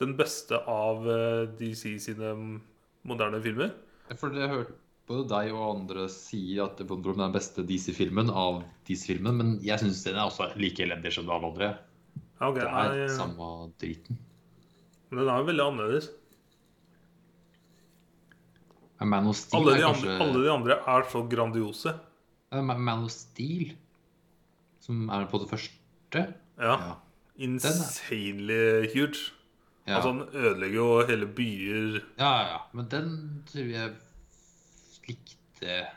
Speaker 2: den beste av eh, DC sine moderne filmer.
Speaker 1: For det hørte både deg og andre si at Wonder Woman er den beste DC-filmen av DC-filmen, men jeg syns den er også like elendig som alle andre.
Speaker 2: Ja, ok,
Speaker 1: Det
Speaker 2: nei,
Speaker 1: er samme driten.
Speaker 2: men den er jo veldig annerledes.
Speaker 1: Ja, Man of Steel
Speaker 2: Alle
Speaker 1: er
Speaker 2: de, andre,
Speaker 1: kanskje
Speaker 2: alle de andre er så grandiose.
Speaker 1: Ja, Ma- Man of Steel, som er på det første.
Speaker 2: Ja.
Speaker 1: Ja.
Speaker 2: Insanely huge.
Speaker 1: Ja,
Speaker 2: Altså, han ødelegger jo hele byer.
Speaker 1: ja, ja, ja. Men den tror jeg likte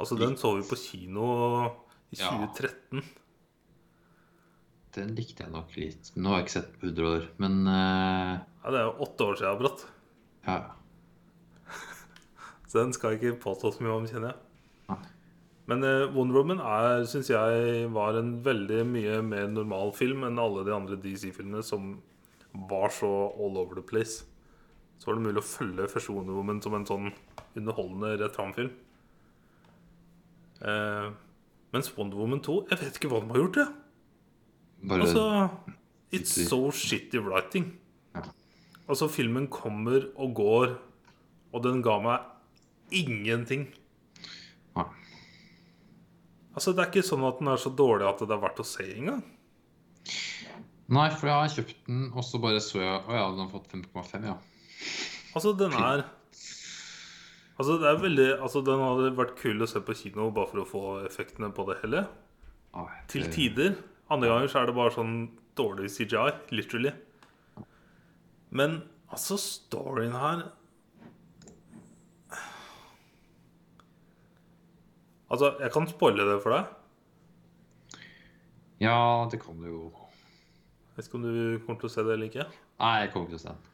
Speaker 2: Altså, den så vi på kino i
Speaker 1: Ja.
Speaker 2: 2013.
Speaker 1: Den likte jeg nok litt. Men Nå har jeg ikke sett på 100 år, men eh,
Speaker 2: Ja, det er jo åtte år siden, Bratt.
Speaker 1: ja.
Speaker 2: Så den skal jeg ikke påstå så mye om, kjenner jeg.
Speaker 1: Nei.
Speaker 2: Men eh, Wonder Woman er, syns jeg, var en veldig mye mer normal film enn alle de andre DC-filmene som var så all over the place. Så var det mulig å følge første Wonder Woman som en sånn underholdende rett fram-film. Eh, mens Wonder Woman 2 Jeg vet ikke hva de har gjort, jeg.
Speaker 1: Bare
Speaker 2: Altså, it's so shitty writing.
Speaker 1: Ja.
Speaker 2: Altså, filmen kommer og går, og den ga meg ingenting.
Speaker 1: Nei.
Speaker 2: Altså, det er ikke sånn at den er så dårlig at det er verdt å se engang.
Speaker 1: Nei, for jeg har kjøpt den, og så bare så jeg Å ja, den har fått 5,5, ja.
Speaker 2: Altså, den er Altså, det er veldig Altså, den hadde vært kul å se på kino bare for å få effektene på det hele.
Speaker 1: Nei,
Speaker 2: Til
Speaker 1: det-
Speaker 2: tider. Andre ganger så er det bare sånn dårlig CGI, literally. Men altså, storyen her Altså, jeg kan spoile det for deg.
Speaker 1: Ja, det kan du jo.
Speaker 2: Jeg vet ikke om du kommer til å se det eller ikke.
Speaker 1: Nei, jeg kommer ikke til å se den.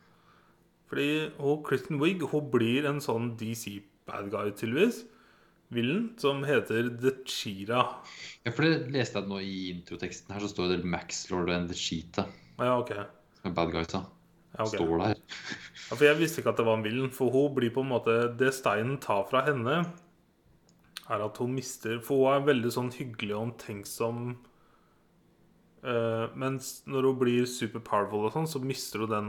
Speaker 2: Fordi hun, Kristen Wiig hun blir en sånn DC-bad guy, tydeligvis. Villen, som heter The Chira.
Speaker 1: Ja, for det leste jeg nå i introteksten her, så står det Max Lord and the Cheetah,
Speaker 2: Ja, OK. Ja,
Speaker 1: som er bad guysa.
Speaker 2: ok.
Speaker 1: Står der.
Speaker 2: Ja, for jeg visste ikke at det var en villen, for hun blir på en måte Det steinen tar fra henne, er at hun mister For hun er en veldig sånn hyggelig og omtenksom Eh, mens når hun blir super powerful og sånn, så mister hun den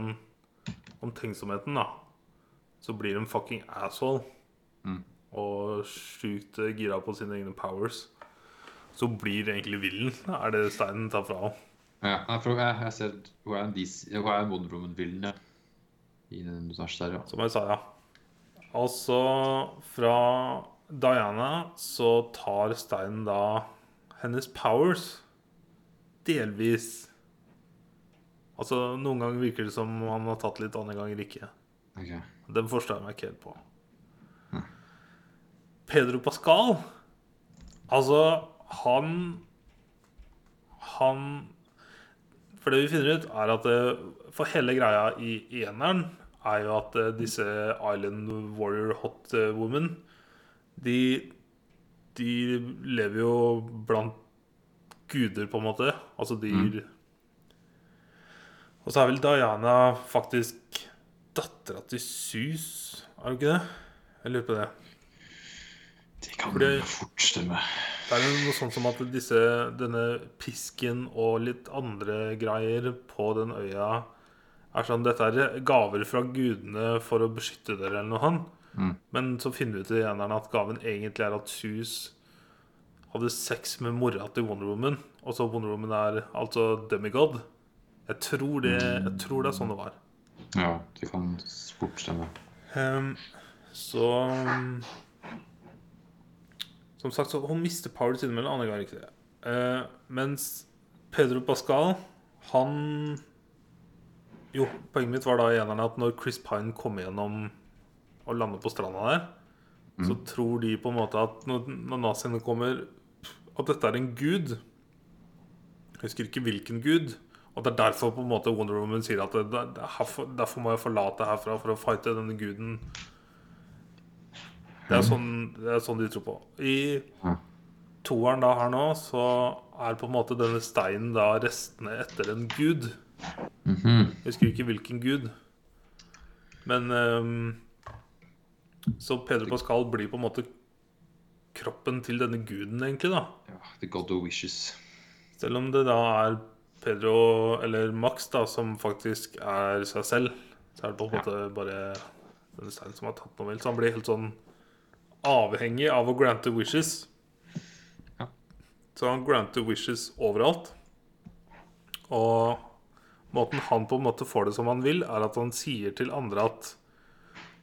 Speaker 2: omtenksomheten, da. Så blir hun fucking asshole.
Speaker 1: Mm.
Speaker 2: Og sjukt eh, gira på sine egne powers. Så hun blir egentlig villen, er det steinen tar fra henne.
Speaker 1: Ja, nei, for jeg, jeg ser at hun er en, DC, hun er en Wonder Woman-villen ja. i den universet der, ja.
Speaker 2: Som jeg sa, ja. Altså, fra Diana så tar steinen da hennes powers delvis. Altså, noen ganger virker det som han har tatt litt, andre ganger ikke.
Speaker 1: Ok.
Speaker 2: Den forstår jeg meg ikke helt på. Pedro Pascal Altså, han Han For det vi finner ut, er at eh, for hele greia i i eneren er jo at eh, disse Island Warrior Hot eh, Women de, de lever jo blant guder, på en måte. Altså de Og så er vel Diana faktisk dattera til Sus, er hun ikke det? Jeg lurer på det.
Speaker 1: Det kan
Speaker 2: Fordi-
Speaker 1: fort stemme.
Speaker 2: Det er jo noe sånt som at disse, denne pisken og litt andre greier på den øya er sånn Dette er gaver fra gudene for å beskytte dere, eller noe sånt.
Speaker 1: Mm.
Speaker 2: Men så finner vi ut i eneren at gaven egentlig er at Sus hadde sex med mora til Wonder Woman. Og så Wonder Woman er altså demigod. Jeg tror det, jeg tror det er sånn det var.
Speaker 1: Ja, det kan fort stemme.
Speaker 2: Ehm, så um, Som sagt, så hun mister powers innimellom, andre ganger ikke det. Eh, mens Pedro Pascal, han Jo, poenget mitt var da i eneren at når Chris Pine kommer gjennom og lander på stranda der, så tror de på en måte at når, når naziene kommer, at dette er en gud. Jeg husker ikke hvilken gud. Og det er derfor på en måte Wonder Woman sier at det, det, det, er herfor, derfor må jeg forlate herfra for å fighte denne guden. Det er sånn, det er sånn de tror på. I
Speaker 1: Ja.
Speaker 2: toeren da her nå, så er på en måte denne steinen da restene etter en gud.
Speaker 1: Mhm.
Speaker 2: Jeg husker ikke hvilken gud. Men ehm, Så Peder Pascal blir på en måte kroppen til denne guden, egentlig, da.
Speaker 1: ja, The God of Wishes.
Speaker 2: Selv om det da er Pedro, eller Max, da, som faktisk er seg selv, så er det på en måte bare denne steinen som har tatt noe vel. Så han blir helt sånn avhengig av å grante wishes.
Speaker 1: Ja.
Speaker 2: Så han granter wishes overalt. Og måten han på en måte får det som han vil, er at han sier til andre at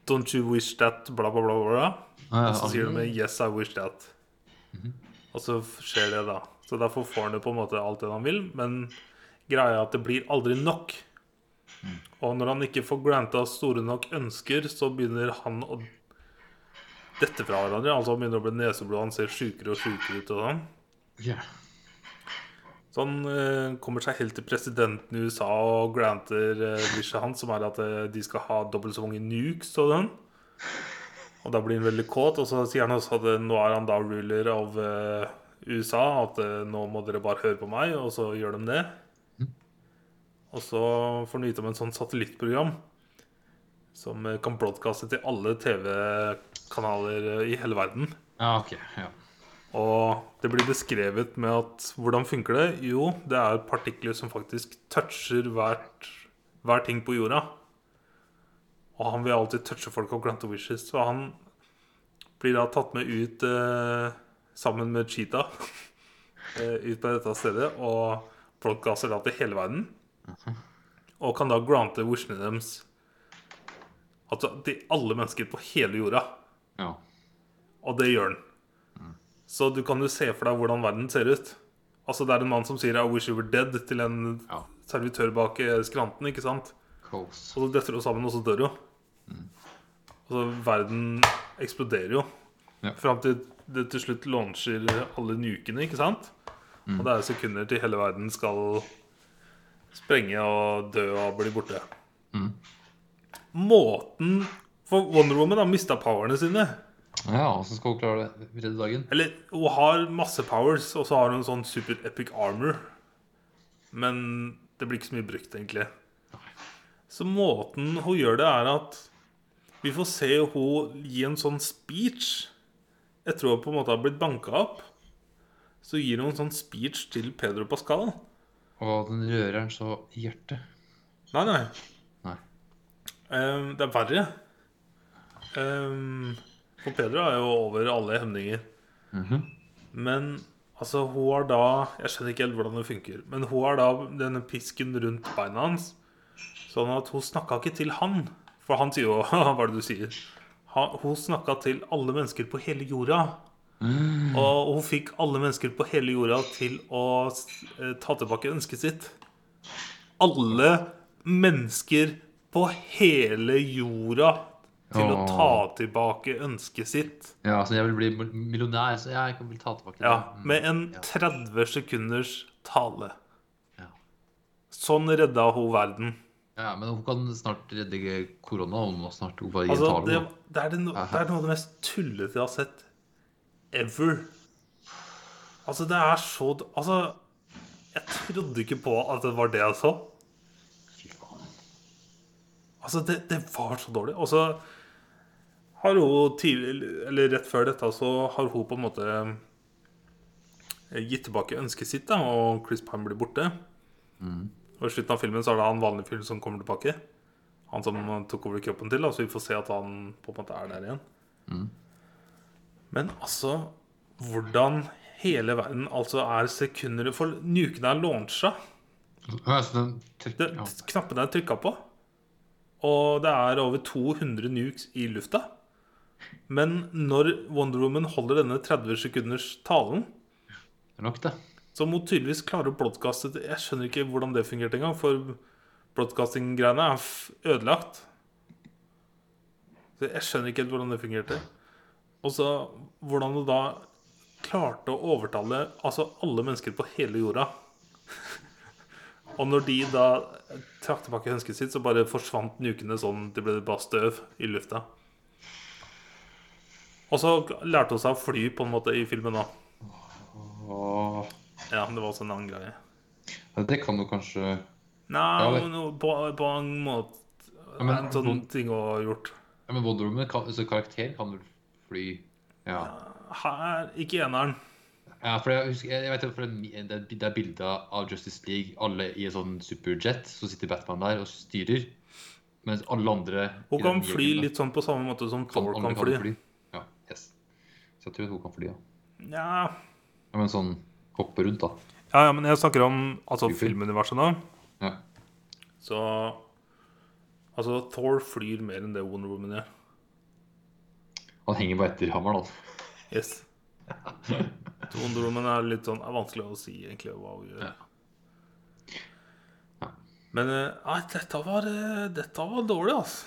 Speaker 2: Don't you wish that, bla, bla, bla, bla. Og så sier de Yes, I wish that. Og så skjer det, da. Så derfor får han jo på en måte alt det han vil, men greia er at det blir aldri nok. Og når han ikke får granta store nok ønsker, så begynner han å dette fra hverandre. Altså han begynner å bli neseblod, han ser sjukere og sjukere ut og sånn.
Speaker 1: Ja.
Speaker 2: Så han eh, kommer seg helt til presidenten i USA og granter eh, wishet hans, som er at eh, de skal ha dobbelt så mange nukes og den. Og da blir han veldig kåt, og så sier han også at eh, nå er han da ruler av eh, USA, at eh, nå må dere bare høre på meg, og så gjør de det. Og så får han vite om en sånn satellittprogram som eh, kan broadcaste til alle TV-kanaler eh, i hele verden.
Speaker 1: ja, ok. Ja.
Speaker 2: Og det blir beskrevet med at hvordan funker det? Jo, det er partikler som faktisk toucher hvert, hver ting på jorda. Og han vil alltid touche folk og grante wishes. Så han blir da tatt med ut eh, sammen med Cheetah eh, ut på dette stedet. Og folk gasser da til hele verden. Og kan da grante wishene deres altså til alle mennesker på hele jorda.
Speaker 1: ja.
Speaker 2: Og det gjør den. Så du kan jo se for deg hvordan verden ser ut. Altså Det er en mann som sier 'I wish you were dead' til en
Speaker 1: Ja.
Speaker 2: servitør bak eh, skranten. ikke sant?
Speaker 1: Close.
Speaker 2: Og så detter hun sammen, og så dør hun. Og så verden eksploderer jo.
Speaker 1: Ja.
Speaker 2: Fram til det til slutt launcher alle nukene, ikke sant? Og det er sekunder til hele verden skal sprenge og dø og bli borte.
Speaker 1: Mm.
Speaker 2: Måten For Wonder Woman har mista powerne sine.
Speaker 1: Ja, så skal hun klare det redde dagen.
Speaker 2: Eller hun har masse powers, og så har hun sånn super epic armor. Men det blir ikke så mye brukt, egentlig. Så måten hun gjør det, er at vi får se hun gi en sånn speech. Jeg tror hun på en måte har blitt banka opp. Så gir hun en sånn speech til Pedro Pascal
Speaker 1: Og den rører han så i hjertet.
Speaker 2: Nei, nei.
Speaker 1: Nei.
Speaker 2: Ehm, det er verre. Ehm, for Pedro er jo over alle hemninger.
Speaker 1: Mhm.
Speaker 2: Men altså, hun har da Jeg skjønner ikke helt hvordan det funker. Men hun har da denne pisken rundt beina hans, sånn at hun snakka ikke til han. For han sier jo Hva er det du sier? Ha- Hun snakka til alle mennesker på hele jorda. Og hun fikk alle mennesker på hele jorda til å s- eh, ta tilbake ønsket sitt. Alle mennesker på hele jorda til å ta tilbake ønsket sitt.
Speaker 1: Ja, så jeg vil bli mil- millionær, så jeg kan- vil ta tilbake det.
Speaker 2: Ja,
Speaker 1: Mm.
Speaker 2: med en 30 sekunders tale.
Speaker 1: Ja.
Speaker 2: Sånn redda hun verden.
Speaker 1: ja, Men hun kan snart redde korona. Hun må snart hun bare
Speaker 2: Altså,
Speaker 1: altså,
Speaker 2: det,
Speaker 1: det...
Speaker 2: det, er det, no, det er noe av det mest tullete jeg har sett ever. Altså, det er så d- Altså, jeg trodde ikke på at det var det jeg så. Altså, det, det var så dårlig. Og så har hun tidlig, eller rett før dette, så har hun på en måte eh, gitt tilbake ønsket sitt, da, og Chris Pine blir borte. Og i slutten av filmen så er det han vanlige fyren som kommer tilbake. Han som han tok over kroppen til, da, så vi får se at han på en måte er der igjen. Men altså Hvordan hele verden altså er sekunder For nukene er launchet
Speaker 1: Ja, så den trykker-
Speaker 2: det,
Speaker 1: ja.
Speaker 2: Knappene er trykka på. Og det er over 200 nukes i lufta. Men når Wonder Woman holder denne 30 sekunders talen,
Speaker 1: Det er nok, det.
Speaker 2: så må hun tydeligvis klare å broadcaste det. Jeg skjønner ikke hvordan det fungerte engang, for broadcasting-greiene er f- ødelagt. Så jeg skjønner ikke helt hvordan det fungerte. Og så hvordan hun da klarte å overtale altså alle mennesker på hele jorda. Og når de da trakk tilbake ønsket sitt, så bare forsvant nukene sånn. De ble bare støv i lufta. Og så lærte hun seg å fly på en måte i filmen òg.
Speaker 1: Åh.
Speaker 2: Ja, det var også en annen greie.
Speaker 1: Ja, det kan du kanskje
Speaker 2: Nei,
Speaker 1: Ja, det-
Speaker 2: men no- på, på en måte
Speaker 1: Ja, men-
Speaker 2: En sånn ting å ha gjort.
Speaker 1: Ja, Men Wonder Woman, kan, så karakter kan vel fly Ja.
Speaker 2: Her, ikke eneren.
Speaker 1: Ja, for jeg husker, jeg vet jo, for det er- det er bilder av Justice League, alle i en sånn superjet, så sitter Batman der og styrer. Mens alle andre i
Speaker 2: Hun kan
Speaker 1: den nye
Speaker 2: fly
Speaker 1: filmen
Speaker 2: litt sånn på samme måte som
Speaker 1: kan,
Speaker 2: Thor
Speaker 1: alle
Speaker 2: kan fly.
Speaker 1: Ja, yes. Så jeg tror hun kan fly, ja.
Speaker 2: Ja.
Speaker 1: ja men sånn hoppe rundt, da.
Speaker 2: ja, ja, men jeg snakker om altså,
Speaker 1: Flyfly.
Speaker 2: filmuniverset nå.
Speaker 1: Ja.
Speaker 2: Så Altså, Thor flyr mer enn det Wonder Woman gjør.
Speaker 1: Han henger bare etter hammeren, altså. da.
Speaker 2: Yes. Wonder Woman er litt sånn er vanskelig å si egentlig hva hun gjør.
Speaker 1: Ja. Ja.
Speaker 2: Men eh, nei, dette var, eh, dette var dårlig, altså.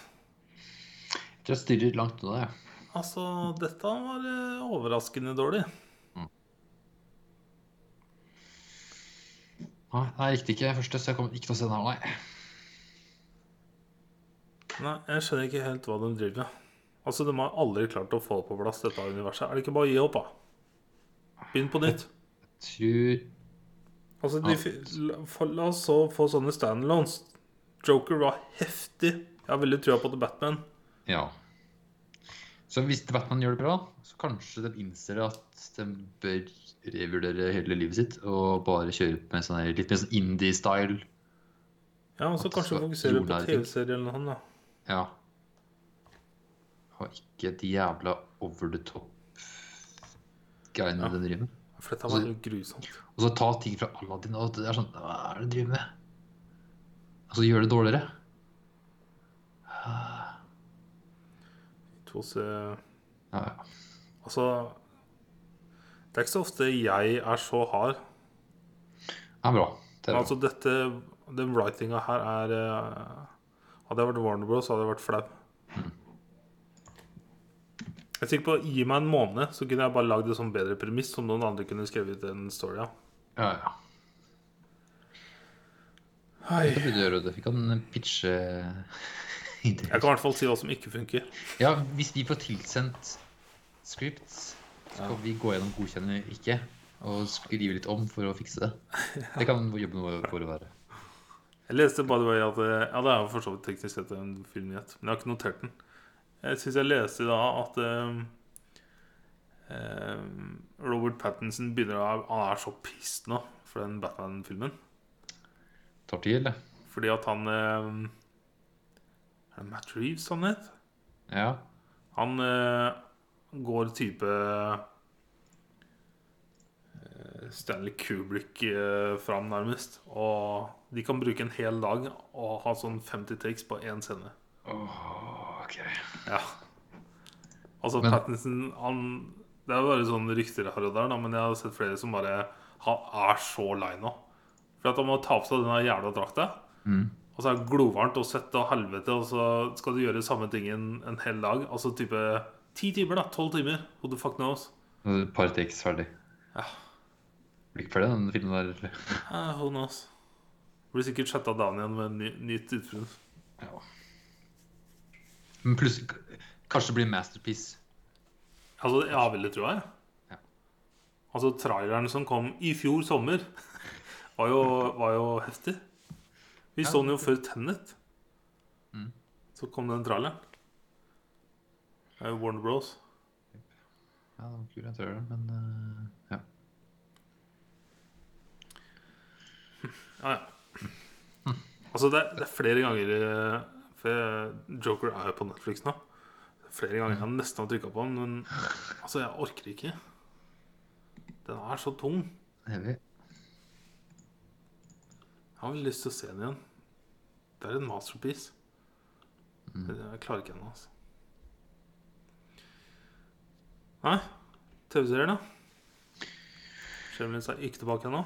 Speaker 1: Jeg tror jeg styrer langt unna, jeg.
Speaker 2: Altså, dette var eh, overraskende dårlig.
Speaker 1: Nei, nei, jeg likte ikke den første, så jeg kommer ikke til å se den her, nei.
Speaker 2: Nei, jeg skjønner ikke helt hva de driver med. Altså, De har aldri klart å få på plass dette universet. Er det ikke bare å gi opp, da? Begynn på nytt.
Speaker 1: Tror
Speaker 2: Altså, de, fi- la- for, La oss så få sånne standalones. Joker var heftig. Jeg har veldig trua på The Batman.
Speaker 1: Ja. Så hvis Batman gjør det bra, så kanskje de innser at de bør revurdere hele livet sitt og bare kjøre med sånn her, litt mer sånn indie-style.
Speaker 2: Ja, og så
Speaker 1: At
Speaker 2: kanskje
Speaker 1: så-
Speaker 2: fokusere på
Speaker 1: jordnære ting.
Speaker 2: TV-serier eller noe sånt. da.
Speaker 1: Ja. Og ikke de jævla over the top greiene
Speaker 2: Ja.
Speaker 1: de driver med.
Speaker 2: For dette var jo grusomt.
Speaker 1: Og så ta ting fra Aladdin og det er sånn Hva er det du driver med? Og så gjør det dårligere.
Speaker 2: To se-
Speaker 1: Ja, ja.
Speaker 2: Altså Det er ikke så ofte jeg er så hard.
Speaker 1: Det er bra. Det er bra.
Speaker 2: Altså, dette Den writinga her er eh, Hadde jeg vært Warner Bros, hadde jeg vært flau. Jeg er sikker på Gi meg en måned, så kunne jeg bare lagd en sånn bedre premiss som noen andre kunne skrevet en story av.
Speaker 1: Ja, ja. Det burde du gjøre det. Vi kan eh, pitche
Speaker 2: Jeg kan i hvert fall si hva som ikke funker.
Speaker 1: Ja, hvis vi får tilsendt scripts, skal vi gå gjennom godkjenne eller ikke, og skrive litt om for å fikse det. Det kan jobben vår vår være.
Speaker 2: Jeg leste by the way at eh, Ja, det er jo for så vidt teknisk sett en filmnyhet, men jeg har ikke notert den. Jeg syns jeg leste da at eh, eh, Robert Pattinson begynner å Han er så pissed nå for den Batman-filmen.
Speaker 1: Tar tid, eller?
Speaker 2: Fordi at han eh, Er det Matt Reeves han het?
Speaker 1: Ja.
Speaker 2: Han eh, går type eh, Stanley Kubrick eh, fram, nærmest. Og de kan bruke en hel dag og ha sånn 50 takes på én scene.
Speaker 1: Åh, ok.
Speaker 2: Ja. Altså,
Speaker 1: Men-
Speaker 2: Pattinson han, Det er jo bare sånne rykter her og der, da, men jeg har sett flere som bare Han er så lei nå. For at han må ta på seg denne jævla drakta.
Speaker 1: Mm.
Speaker 2: Og så er det glovarmt og svette og helvete, og så skal du gjøre samme ting en, en hel dag. Altså type ti timer, da. Tolv timer. Who the fuck knows?
Speaker 1: Nå er det Et par takes ferdig.
Speaker 2: Ja.
Speaker 1: Blir ikke ferdig den filmen der. eller?
Speaker 2: Eh, who knows? Blir sikkert chatta dagen igjen med ny, nytt utbrudd.
Speaker 1: Ja. Men plutselig Kanskje det blir masterpiece.
Speaker 2: Altså, jeg har veldig trua, jeg.
Speaker 1: Ja.
Speaker 2: Altså, traileren som kom i fjor sommer, var jo, var jo heftig. Vi
Speaker 1: Ja.
Speaker 2: så den jo før Tennet.
Speaker 1: Mm.
Speaker 2: Så kom den traileren. Det er jo Warner Bros.
Speaker 1: Ja, det var kul, jeg tror det, men eh, ja.
Speaker 2: Ja, ja. Altså, det er, det er flere ganger eh, For Joker er jo på Netflix nå. Flere ganger
Speaker 1: Mm.
Speaker 2: jeg nesten har trykka på den, men altså, jeg orker ikke. Den er så tung.
Speaker 1: Evig.
Speaker 2: Jeg har veldig lyst til å se den igjen. Det er en masterpiece.
Speaker 1: Mm.
Speaker 2: Men Jeg klarer ikke ennå, altså. Nei. TV-serier, da? Shameless er ikke tilbake ennå.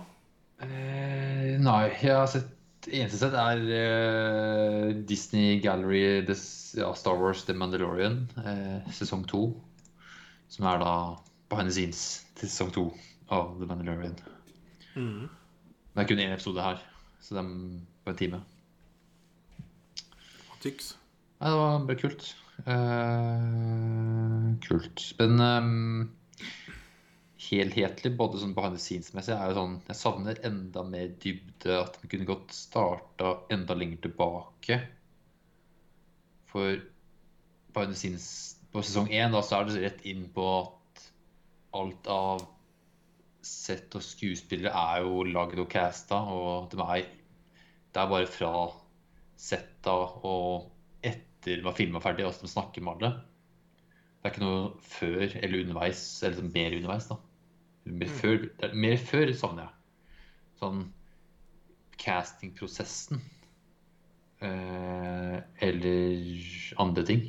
Speaker 1: Eh, nei, jeg har sett Eneste sett er eh, Disney Gallery, det s- ja, Star Wars, The Mandalorian, eh, sesong to. Som er da behind the scenes til sesong to av The Mandalorian.
Speaker 2: Mhm.
Speaker 1: Det er kun én episode her, så det er på en time.
Speaker 2: Tyks.
Speaker 1: Nei, det var bare kult. Eh, kult. Men ehm, helhetlig, både sånn behind the scenes-messig, er jo sånn Jeg savner enda mer dybde. At den kunne godt starta enda lenger tilbake. For behind the scenes på sesong én, da, så er det rett inn på at alt av sett og skuespillere er jo lagd og casta, og de er, det er bare fra setta og etter de har filma ferdig, og så de snakker med alle. Det er ikke noe før eller underveis, eller sånn mer underveis, da. Mer før, det er mer før savner jeg. Sånn castingprosessen. Eh, eller andre ting.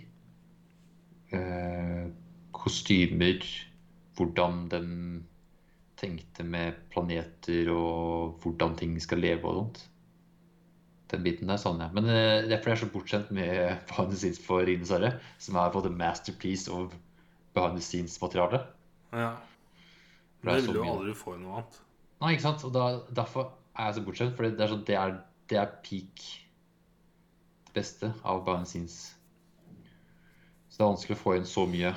Speaker 1: Eh, kostymer, hvordan de tenkte med planeter og hvordan ting skal leve og sånt. Den biten der savner jeg. Men eh, det er fordi jeg er så bortskjemt med behind the scenes for Rine Sverre, som er på en måte masterpiece of behind the scenes-materiale.
Speaker 2: Ja.
Speaker 1: Det er
Speaker 2: Men det
Speaker 1: så
Speaker 2: vil du
Speaker 1: mye.
Speaker 2: aldri få i noe annet.
Speaker 1: Nei, ikke sant? Og da, derfor er jeg så bortskjemt, fordi det er, sånn, det er, det er peak det beste av behind the scenes. Så det er vanskelig å få inn så mye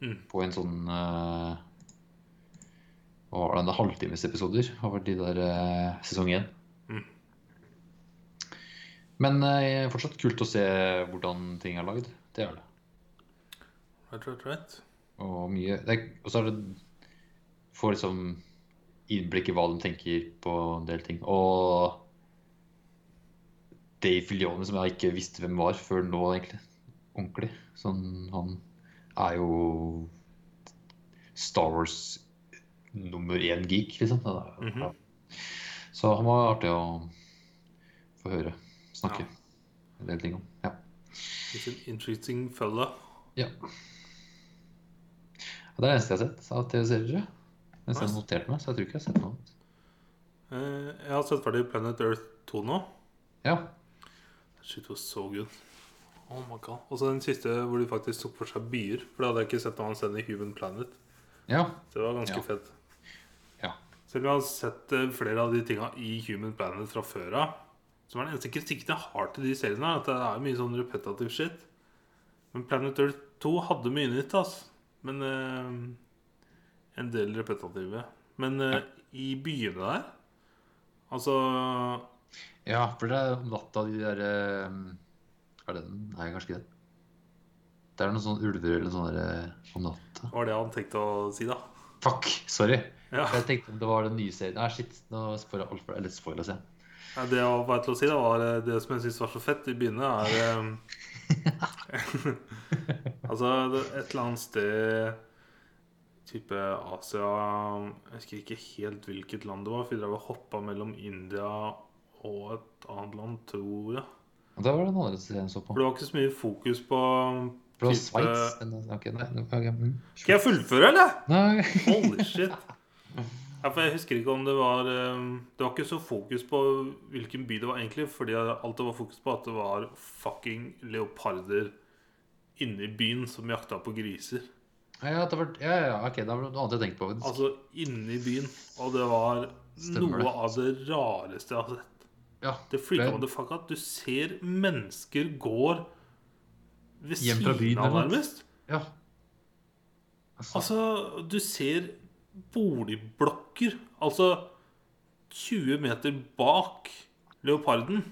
Speaker 2: Mm.
Speaker 1: på en sånn eh, Hva var det, en halvtimesepisoder over de der eh, sesong én.
Speaker 2: Mm.
Speaker 1: Men eh, fortsatt kult å se hvordan ting er lagd. Det er det.
Speaker 2: Right, right, right.
Speaker 1: Og mye det er, Og så er det Får liksom innblikk i hva de tenker på en del ting. Og Dave Filione, som jeg ikke visste hvem var før nå, egentlig. Ordentlig. Sånn, han er jo Star Wars nummer én geek, liksom. Han er,
Speaker 2: Mhm.
Speaker 1: ja. Så han var artig å få høre snakke
Speaker 2: Ja.
Speaker 1: en del ting om. Ja.
Speaker 2: It's an interesting fella.
Speaker 1: Ja. Det er det eneste jeg har sett av TV-serier. Mens jeg har notert meg, så jeg tror ikke jeg har sett noe annet.
Speaker 2: Eh, Jeg har sett ferdig Planet Earth 2 nå.
Speaker 1: Ja.
Speaker 2: Shit was so good. Oh my god. Og så den siste hvor de faktisk tok for seg byer. For det hadde jeg ikke sett noe annet sted enn i Human Planet.
Speaker 1: Ja.
Speaker 2: Det var ganske
Speaker 1: Ja.
Speaker 2: fett.
Speaker 1: Ja.
Speaker 2: Selv om jeg har sett eh, flere av de tinga i Human Planet fra før av, som er den eneste kritikken jeg har til de seriene, her, at det er mye sånn repetitive shit. Men Planet Earth 2 hadde mye nytt, ass. Men eh, en del repetitive. Men eh, i byene der Altså
Speaker 1: ja, for det er om natta de der eh, Er det den? Nei, kanskje ikke den. Det er noen sånne ulver eller sånne der eh, om natta.
Speaker 2: var det han tenkte å si, da.
Speaker 1: Fuck! Sorry.
Speaker 2: Ja.
Speaker 1: Eh, Jeg tenkte om det var den nye serien. Nei, shit. Nå spoila jeg alt for deg. Eller spoila, sier jeg.
Speaker 2: Nei, Det jeg var bare til å si da, var eh, det som jeg syns var så fett i byene, er eh, Altså, det- et eller annet sted type Asia Jeg husker ikke helt hvilket land det var, for vi drev og hoppa mellom India og et annet land, tror jeg.
Speaker 1: Og da var det den andre siden jeg så på.
Speaker 2: For det var ikke så mye fokus på
Speaker 1: Det var
Speaker 2: type-
Speaker 1: Sveits. men- ok, nei, nå- ok, mm.
Speaker 2: Skal jeg fullføre, eller?
Speaker 1: Nei,
Speaker 2: Holy shit. Ja, for jeg husker ikke om det var eh, Det var ikke så fokus på hvilken by det var, egentlig. Fordi alt det var fokus på, at det var fucking leoparder inne i byen som jakta på griser.
Speaker 1: ja, det var, ja, ja, ok, da var det noe annet jeg tenkte på. faktisk.
Speaker 2: Altså inne i byen. Og det var
Speaker 1: Stemmer det.
Speaker 2: noe av det rareste jeg har sett.
Speaker 1: Ja,
Speaker 2: Det freaka
Speaker 1: Det-
Speaker 2: meg the fuck at du ser mennesker går ved
Speaker 1: Hjem fra byen,
Speaker 2: siden av,
Speaker 1: eller?
Speaker 2: nærmest.
Speaker 1: ja. Altså,
Speaker 2: Altså, du ser boligblokker Altså 20 meter bak leoparden.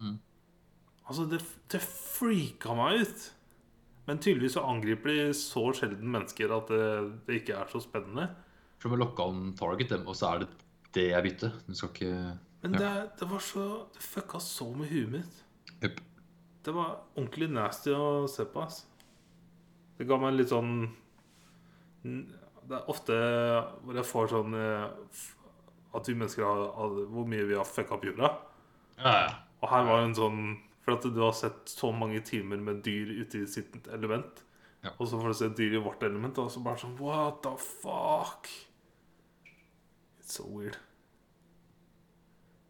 Speaker 1: Mm.
Speaker 2: Altså, det, det freaka meg ut. Men tydeligvis så angriper de så sjelden mennesker at det, det ikke er så spennende.
Speaker 1: for de har lokka on target, dem, og så er det det jeg bytter. Du skal ikke
Speaker 2: Men
Speaker 1: Ja.
Speaker 2: det, er- det var så Det fucka så med huet mitt.
Speaker 1: Jep.
Speaker 2: Det var ordentlig nasty å se på, ass. Det ga meg litt sånn Det er ofte hvor jeg får sånn eh, f- At vi mennesker har har- Hvor mye vi har fucka opp jorda.
Speaker 1: Ja, ja.
Speaker 2: Og her var en sånn For at du har sett så mange timer med dyr ute i sitt element.
Speaker 1: Ja.
Speaker 2: Og så får du se dyr i vårt element, og så bare sånn What the fuck? It's so weird.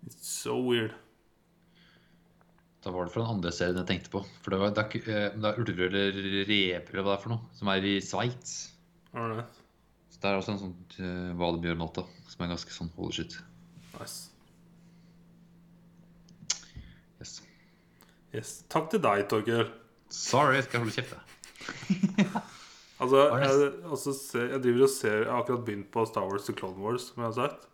Speaker 2: It's so weird.
Speaker 1: Da var det fra den andre serien jeg tenkte på. For det, var, det, er, ikke- eh, det er ulver eller reper eller hva det er for noe, som er i Sveits.
Speaker 2: All right.
Speaker 1: Så det er også en sånn eh, hvalbjørnåte som er ganske sånn holy shit.
Speaker 2: Nice.
Speaker 1: Yes.
Speaker 2: Yes. Takk til deg, Torkel.
Speaker 1: Sorry, jeg skal holde kjeft, jeg.
Speaker 2: Altså,
Speaker 1: Var det-
Speaker 2: jeg, altså, se, jeg driver og ser Jeg har akkurat begynt på Star Wars The Clone Wars, som jeg har sagt.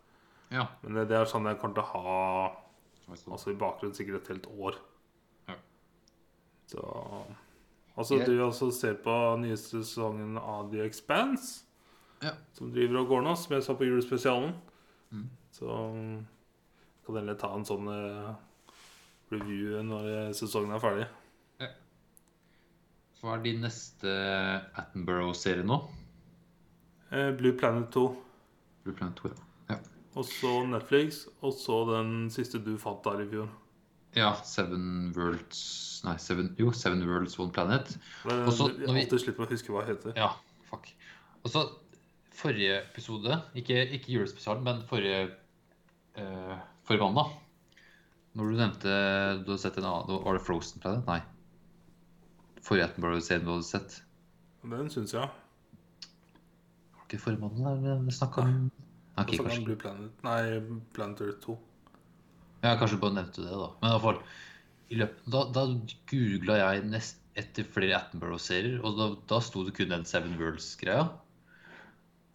Speaker 1: Ja.
Speaker 2: Men det, det er sånn jeg kommer til å ha altså, i bakgrunnen sikkert et helt år.
Speaker 1: Ja.
Speaker 2: Så Altså,
Speaker 1: Jeg-
Speaker 2: du også ser på nyeste sesongen av The Expanse,
Speaker 1: Ja. Mm.
Speaker 2: som driver og går nå, som jeg så på julespesialen. Så kan dere ta en sånn eh, review når eh, sesongen er ferdig.
Speaker 1: Hva er din neste Attenborough-serie nå?
Speaker 2: Eh, Blue Planet 2.
Speaker 1: Blue Planet 2, ja. ja.
Speaker 2: Og så Netflix, og så den siste du fant der i fjor.
Speaker 1: Ja, Seven Worlds Nei, Seven, jo, Seven Worlds One Planet.
Speaker 2: Det er-
Speaker 1: Og så-
Speaker 2: jeg
Speaker 1: når vi-
Speaker 2: alltid slipper å huske hva det heter.
Speaker 1: Ja, fuck. Og så forrige episode, ikke, ikke julespesialen, men forrige eh, forrige mandag, når du nevnte du hadde sett en annen Var det Frozen Planet? Nei. Forrige Attenborough-serien du hadde sett.
Speaker 2: Den syns jeg.
Speaker 1: Var det ikke forrige mandag der vi snakka om Ok,
Speaker 2: Og så kan
Speaker 1: kanskje.
Speaker 2: Blue Planet Nei, Planet Earth 2.
Speaker 1: Ja, kanskje bare nevnte det, da. Men i hvert fall, i løpet, da, da googla jeg nest, etter flere Attenborough-serier, og da, da sto det kun den Seven Worlds-greia.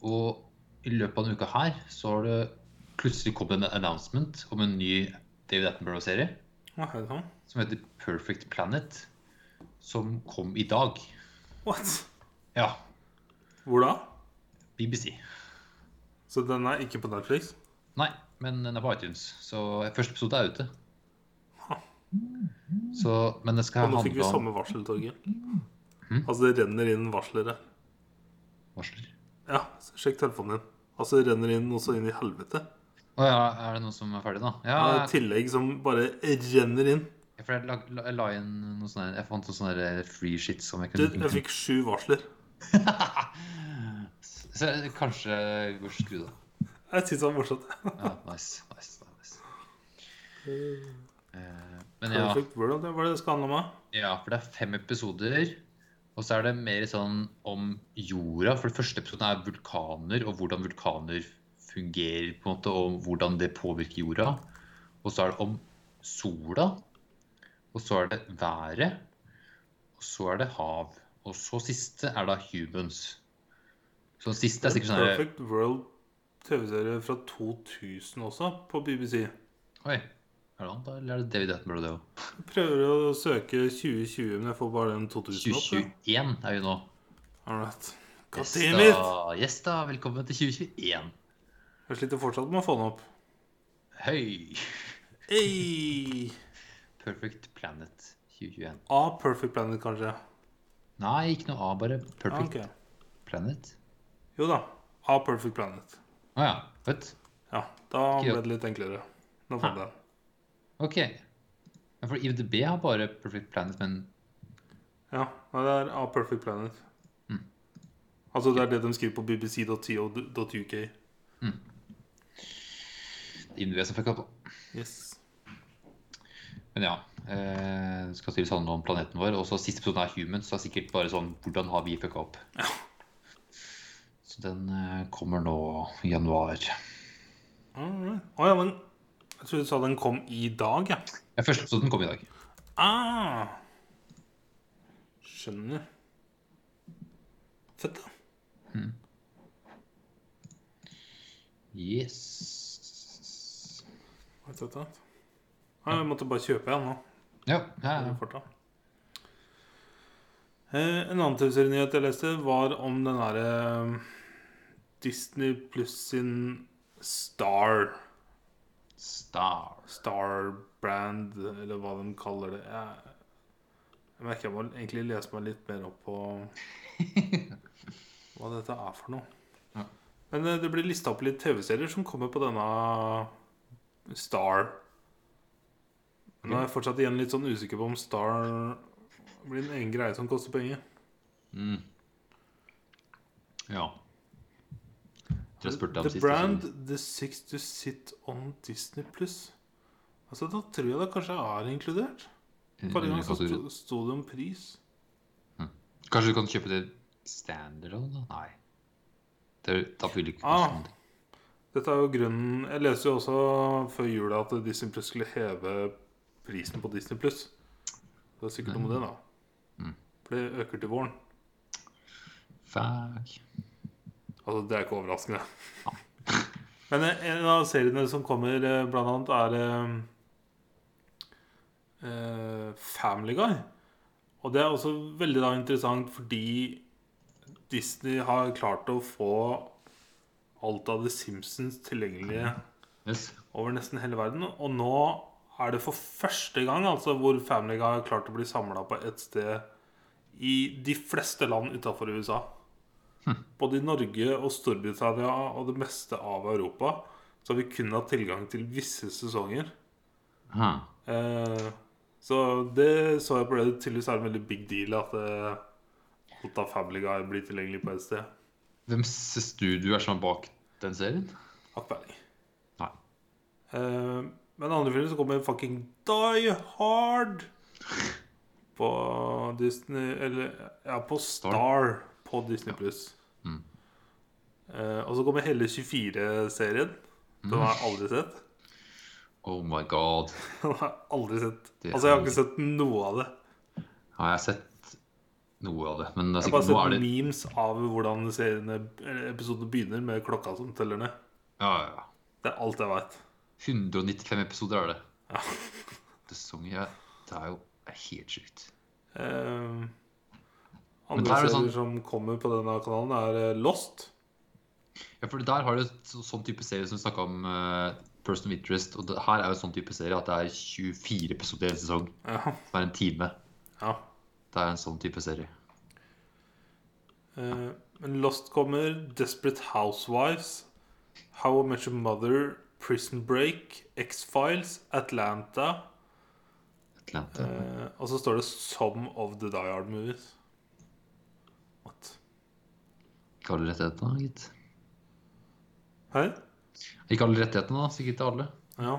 Speaker 1: Og i løpet av denne uka her så har det plutselig kommet en announcement om en ny David Attenborough-serie
Speaker 2: Hva er det sånn?
Speaker 1: som heter Perfect Planet, som kom i dag.
Speaker 2: What?
Speaker 1: Ja,
Speaker 2: Hvor da?
Speaker 1: BBC.
Speaker 2: Så den er ikke på Netflix?
Speaker 1: Nei, men den er på iTunes, så første episode er ute. Så, men det skal
Speaker 2: Og nå fikk vi
Speaker 1: handle om
Speaker 2: samme varsel, Torgeir.
Speaker 1: Mm.
Speaker 2: Altså, det renner inn varslere.
Speaker 1: varsler.
Speaker 2: Ja, så sjekk telefonen din. Altså, det renner inn noe så inn i helvete.
Speaker 1: Å ja, er det noen som er ferdig, da? Ja,
Speaker 2: Det er et tillegg som bare renner inn.
Speaker 1: for jeg, la, la, jeg la inn noe sånn her- Jeg fant noe sånn her free shit som jeg
Speaker 2: Du,
Speaker 1: kunne
Speaker 2: jeg fikk sju varsler.
Speaker 1: Så jeg- kanskje vi bør skru det av.
Speaker 2: Jeg syns det var morsomt.
Speaker 1: Ja, nice. nice, nice. Eh, Men ja,
Speaker 2: Perfect World, det var det det skal handle om? da?
Speaker 1: ja, for det er fem episoder. Og så er det mer sånn om jorda. For det første episoden er vulkaner, og hvordan vulkaner fungerer, på en måte, og hvordan det påvirker jorda. Og så er det om sola. Og så er det været. Og så er det hav. Og så siste er da humans. Så den siste er sikkert sånn her-
Speaker 2: Perfect World TV-serie fra 2000 også, på BBC.
Speaker 1: Oi, er det han da, eller er det David Attenborough det òg?
Speaker 2: Jeg prøver å søke 2020, men jeg får bare den 2000 opp. jeg.
Speaker 1: 2021 er vi nå.
Speaker 2: All right. God
Speaker 1: Yes
Speaker 2: damn it!
Speaker 1: da, yes da, velkommen til 2021.
Speaker 2: Jeg sliter fortsatt med å få den opp.
Speaker 1: Høy!
Speaker 2: Hey!
Speaker 1: Perfect Planet 2021.
Speaker 2: A Perfect Planet, kanskje.
Speaker 1: Nei, ikke noe A, bare
Speaker 2: Ja,
Speaker 1: Perfect
Speaker 2: ok.
Speaker 1: Planet.
Speaker 2: Jo da. A Perfect Planet.
Speaker 1: Å ja. Fett.
Speaker 2: Ja, da
Speaker 1: Ikke-
Speaker 2: ble det litt enklere. Nå fant jeg den.
Speaker 1: OK. Ja, For IVDb har bare Perfect Planet, men
Speaker 2: Ja, nei, det er A Perfect Planet. Mm. Altså, det er det de skriver på bbc.co.uk.
Speaker 1: IMDb som fucka på.
Speaker 2: Yes.
Speaker 1: Men ja. Eh, det skal styres handle om planeten vår. Og så siste episoden er human, så det er sikkert bare sånn Hvordan har vi fucka opp? Så den eh, kommer nå i januar.
Speaker 2: Alright. Å ja, men jeg trodde du sa den kom i dag, ja.
Speaker 1: Ja, første episoden kom i dag.
Speaker 2: Ah. Skjønner. Fett, da.
Speaker 1: Yes.
Speaker 2: Fett, fett, fett. Nei, jeg måtte bare kjøpe en nå.
Speaker 1: Ja. ja, ja.
Speaker 2: Veldig fort, da. Eh, En annen TV-serienyhet jeg leste, var om den derre eh, Disney pluss sin Star
Speaker 1: Star.
Speaker 2: Star Brand, eller hva de kaller det. Jeg, jeg merker jeg må egentlig lese meg litt mer opp på hva dette er for noe.
Speaker 1: Ja.
Speaker 2: Men eh, det blir lista opp litt TV-serier som kommer på denne Star. Men nå er jeg fortsatt igjen litt sånn usikker på om Star blir en egen greie som koster penger.
Speaker 1: Mm. Ja. Dere spurte om
Speaker 2: The
Speaker 1: sist.
Speaker 2: Brand, The Six to Sit on Disney Plus. Altså, da tror jeg det kanskje er inkludert.
Speaker 1: Mm,
Speaker 2: Forrige gang så sto- sto det om pris.
Speaker 1: Kanskje du kan kjøpe det standalone? da? Nei. Det, da vil du ikke
Speaker 2: Ah.
Speaker 1: koste noen ting.
Speaker 2: Dette er jo grunnen Jeg leste jo også før jula at Disney Plus skulle heve prisen på Disney Plus. Det er sikkert noe med det, da.
Speaker 1: Mm.
Speaker 2: For det øker til våren.
Speaker 1: Fuck.
Speaker 2: Altså, det er ikke overraskende. Men eh, en av seriene som kommer, eh, blant annet, er eh, eh, Family Guy. Og det er også veldig da interessant fordi Disney har klart å få alt av The Simpsons tilgjengelige
Speaker 1: Yes.
Speaker 2: over nesten hele verden. Og nå er det for første gang altså, hvor Family Guy har klart å bli samla på ett sted i de fleste land utafor USA. Både i Norge og Storbritannia og det meste av Europa så har vi kun hatt tilgang til visse sesonger.
Speaker 1: Ha.
Speaker 2: Eh, så det så jeg på det. Tydeligvis er det en veldig big deal at eh, alt av Family Guy blir tilgjengelig på ett sted.
Speaker 1: Hvem studio er som er bak den serien?
Speaker 2: Har ikke peiling.
Speaker 1: Nei.
Speaker 2: Eh, men andre filmer så kommer fucking Die Hard på Disney Eller ja, på Star, på Disney Pluss.
Speaker 1: Mm.
Speaker 2: Eh, og så kommer hele 24-serien.
Speaker 1: Mm.
Speaker 2: Den har jeg aldri sett.
Speaker 1: Oh my god.
Speaker 2: Den har jeg aldri sett.
Speaker 1: Det
Speaker 2: Altså, jeg har
Speaker 1: er-
Speaker 2: ikke sett noe av det.
Speaker 1: Har jeg sett noe av det? Men det er
Speaker 2: Jeg har
Speaker 1: sikkert, nå
Speaker 2: bare
Speaker 1: er det
Speaker 2: sett memes av hvordan seriene, eller episoden begynner med klokka som teller ned.
Speaker 1: ja, ja, ja.
Speaker 2: Det er alt jeg veit.
Speaker 1: 195 episoder er det.
Speaker 2: Ja.
Speaker 1: Det, sang jeg, det er jo helt sjukt.
Speaker 2: Eh,
Speaker 1: Men der
Speaker 2: andre
Speaker 1: er det
Speaker 2: serier
Speaker 1: sånn-
Speaker 2: som kommer på denne kanalen, er eh, Lost.
Speaker 1: Ja, for der har du et så, sånn type serie som vi snakka om eh, Person of Interest. Og det, her er jo sånn type serie at det er 24 episoder i en sesong.
Speaker 2: Ja.
Speaker 1: Som er en time.
Speaker 2: ja.
Speaker 1: Det er en sånn type serie.
Speaker 2: Eh, Men Lost kommer, Desperate Housewives, How I Met Your Mother, Prison Break, X-Files, Atlanta
Speaker 1: Atlanta.
Speaker 2: eh, Og så står det Some of the Die Hard Movies. What?
Speaker 1: Ikke alle rettighetene, gitt.
Speaker 2: Hæ?
Speaker 1: Ikke alle rettighetene, da. Sikkert til alle.
Speaker 2: Ja.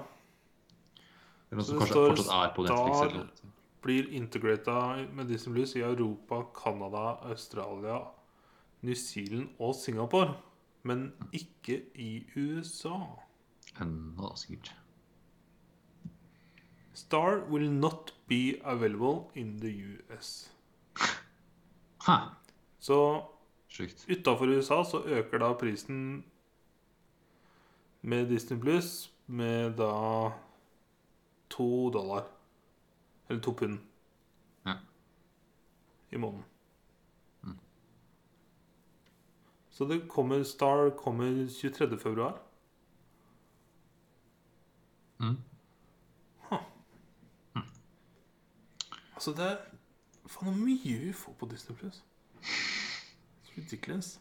Speaker 1: Eller noen
Speaker 2: Så
Speaker 1: som
Speaker 2: det
Speaker 1: kanskje
Speaker 2: står
Speaker 1: fortsatt er på Netflix.
Speaker 2: Star-
Speaker 1: Eller noe. sånt.
Speaker 2: Blir integrata med Disney Blues i Europa, Canada, Australia, New Zealand og Singapore. Men ikke i USA.
Speaker 1: Ennå, da, sikkert.
Speaker 2: Star will not be available in the US.
Speaker 1: Hæ,
Speaker 2: Så
Speaker 1: sjukt.
Speaker 2: Utafor USA så øker da prisen med Disney Plus med da to dollar. Eller to pund.
Speaker 1: Ja. Mm.
Speaker 2: I måneden. Så det kommer Star kommer 23. februar.
Speaker 1: Mm.
Speaker 2: Altså, det er faen så mye vi får på Disney Plus. Så ridiculous.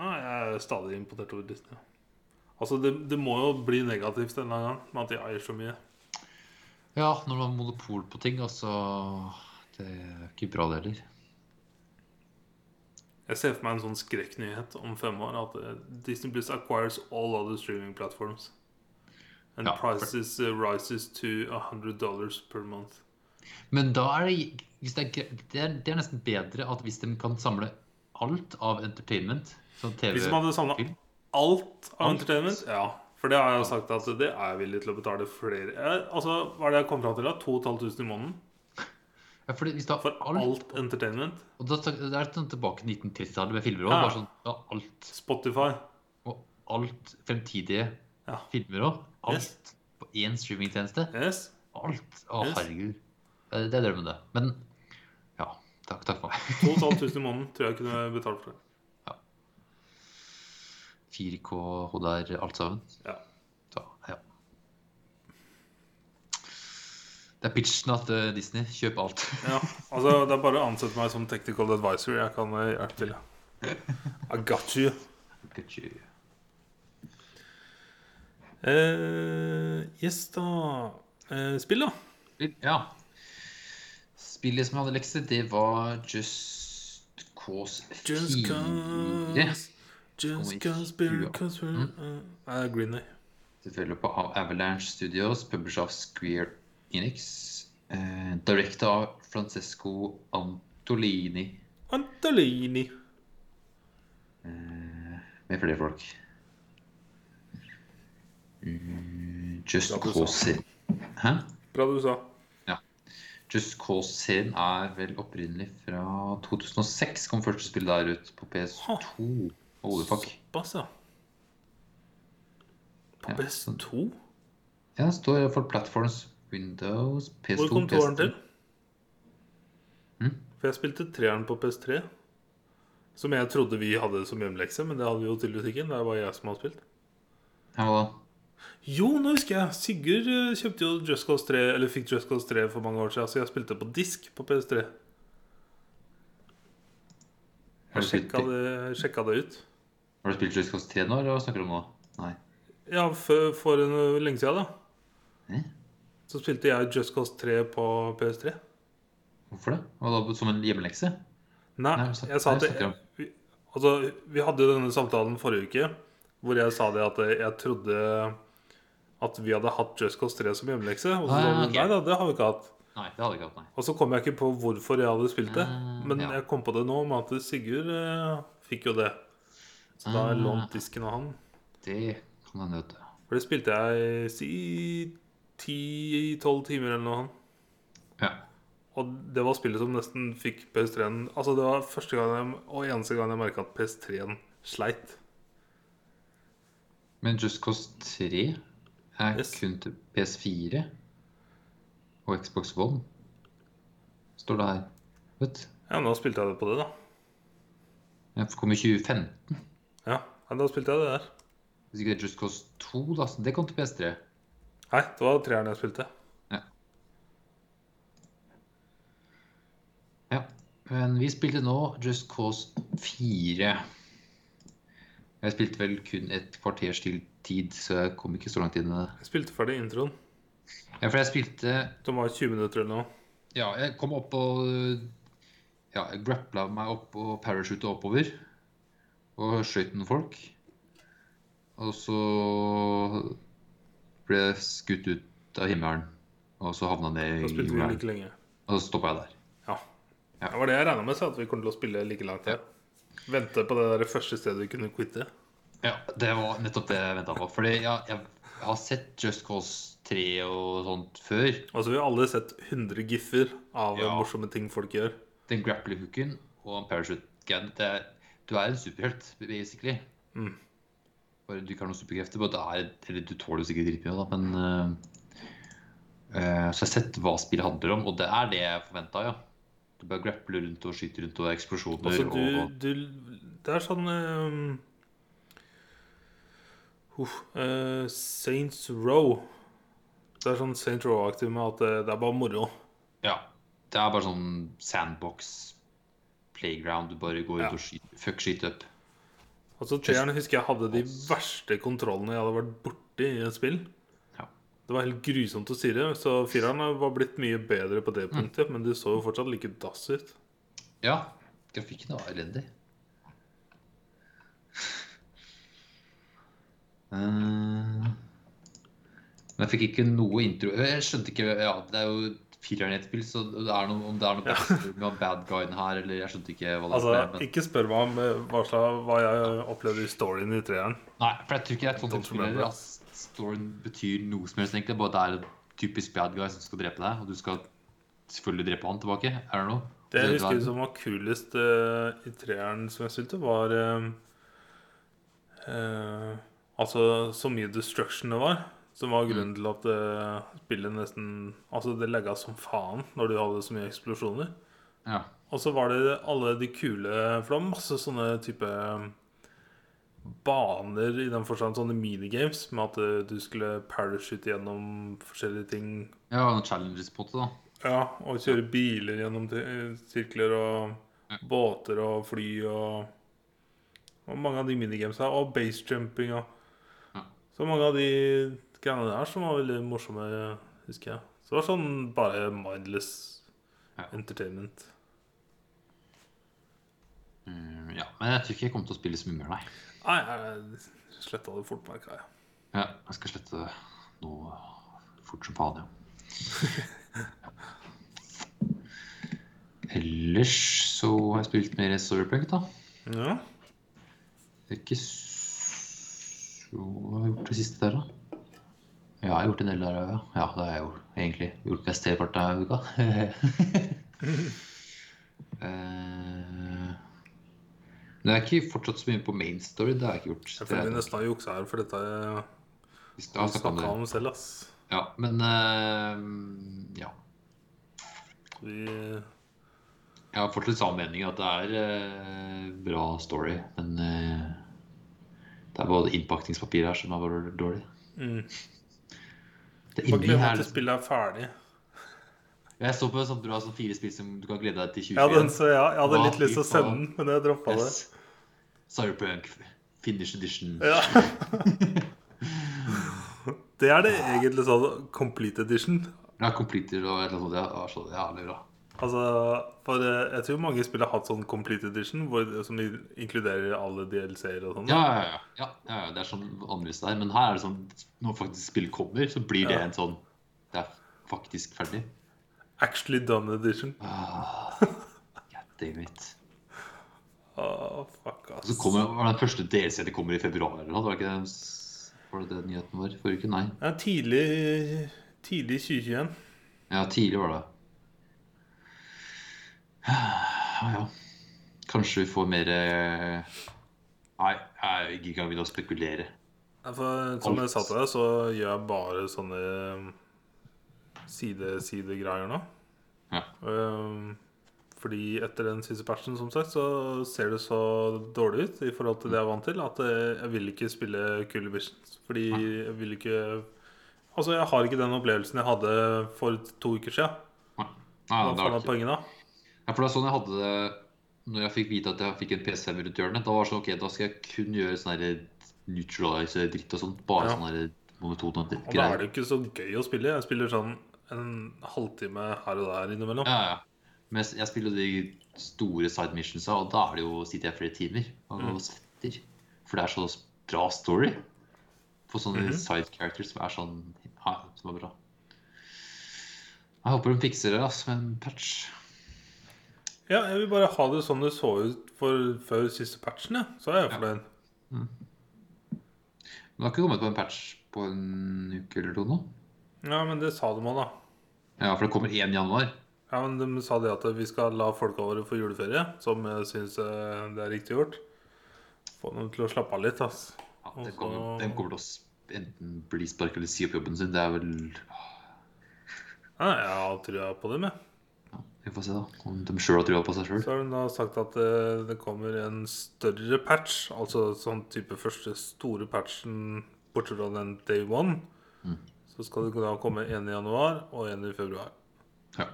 Speaker 2: Ja, jeg er stadig imponert over Disney. Altså, det, det må jo bli negativt en eller annen gang med at de eier så mye.
Speaker 1: Ja, når man har monopol på ting, altså Det er ikke bra, det heller.
Speaker 2: Jeg ser for meg en sånn skrekknyhet om fem år. At eh, Disney Plus acquires all other streaming platforms. And
Speaker 1: Ja, for-
Speaker 2: prices eh, rises to 100 dollars per month.
Speaker 1: Men da er det, hvis det, er, gre- det, er, det er nesten bedre at hvis de kan samle alt av entertainment sånn TV,
Speaker 2: Hvis man hadde samla
Speaker 1: film.
Speaker 2: alt av
Speaker 1: Alt.
Speaker 2: entertainment Ja. For det har jeg jo sagt at det er jeg villig til å betale flere eh, Altså, Hva er det jeg kom fram til? da? 2500 i måneden
Speaker 1: ja, fordi hvis du har
Speaker 2: for
Speaker 1: alt,
Speaker 2: alt entertainment?
Speaker 1: Og da, det er det sånn tilbake til 1930-tallet med filmer òg.
Speaker 2: Ja.
Speaker 1: Bare sånn ja, alt.
Speaker 2: Spotify.
Speaker 1: Og alt fremtidige
Speaker 2: Ja.
Speaker 1: filmer òg. Alt
Speaker 2: Yes.
Speaker 1: på én streamingtjeneste.
Speaker 2: Yes.
Speaker 1: Alt. Å,
Speaker 2: Yes.
Speaker 1: herregud. Eh, Det er drømmen, det. Men ja. Takk, takk for meg.
Speaker 2: 2500 i måneden tror jeg jeg kunne betalt for.
Speaker 1: 4K HDR, alt sammen.
Speaker 2: Ja.
Speaker 1: Så, ja. Det er pitchen at eh, Disney kjøper alt.
Speaker 2: Ja, altså Det er bare å ansette meg som technical advisor. Jeg kan eh, hjelpe til. I got you.
Speaker 1: Kanskje-
Speaker 2: Eh, yes, da. Eh, spill, da.
Speaker 1: Ja. Spillet som jeg hadde lekse, det var Just Cause 4.
Speaker 2: Just cause, just
Speaker 1: Kommer Mm. i
Speaker 2: cause, beer, cause we're eh, Green Day.
Speaker 1: Selvfølgelig på av Avalanche Studios, publisher av Square Enix. Eh, Direkta av Francesco Antolini
Speaker 2: Antolini.
Speaker 1: med flere folk. Mm, Just
Speaker 2: Ja, du sa.
Speaker 1: Cause-serien Hæ?
Speaker 2: Bra du sa.
Speaker 1: Just Cause-serien er vel opprinnelig fra 2006, kom første spill der ut på PS2. Holy fuck.
Speaker 2: Såpass, ja. På
Speaker 1: Ja, sånn.
Speaker 2: PS2?
Speaker 1: Ja, det står i hvert fall Platforms, Windows, PS2,
Speaker 2: Hvor kom toeren til?
Speaker 1: Mm?
Speaker 2: For jeg spilte treeren på PS3. Som jeg trodde vi hadde som hjemmelekse, men det hadde vi jo tydeligvis ikke. Det er bare jeg som har spilt.
Speaker 1: Ja, hva da?
Speaker 2: Jo, nå husker jeg. Sigurd eh, kjøpte jo Just Cause 3, eller fikk Just Cause 3 for mange år siden, så jeg spilte på disk på PS3.
Speaker 1: Har
Speaker 2: Jeg
Speaker 1: du spilt,
Speaker 2: sjekka det, sjekka det ut.
Speaker 1: har du spilt Just Cause 3 nå, eller hva snakker du om nå? Nei.
Speaker 2: Ja, for, for en, eh, lenge siden, da.
Speaker 1: Hæ?
Speaker 2: Så spilte jeg Just Cause 3 på PS3.
Speaker 1: Hvorfor det? Hva da, som en hjemmelekse?
Speaker 2: Nei,
Speaker 1: Nei, vi snakker-
Speaker 2: jeg sa
Speaker 1: nei,
Speaker 2: at
Speaker 1: vi
Speaker 2: det,
Speaker 1: snakker om-
Speaker 2: vi, altså, vi hadde jo denne samtalen forrige uke, hvor jeg sa det at eh, jeg trodde at vi hadde hatt Just Cause 3 som hjemmelekse. Og så sa
Speaker 1: Ah,
Speaker 2: du
Speaker 1: ok.
Speaker 2: nei da, det har vi ikke hatt.
Speaker 1: Nei, det hadde jeg ikke hatt, nei.
Speaker 2: Og så kom jeg ikke på hvorfor jeg hadde spilt det.
Speaker 1: Ah,
Speaker 2: Men
Speaker 1: ja.
Speaker 2: jeg kom på det nå med at Sigurd eh, fikk jo det. Så da
Speaker 1: Ah.
Speaker 2: lånte disken av han.
Speaker 1: Det kan hende, vet du.
Speaker 2: For det spilte jeg si 10-12 timer eller noe.
Speaker 1: Ja.
Speaker 2: Og det var spillet som nesten fikk PS3-en Altså det var første gang jeg, og eneste gang jeg merka at PS3-en sleit.
Speaker 1: Men Just Cause 3 er
Speaker 2: Yes.
Speaker 1: kun til PS4 og Xbox One. Står det her. Vet du.
Speaker 2: Ja, nå spilte jeg det på det, da.
Speaker 1: Jeg kom i 2015.
Speaker 2: Ja, ja da spilte jeg det der.
Speaker 1: Hvis ikke det er Just Cause 2, da, så det kom til PS3.
Speaker 2: Nei, det var treeren jeg spilte.
Speaker 1: Ja. Men vi spilte nå Just Cause 4. Jeg spilte vel kun et kvarters til tid, så jeg kom ikke så langt inn i det.
Speaker 2: Jeg spilte ferdig introen,
Speaker 1: Ja, for jeg spilte
Speaker 2: som var 20 minutter eller noe.
Speaker 1: Ja, jeg kom opp og Ja, jeg grappla meg opp og parachuta oppover. Og skjøt noen folk. Og så ble jeg skutt ut av himmelen. Og så havna ned
Speaker 2: Da
Speaker 1: i
Speaker 2: spilte vi
Speaker 1: jorden.
Speaker 2: like lenge.
Speaker 1: Og så stoppa jeg der.
Speaker 2: Ja. Det var det jeg regna med, så at vi kom til å spille like langt. Ja. Vente på det der første stedet vi kunne quitte.
Speaker 1: Ja, det var nettopp det jeg venta på. Fordi ja, jeg, jeg har sett Just Cause 3 og sånt før.
Speaker 2: Og så har Altså, vi alle sett 100 giffer av
Speaker 1: Ja.
Speaker 2: morsomme ting folk gjør.
Speaker 1: Den grappler-hooken og parachute-gun det er- Du er en superhelt, basically.
Speaker 2: Mm.
Speaker 1: Bare du ikke har noen superkrefter. Bare det er, eller du tåler jo sikkert dritmye, da, men eh, eh, Så jeg har sett hva spillet handler om, og det er det jeg forventa, ja. Du bare grappler rundt og skyter rundt og det er eksplosjoner
Speaker 2: Altså,
Speaker 1: og,
Speaker 2: du, du Det er sånn ehm, Uff eh, Saints eh, Row. Det er sånn St. Row-aktig med at eh, det, det er bare moro.
Speaker 1: Ja. Det er bare sånn sandbox playground. Du bare går ut
Speaker 2: Ja.
Speaker 1: og skyter. Fuck, skyt opp.
Speaker 2: Altså, Treeren husker jeg hadde de verste kontrollene jeg hadde vært borti i et spill.
Speaker 1: Ja.
Speaker 2: Det var helt grusomt å styre, så fireren var blitt mye bedre på det
Speaker 1: Mm.
Speaker 2: punktet. Men det så jo fortsatt like dass ut.
Speaker 1: ja. Grafikken var elendig. Eh, Men jeg fikk ikke noe intro Jeg skjønte ikke Ja, det er jo fireren i et spill, så det er noe, om det er noe backstory med bad guyen her, eller jeg skjønte ikke hva det
Speaker 2: Altså,
Speaker 1: men-
Speaker 2: Ikke spør meg om eh, hva, slags- hva jeg opplevde i storyen i treeren.
Speaker 1: Nei, for jeg tror ikke det er et sånt type
Speaker 2: Don't
Speaker 1: spill heller.
Speaker 2: remember.
Speaker 1: At storyen betyr noe som helst, egentlig. Bare at det er en typisk bad guy som skal drepe deg, og du skal selvfølgelig drepe han tilbake. Er det noe?
Speaker 2: Det jeg husker
Speaker 1: du
Speaker 2: som var kulest eh, i treeren som jeg spilte, var eh, eh, Altså så mye destruction det var. Som var
Speaker 1: Mm.
Speaker 2: grunnen til at eh, spillet nesten Altså det legga som faen når du hadde så mye eksplosjoner.
Speaker 1: Ja.
Speaker 2: Og så var det alle de kule For det var masse sånne type um, baner i den forstand, sånne minigames med at eh, du skulle parachute gjennom forskjellige ting.
Speaker 1: ja, noen challenges på det, da.
Speaker 2: Ja, og kjøre biler gjennom t- eh, sirkler og
Speaker 1: Ja.
Speaker 2: båter og fly og, og mange av de minigamesa. Og basejumping og
Speaker 1: Ja.
Speaker 2: Så mange av de greiene der som var veldig morsomme, husker jeg. Så det var sånn bare mindless
Speaker 1: Ja.
Speaker 2: entertainment.
Speaker 1: Mm, ja. Men jeg tror ikke jeg kommer til å spille så mye mer, nei.
Speaker 2: Nei, jeg sletta det fort, merka jeg.
Speaker 1: Ja, jeg skal slette det nå fort som faen, ja. Ellers så har jeg spilt mer Cyberpunk, da.
Speaker 2: Ja.
Speaker 1: Det er ikke så Hva har jeg gjort det siste der, da? Ja, jeg har gjort en del der òg, ja. ja. Det har jeg gjort, egentlig. Gjort mesteparten av uka. Eh, Men jeg har ikke fortsatt så mye på main story. Det har jeg ikke gjort.
Speaker 2: Jeg
Speaker 1: Det
Speaker 2: føler
Speaker 1: er-
Speaker 2: vi nesten har juksa her, for dette har
Speaker 1: vi
Speaker 2: vi
Speaker 1: snakket om
Speaker 2: snakka
Speaker 1: det.
Speaker 2: om selv, ass.
Speaker 1: Ja, men eh, ja.
Speaker 2: Vi
Speaker 1: Jeg har fortsatt samme mening at det er eh, bra story, men eh, det er både innpakningspapir her som er bare dårlig.
Speaker 2: mm.
Speaker 1: Det
Speaker 2: Bare
Speaker 1: inni
Speaker 2: gleder
Speaker 1: her
Speaker 2: meg til spillet er ferdig.
Speaker 1: Jeg så på en sånn, du har sånn fire spill som du kan glede deg til
Speaker 2: Ja,
Speaker 1: 2021.
Speaker 2: den så jeg. Jeg hadde
Speaker 1: Hva
Speaker 2: litt lyst til å
Speaker 1: i
Speaker 2: sende
Speaker 1: faen?
Speaker 2: den, men jeg droppa det.
Speaker 1: Yes. Cyberpunk Finish Edition.
Speaker 2: Ja. Det er det egentlig sånn complete edition.
Speaker 1: Ja, Completer og et eller annet sånt. Ja, det var så jævlig bra.
Speaker 2: Altså, for eh, jeg tror mange spill har hatt sånn complete edition, hvor, som i- inkluderer alle DLC-er og sånn.
Speaker 1: Ja, ja, ja. ja, ja, ja. Det er sånn annerledes der. Men her er det sånn når faktisk spillet kommer, så blir det
Speaker 2: Ja.
Speaker 1: en sånn Det er faktisk ferdig.
Speaker 2: Actually done edition.
Speaker 1: Ah, God damn it.
Speaker 2: Åh, fuck,
Speaker 1: Og så
Speaker 2: ass.
Speaker 1: kommer var det den første DLC det kommer i februar eller noe. Var det ikke den, var det den nyheten vår forrige uke? Nei.
Speaker 2: Ja, tidlig, tidlig 2021.
Speaker 1: Ja, tidlig var det. Ah, Ja, ja. Kanskje vi får mer eh, Nei, jeg gidder ikke begynne å spekulere.
Speaker 2: Ja, For, som
Speaker 1: Alt.
Speaker 2: jeg sa til deg, så gjør jeg bare sånne um, side- sidegreier nå.
Speaker 1: Ja.
Speaker 2: Ehm, fordi etter den siste patchen, som sagt, så ser det så dårlig ut i forhold til det jeg er vant til, at eh, jeg vil ikke spille Cool Visions. Fordi jeg vil ikke Altså, jeg har ikke den opplevelsen jeg hadde for to uker siden.
Speaker 1: Nei, nei
Speaker 2: Hva
Speaker 1: det
Speaker 2: faen
Speaker 1: var
Speaker 2: er
Speaker 1: ikke.
Speaker 2: poenget da?
Speaker 1: Ja, for det er sånn jeg hadde det når jeg fikk vite at jeg fikk en PC rundt hjørnet. Da var det sånn, ok, da skal jeg kun gjøre sånn her neutralize-dritt og sånt. Bare
Speaker 2: Ja.
Speaker 1: sånn her monotone
Speaker 2: Og da er
Speaker 1: greier.
Speaker 2: det jo ikke så gøy å spille. Jeg spiller sånn en halvtime her og der innimellom.
Speaker 1: Ja, ja. Men jeg spiller jo de store side missionsa, og da er det jo, sitter jeg flere timer og
Speaker 2: Mm.
Speaker 1: svetter. For det er så bra story på sånne
Speaker 2: Mhm.
Speaker 1: side characters som er sånn ja, som er bra. Jeg håper de fikser det altså, med en patch.
Speaker 2: Ja, jeg vil bare ha det sånn det så ut for, før siste patchen, ja. så er jeg fornøyd.
Speaker 1: Men det har ikke kommet på en patch på en uke eller to nå.
Speaker 2: Ja, men det sa de òg, da.
Speaker 1: Ja, for det kommer 1. januar.
Speaker 2: Ja, men De sa det at vi skal la folka våre få juleferie, som jeg syns det er riktig gjort. Få dem til å slappe av litt, ass.
Speaker 1: Ja, den,
Speaker 2: Og
Speaker 1: kommer,
Speaker 2: så-
Speaker 1: den kommer til å sp- enten bli sparket eller si opp jobben sin. Det er vel
Speaker 2: Ja, jeg har trua på dem, jeg.
Speaker 1: Vi får se, da. Om de sjøl har trua på seg sjøl.
Speaker 2: Så har de da sagt at eh, det kommer en større patch, altså sånn type første store patchen bortsett fra den day one, Så skal det da komme en i januar og en i februar.
Speaker 1: Ja.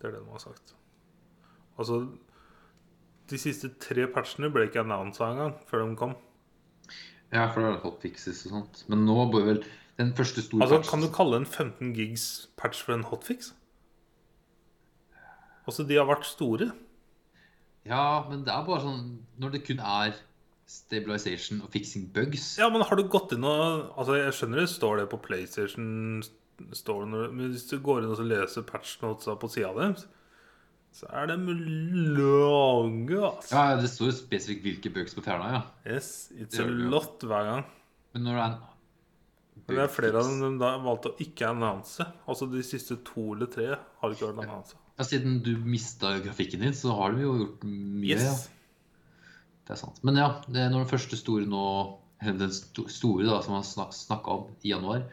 Speaker 2: Det er det de har sagt. Altså De siste tre patchene ble ikke annonsa engang før de kom.
Speaker 1: ja, for det er hot fixes og sånt. Men nå bør vel den første store
Speaker 2: Altså,
Speaker 1: patchen-
Speaker 2: Kan du kalle en 15 gigs patch for en hotfix? Altså, de har vært store.
Speaker 1: Ja, men det er bare sånn Når det kun er stabilization og fixing bugs
Speaker 2: Ja, men har du gått inn og Altså, jeg skjønner det står det på PlayStation Store når, Men hvis du går inn og så leser patch notesa på sida deres, så er de lange, altså.
Speaker 1: Ja, det står jo spesifikt hvilke bugs på fjerna, ja.
Speaker 2: Yes, it's
Speaker 1: Det gjør
Speaker 2: a
Speaker 1: det jo.
Speaker 2: lot hver gang.
Speaker 1: Men når det er en
Speaker 2: Men det er flere av
Speaker 1: bugfix-
Speaker 2: dem de da valgte å ikke annonse. Altså de siste to eller tre har ikke vært annonse.
Speaker 1: Ja, Siden du mista grafikken din, så har de jo gjort mye.
Speaker 2: Yes.
Speaker 1: Ja. Det er sant. Men ja, det er når den første store nå eller Den sto- store da, som man snak- snakka om i januar,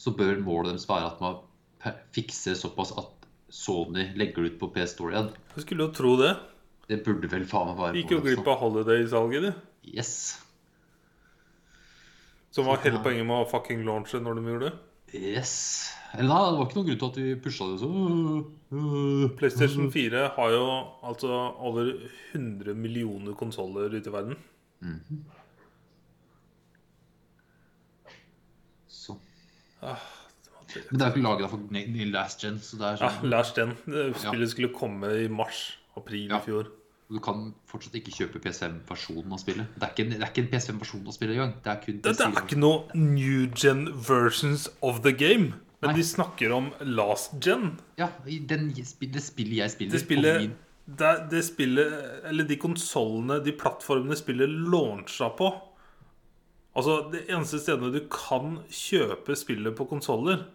Speaker 1: så bør målet deres være at man per- fikser såpass at Sony legger det ut på PS Store igjen.
Speaker 2: Du skulle jo tro det.
Speaker 1: Det burde vel faen meg være
Speaker 2: Gikk jo
Speaker 1: målet,
Speaker 2: glipp
Speaker 1: altså.
Speaker 2: av Holiday-salget, de.
Speaker 1: Yes.
Speaker 2: Som var hele poenget med å fucking launche når de gjorde det.
Speaker 1: Yes. Eller nei, det var ikke noen grunn til at vi pusha det så øh,
Speaker 2: PlayStation
Speaker 1: Mhm.
Speaker 2: 4 har jo altså over 100 millioner konsoller ute i verden.
Speaker 1: Så.
Speaker 2: Ah,
Speaker 1: Men det er jo ikke laget for ne- ne- last gen, så det er
Speaker 2: Ja,
Speaker 1: sånn
Speaker 2: Lars den. Det Spillet skulle komme i mars-april
Speaker 1: Ja.
Speaker 2: i fjor.
Speaker 1: Du kan fortsatt ikke kjøpe PS5-versjonen av spillet. Det er ikke en, det er ikke en PS5-versjon av spillet engang. Det er kun
Speaker 2: Dette er
Speaker 1: PS4.
Speaker 2: ikke noe new gen versions of the game. Men
Speaker 1: Nei.
Speaker 2: de snakker om last gen.
Speaker 1: Ja, i den, spi- det spillet jeg spiller.
Speaker 2: Det spillet,
Speaker 1: på min-
Speaker 2: det, det spillet Eller de konsollene, de plattformene spillet launcha på Altså, det eneste stedet du kan kjøpe spillet på konsoller,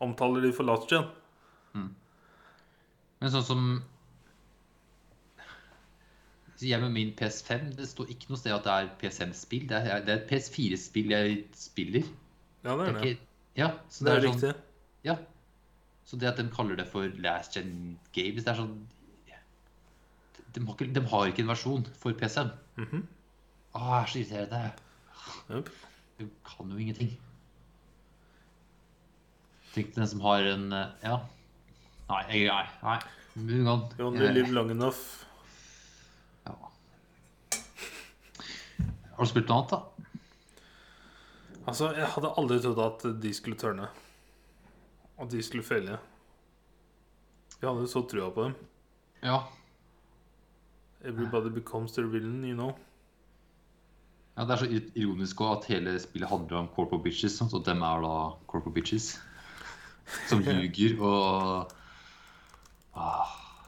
Speaker 2: omtaler de for last gen.
Speaker 1: Men sånn som Så Jeg med min PS5, det står ikke noe sted at det er PS5-spill. Det er, det er et PS4-spill jeg spiller.
Speaker 2: Ja,
Speaker 1: Det
Speaker 2: det er
Speaker 1: er
Speaker 2: det.
Speaker 1: ikke, ja, så
Speaker 2: Det
Speaker 1: det
Speaker 2: er
Speaker 1: er sånn
Speaker 2: riktig.
Speaker 1: Ja. Så det at de kaller det for last gen games, det er sånn De har ikke, de har ikke en versjon for PC-en.
Speaker 2: Mhm.
Speaker 1: Åh, jeg er så irriterende.
Speaker 2: Jep.
Speaker 1: Du kan jo ingenting. Tenk til den som har en eh, Ja. Nei, jeg Nei. nei. Moving on.
Speaker 2: You only
Speaker 1: Eh,
Speaker 2: live long enough.
Speaker 1: ja. Eh, Har du spilt noe annet, da?
Speaker 2: Altså, jeg hadde aldri trodd at de skulle tørne. At de skulle felle. Jeg hadde så trua på dem.
Speaker 1: Ja.
Speaker 2: Everybody becomes their villain, you know.
Speaker 1: ja. Det er så ir- ironisk også at hele spillet handler om corpo bitches, sant? og dem er da corpo bitches. Som ljuger og ah.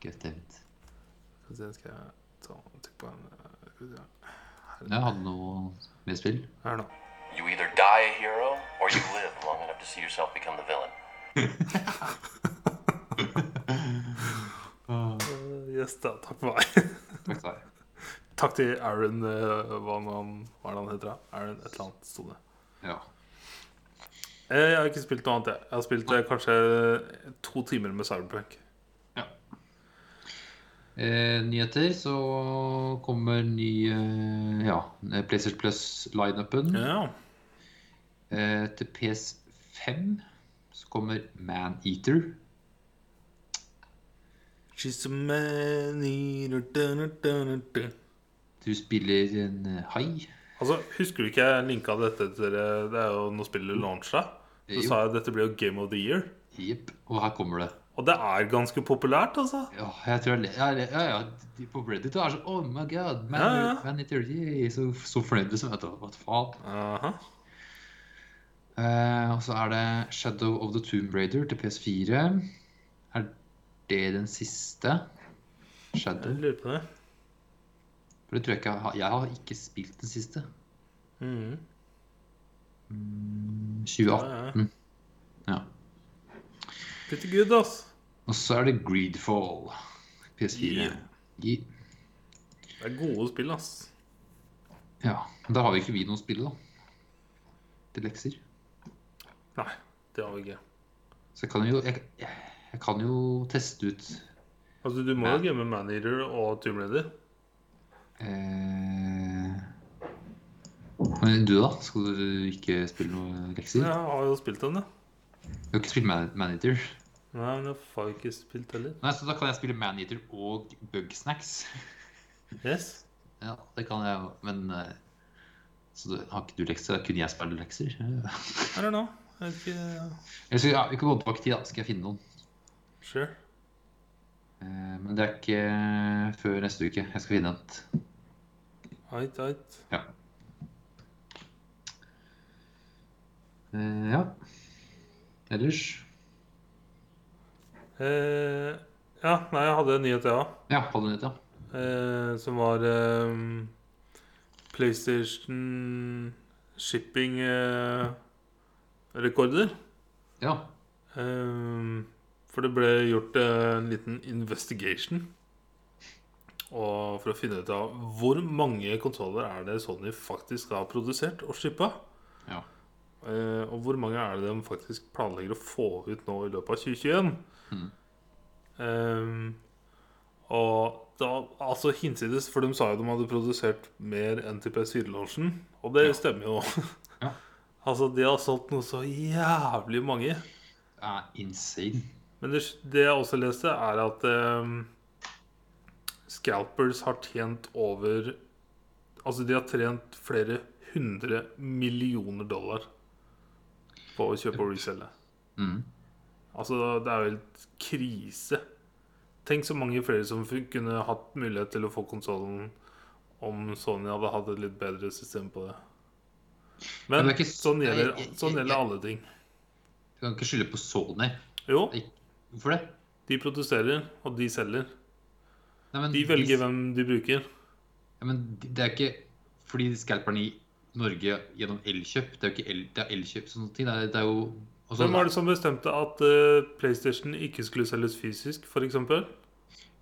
Speaker 1: Godt tenkt.
Speaker 2: Skal vi se, skal jeg ta trykke på en eh, skal vi se.
Speaker 1: Jeg hadde noe mer spill.
Speaker 2: Her nå.
Speaker 3: You either die a hero or you live long enough to see yourself become the villain.
Speaker 2: Eh, Yes da, takk for meg.
Speaker 1: Takk til deg.
Speaker 2: takk til Aaron, eh, hva nå han- hva er det han heter da? Aaron et eller annet sto det.
Speaker 1: Ja.
Speaker 2: Eh, Jeg har ikke spilt noe annet, jeg. Jeg har spilt eh, kanskje to timer med Cyberpunk.
Speaker 1: Eh, nyheter, så kommer ny eh, ja, PlayStation Plus-lineupen.
Speaker 2: Ja,
Speaker 1: Eh, til PS5 så kommer Maneater.
Speaker 2: She's a man eater, da, da, da, da, da.
Speaker 1: Du spiller en eh, hai.
Speaker 2: Altså, Husker du ikke jeg linka dette til eh, Det er jo når spillet launcha? Så
Speaker 1: Jo.
Speaker 2: sa jeg at dette blir jo Game of the Year.
Speaker 1: Jepp. Og her kommer det.
Speaker 2: Og det er ganske populært, altså.
Speaker 1: Ja, jeg tror jeg le- ja, le- ja, ja, de på Reddit er sånn Oh my god, Man,
Speaker 2: Ja, ja.
Speaker 1: Maneater. yay!» Så, så fornøyde som vet du. Hva faen?
Speaker 2: Aha.
Speaker 1: Eh, og så er det Shadow of the Tomb Raider til PS4. Er det den siste? Shadow?
Speaker 2: Jeg lurer på det.
Speaker 1: For det tror jeg ikke jeg har Jeg har ikke spilt den siste.
Speaker 2: Mhm.
Speaker 1: 2018. Ja.
Speaker 2: Pretty good, ass.
Speaker 1: Og så er det Greedfall. PS4.
Speaker 2: Yeah.
Speaker 1: Gi-
Speaker 2: Det er gode spill, ass.
Speaker 1: Ja. Men da har vi ikke vi noe å spille, da. Til lekser.
Speaker 2: Nei, det har vi ikke.
Speaker 1: Så jeg kan jo Jeg, jeg kan jo teste ut
Speaker 2: Altså, Du må
Speaker 1: Ja.
Speaker 2: jo game Maneater og Tomb Raider.
Speaker 1: eh, Men du, da? Skal du ikke spille noen lekser?
Speaker 2: Jeg har jo spilt den, da.
Speaker 1: Du har ikke spilt Man Maneater?
Speaker 2: Nei, men jeg får ikke spilt heller.
Speaker 1: Nei, så da kan jeg spille Maneater og Bugsnacks.
Speaker 2: Yes.
Speaker 1: Ja, det kan jeg jo, men eh, Så du, har ikke du lekser? Da kunne jeg spille lekser? Eller
Speaker 2: I don't know. Jeg vet ikke uh,
Speaker 1: så ja, vi kan gå tilbake i tid, da. Skal jeg finne noen?
Speaker 2: Sure.
Speaker 1: Eh, Men det er ikke eh, før neste uke. Jeg skal finne et.
Speaker 2: Ait, ait.
Speaker 1: Eh, Ja. Ellers
Speaker 2: Eh, ja, nei, jeg hadde en nyhet, jeg ja. òg.
Speaker 1: Ja, ha det nytt, ja.
Speaker 2: Eh, som var ehm, PlayStation eh, shipping-rekorder.
Speaker 1: Ja.
Speaker 2: Ehm, for det ble gjort eh, en liten investigation. Og for å finne ut av hvor mange kontroller er det Sony faktisk har produsert og shippa.
Speaker 1: Ja.
Speaker 2: Eh, og hvor mange er det de faktisk planlegger å få ut nå i løpet av 2021?
Speaker 1: Mhm.
Speaker 2: Ehm, og da, altså hinsides, for de sa jo de hadde produsert mer enn til PS4-launchen. Og det
Speaker 1: Ja.
Speaker 2: stemmer jo.
Speaker 1: Ja.
Speaker 2: altså, de har solgt noe så jævlig mange.
Speaker 1: Det er insane.
Speaker 2: Men det, det jeg også leste, er at ehm, scalpers har tjent over Altså, de har trent flere hundre millioner dollar på å kjøpe og reselge.
Speaker 1: Mm.
Speaker 2: Altså, det er jo helt krise. Tenk så mange flere som fu- kunne hatt mulighet til å få konsollen om Sony hadde hatt et litt bedre system på det. Men
Speaker 1: Men det er ikke-
Speaker 2: sånn gjelder,
Speaker 1: Nei, jeg-
Speaker 2: sånn
Speaker 1: jeg-
Speaker 2: gjelder alle ting.
Speaker 1: Du kan ikke skylde på Sony.
Speaker 2: Jo,
Speaker 1: Hvorfor det?
Speaker 2: de produserer, og de selger.
Speaker 1: Nei, men
Speaker 2: De velger hvem de bruker.
Speaker 1: Ja, men det er ikke fordi scalperne i Norge gjennom Elkjøp Det er jo ikke el, det er Elkjøp og sånne ting. Det er, det er jo også,
Speaker 2: Hvem var det som bestemte at eh, PlayStation ikke skulle selges fysisk, f.eks.?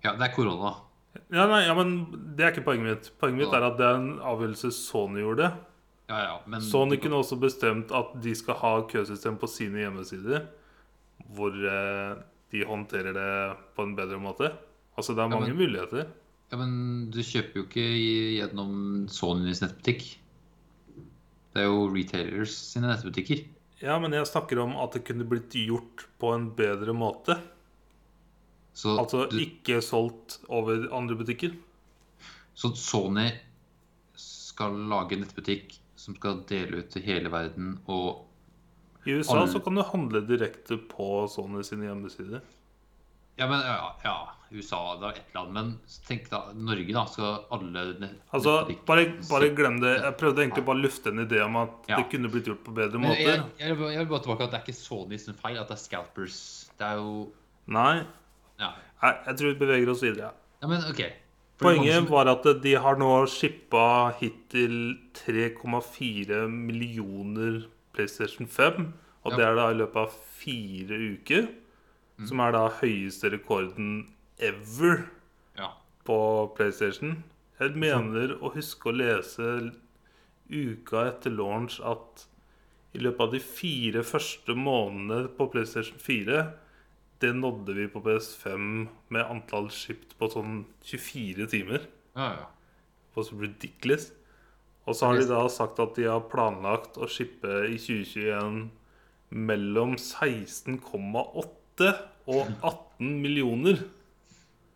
Speaker 1: Ja, det er korona.
Speaker 2: Ja, nei, ja, men det er ikke poenget mitt. Poenget mitt
Speaker 1: Ja.
Speaker 2: er at det er en avgjørelse Sony gjorde.
Speaker 1: Ja, ja, men
Speaker 2: Sony kunne også bestemt at de skal ha køsystem på sine hjemmesider, hvor eh, de håndterer det på en bedre måte. Altså, det er mange
Speaker 1: men-
Speaker 2: muligheter.
Speaker 1: Ja, men du kjøper jo ikke i- gjennom Sonys nettbutikk. Det er jo retailers sine nettbutikker.
Speaker 2: Ja, men jeg snakker om at det kunne blitt gjort på en bedre måte.
Speaker 1: Så,
Speaker 2: Altså
Speaker 1: du,
Speaker 2: ikke solgt over andre butikker.
Speaker 1: så Sony skal lage en nettbutikk som skal dele ut til hele verden og
Speaker 2: I USA
Speaker 1: Alle-
Speaker 2: så kan du handle direkte på Sony sine hjemmesider.
Speaker 1: Ja, men ja, ja USA det er ett land, men tenk da, Norge, da. Skal alle nett-
Speaker 2: Altså,
Speaker 1: nettbutikk-
Speaker 2: bare, bare glem det. Jeg prøvde egentlig
Speaker 1: Ja.
Speaker 2: bare å lufte en idé om at
Speaker 1: Ja.
Speaker 2: det kunne blitt gjort på bedre
Speaker 1: Men jeg,
Speaker 2: måter.
Speaker 1: jeg, vil- jeg vil bare tilbake at det er ikke Sony sin feil at det er scalpers. Det er jo
Speaker 2: Nei,
Speaker 1: Ja,
Speaker 2: Nei, jeg tror vi beveger oss videre.
Speaker 1: ja men OK. For det er mange
Speaker 2: Poenget
Speaker 1: som-
Speaker 2: var at de har nå shippa hittil 3,4 millioner PlayStation 5. Og
Speaker 1: Ja. Mm.
Speaker 2: det er da i løpet av fire uker. Som er da høyeste rekorden ever
Speaker 1: ja,
Speaker 2: på PlayStation. Jeg mener å huske å lese uka etter launch at i løpet av de fire første månedene på PlayStation 4, det nådde vi på PS5 med antall skipt på sånn 24 timer.
Speaker 1: ja, ja.
Speaker 2: Det var så ridiculous. Og så har de da sagt at de har planlagt å shippe i 2021 mellom 16,8 og 18 millioner.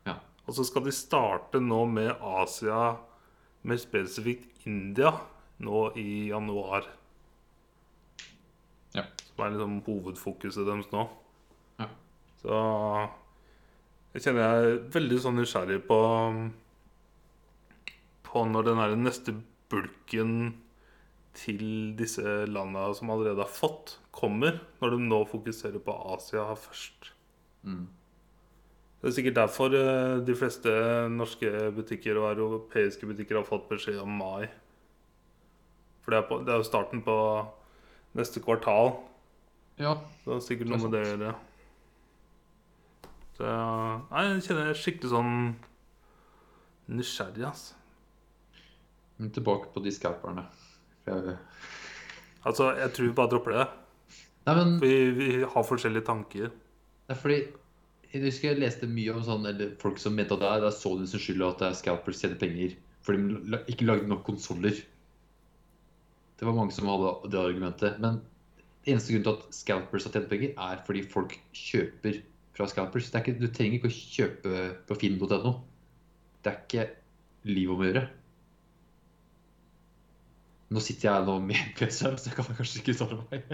Speaker 1: ja.
Speaker 2: Og så skal de starte nå med Asia, mer spesifikt India, nå i januar.
Speaker 1: Ja.
Speaker 2: Som er liksom hovedfokuset deres nå.
Speaker 1: Ja.
Speaker 2: Så jeg kjenner jeg er veldig sånn nysgjerrig på På når den her neste bulken til disse landa som allerede har fått, kommer. Når de nå fokuserer på Asia først.
Speaker 1: Mm.
Speaker 2: Det er sikkert derfor eh, de fleste norske butikker og europeiske butikker har fått beskjed om mai. For det er, på, det er jo starten på neste kvartal.
Speaker 1: ja.
Speaker 2: Så det er sikkert noe med det å gjøre. Så nei, jeg kjenner jeg er skikkelig sånn nysgjerrig, ass.
Speaker 1: Men tilbake på de scalperne. Jeg-
Speaker 2: Altså, jeg tror vi bare dropper det.
Speaker 1: Nei, men
Speaker 2: Vi, vi har forskjellige tanker.
Speaker 1: det er fordi Jeg husker jeg leste mye om sånn, eller folk som mente at det er, det er Sony sin skyld og at det er scalpers tjener penger. For de la- ikke lagde nok konsoller. Det var mange som hadde det argumentet. Men eneste grunn til at scalpers har tjent penger, er fordi folk kjøper fra scalpers. Det er ikke, du trenger ikke å kjøpe på finn.no. Det er ikke liv om å gjøre. Nå sitter jeg nå med PC-en, så jeg kan kanskje ikke svare meg.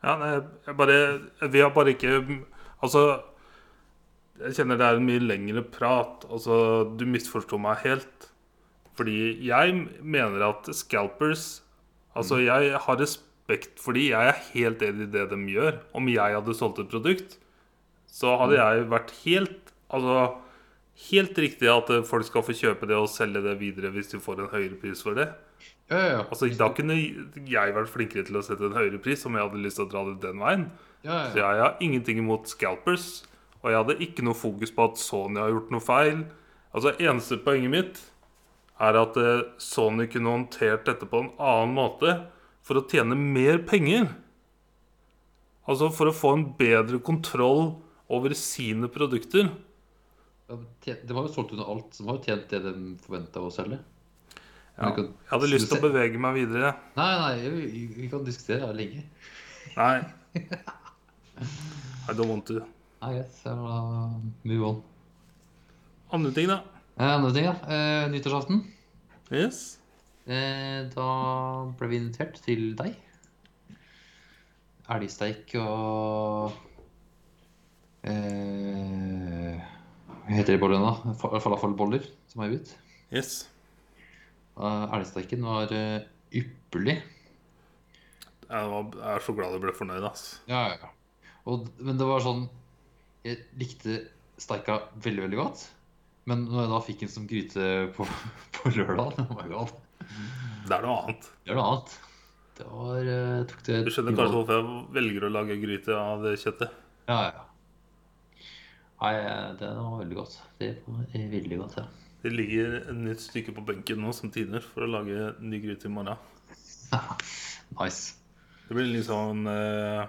Speaker 2: Ja, nei, jeg bare Vi har bare ikke Altså Jeg kjenner det er en mye lengre prat. Altså, du misforsto meg helt. Fordi jeg mener at scalpers Altså, jeg har respekt for de Jeg er helt enig i det de gjør. Om jeg hadde solgt et produkt, så hadde jeg vært helt Altså Helt riktig at eh, folk skal få kjøpe det og selge det videre hvis de får en høyere pris for det.
Speaker 1: Ja, ja, ja.
Speaker 2: Altså, Da kunne jeg vært flinkere til å sette en høyere pris om jeg hadde lyst til å dra det den veien.
Speaker 1: ja,
Speaker 2: Så
Speaker 1: ja.
Speaker 2: jeg har ingenting imot scalpers, og jeg hadde ikke noe fokus på at Sony har gjort noe feil. Altså, Eneste poenget mitt er at eh, Sony kunne håndtert dette på en annen måte for å tjene mer penger. Altså for å få en bedre kontroll over sine produkter.
Speaker 1: De har jo solgt under alt, så de har jo tjent det de forventa å selge. Men
Speaker 2: Ja.
Speaker 1: du kan-
Speaker 2: Jeg hadde lyst til å bevege meg videre.
Speaker 1: Nei, nei, vi, vi kan diskutere det lenge.
Speaker 2: Nei. I don't want to.
Speaker 1: Nei, greit. så da Move on.
Speaker 2: Andre ting, da.
Speaker 1: Eh, Andre ting, da. Eh, Nyttårsaften.
Speaker 2: Yes.
Speaker 1: Eh, da ble vi invitert til deg. Elgsteik og eh, Hva heter de bollene, da? Fa- Falafelboller som er ut.
Speaker 2: Yes.
Speaker 1: Eh, Elgsteiken var eh, ypperlig.
Speaker 2: Jeg, var, jeg er så glad jeg ble fornøyd, ass.
Speaker 1: Ja, ja, ja. Og, d- men det var sånn Jeg likte steika veldig, veldig godt. Men når jeg da fikk den som gryte på, på lørdag oh my God,
Speaker 2: Det er noe annet.
Speaker 1: Det var noe annet. Det var eh, tok det
Speaker 2: Du skjønner kanskje hvorfor jeg velger å lage gryte av det kjøttet?
Speaker 1: Ja, ja. Nei, eh, det var veldig godt. Det var eh, veldig godt, ja.
Speaker 2: Det ligger et nytt stykke på benken nå som tiner for å lage ny gryte i morgen.
Speaker 1: Nice.
Speaker 2: Det blir litt sånn eh,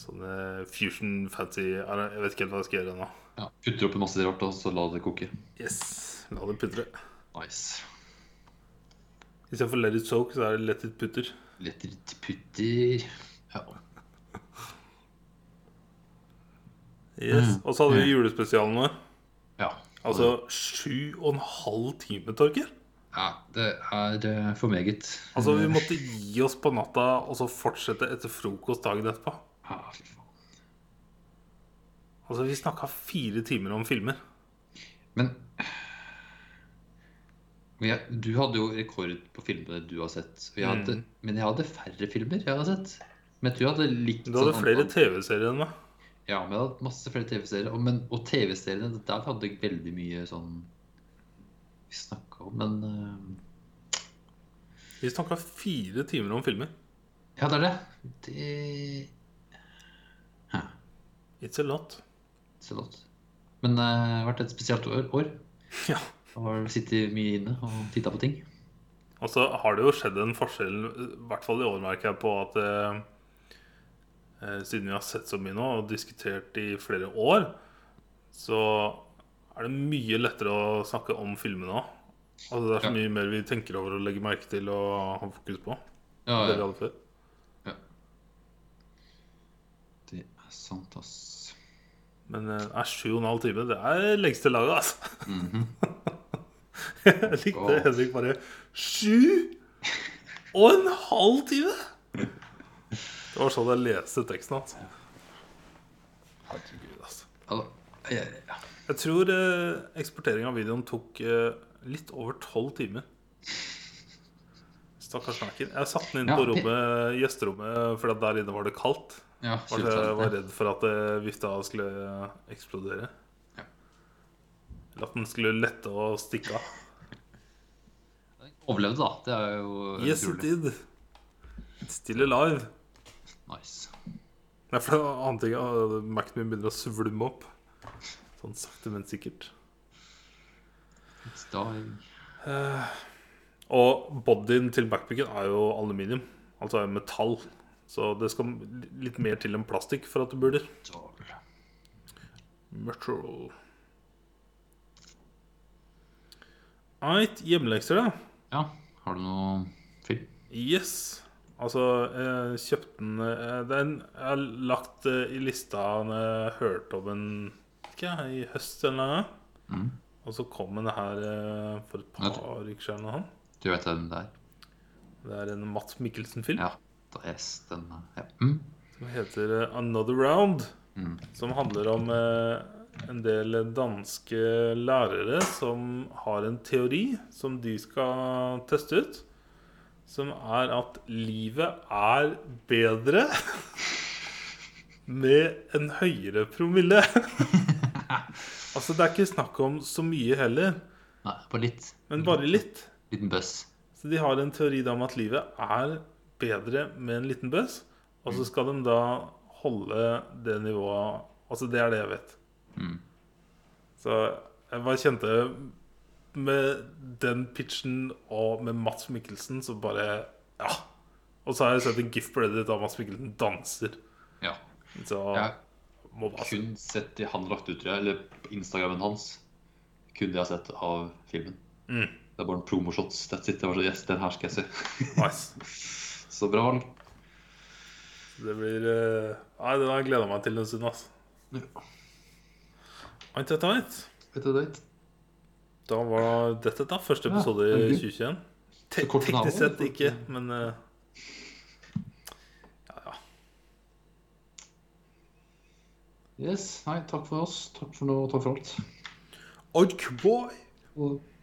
Speaker 2: Sånn eh, fusion fancy Jeg vet ikke helt hva jeg skal gjøre nå.
Speaker 1: Ja, Putter oppi masse rart, og så la det koke.
Speaker 2: Yes. La det putre.
Speaker 1: Nice.
Speaker 2: Istedenfor let it soak, så er det let it putter.
Speaker 1: Litt litt putter. Ja.
Speaker 2: Yes.
Speaker 1: Mm.
Speaker 2: Og så hadde vi julespesialen vår.
Speaker 1: ja.
Speaker 2: Altså sju og en halv time, Torger.
Speaker 1: ja det er eh, for meget.
Speaker 2: Altså,
Speaker 1: Mm.
Speaker 2: vi måtte gi oss på natta og så fortsette etter frokost dagen etterpå.
Speaker 1: Ja, fy faen.
Speaker 2: Altså, vi snakka fire timer om filmer.
Speaker 1: Men men jeg, du hadde jo rekord på filmene du har sett. Og jeg hadde,
Speaker 2: Mm.
Speaker 1: Men jeg hadde færre filmer jeg hadde sett. Men jeg tror jeg hadde likt
Speaker 2: Du hadde
Speaker 1: sånn
Speaker 2: flere
Speaker 1: antall-
Speaker 2: TV-serier enn meg.
Speaker 1: Ja, men jeg hadde hatt masse flere TV-serier. Og, men- og TV-seriene der hadde jeg veldig mye sånn Vi snakka om, men eh,
Speaker 2: Vi snakka fire timer om filmer.
Speaker 1: Ja, det er det. Det
Speaker 2: It's a lot.
Speaker 1: Så godt. Men eh, det har vært et spesielt år. år.
Speaker 2: Ja.
Speaker 1: Og har sittet mye inne og titta på ting.
Speaker 2: Og så har det jo skjedd en forskjell, i hvert fall i år, merker jeg, på at eh, eh, siden vi har sett så mye nå og diskutert i flere år, så er det mye lettere å snakke om filmene òg. Altså, det er så mye mer vi tenker over og legger merke til og har fokus på.
Speaker 1: Ja,
Speaker 2: enn Det vi hadde før.
Speaker 1: Det er sant, ass.
Speaker 2: Men eh, nei, sju og en halv time, det er lengste laget, altså.
Speaker 1: Mhm.
Speaker 2: Jeg likte
Speaker 1: Åh.
Speaker 2: Henrik bare Sju og en halv time?! Det var sånn jeg leste teksten hans. Herregud, altså.
Speaker 1: Ja, da. Ja, ja, ja.
Speaker 2: Jeg tror eh, eksportering av videoen tok eh, litt over tolv timer. Stakkars Naken. Jeg satte den inn
Speaker 1: Ja,
Speaker 2: på
Speaker 1: det-
Speaker 2: rommet, gjesterommet, for at der inne var det kaldt.
Speaker 1: Ja,
Speaker 2: Var så jeg var
Speaker 1: supertalent,
Speaker 2: redd for at eh, vifta skulle eh, eksplodere.
Speaker 1: Ja.
Speaker 2: Eller at den skulle lette og stikke av.
Speaker 1: ja. Overlevde, da. Det er jo
Speaker 2: Yes, it
Speaker 1: utrolig.
Speaker 2: did. It's still alive.
Speaker 1: Nice.
Speaker 2: Nei, for det var annet ting ah, Mac-en min begynner å svulme opp. Sånn sakte, men sikkert.
Speaker 1: It's dying.
Speaker 2: Og bodyen til backpicken er jo aluminium, altså er metall. Så det skal litt mer til enn plastikk for at det burde.
Speaker 1: Darn.
Speaker 2: Metal. Right, hjemmelekser, da.
Speaker 1: Ja, har du noe film?
Speaker 2: Yes. Altså, jeg kjøpte den eh, Den jeg har lagt eh, i lista jeg hørte om den ikke, jeg, i høst eller noe.
Speaker 1: Mm.
Speaker 2: Og så kom den her eh, for et
Speaker 1: Ja,
Speaker 2: par uker siden. eller noe.
Speaker 1: Du vet hvem det er?
Speaker 2: Det er en Matt Mikkelsen-film
Speaker 1: Ja. Da yes, den ja. mm.
Speaker 2: som heter eh, 'Another Round'.
Speaker 1: Mm.
Speaker 2: Som handler om eh, en del danske lærere som har en teori som de skal teste ut. Som er at livet er bedre med en høyere promille. altså, det er ikke snakk om så mye heller,
Speaker 1: Nei, på litt.
Speaker 2: men bare litt.
Speaker 1: Liten bøss.
Speaker 2: Så de har en teori da om at livet er bedre med en liten bøss, og
Speaker 1: Mm.
Speaker 2: så skal de da holde det nivået Altså, det er det jeg vet.
Speaker 1: Mm.
Speaker 2: Så jeg bare kjente med den pitchen og med Mats Mikkelsen, så bare Ja. Og så har jeg sett en gif på Reddit av Mats Mikkelsen danser.
Speaker 1: Ja.
Speaker 2: Så
Speaker 1: Jeg
Speaker 2: må bare
Speaker 1: har kun sett det han lagt ut, tror jeg, eller på Instagrammen hans. Kun det jeg har sett av filmen.
Speaker 2: Mm.
Speaker 1: Det er bare en promoshots. That's it. Det var så, yes, den her skal jeg se.
Speaker 2: Nice.
Speaker 1: Så bra valg.
Speaker 2: Det blir eh, Nei, den har jeg gleda meg til en stund, ass.
Speaker 1: Ja.
Speaker 2: Ant, ant, ant.
Speaker 1: Vet du det?
Speaker 2: Da var dette da første
Speaker 1: Ja,
Speaker 2: episode i
Speaker 1: veldig.
Speaker 2: 2021. Te
Speaker 1: Så kort finale,
Speaker 2: teknisk sett
Speaker 1: da.
Speaker 2: ikke, men eh,
Speaker 1: Yes. Nei, takk for oss. Takk for nå. Takk for alt.
Speaker 2: Odd Cowboy!
Speaker 1: Og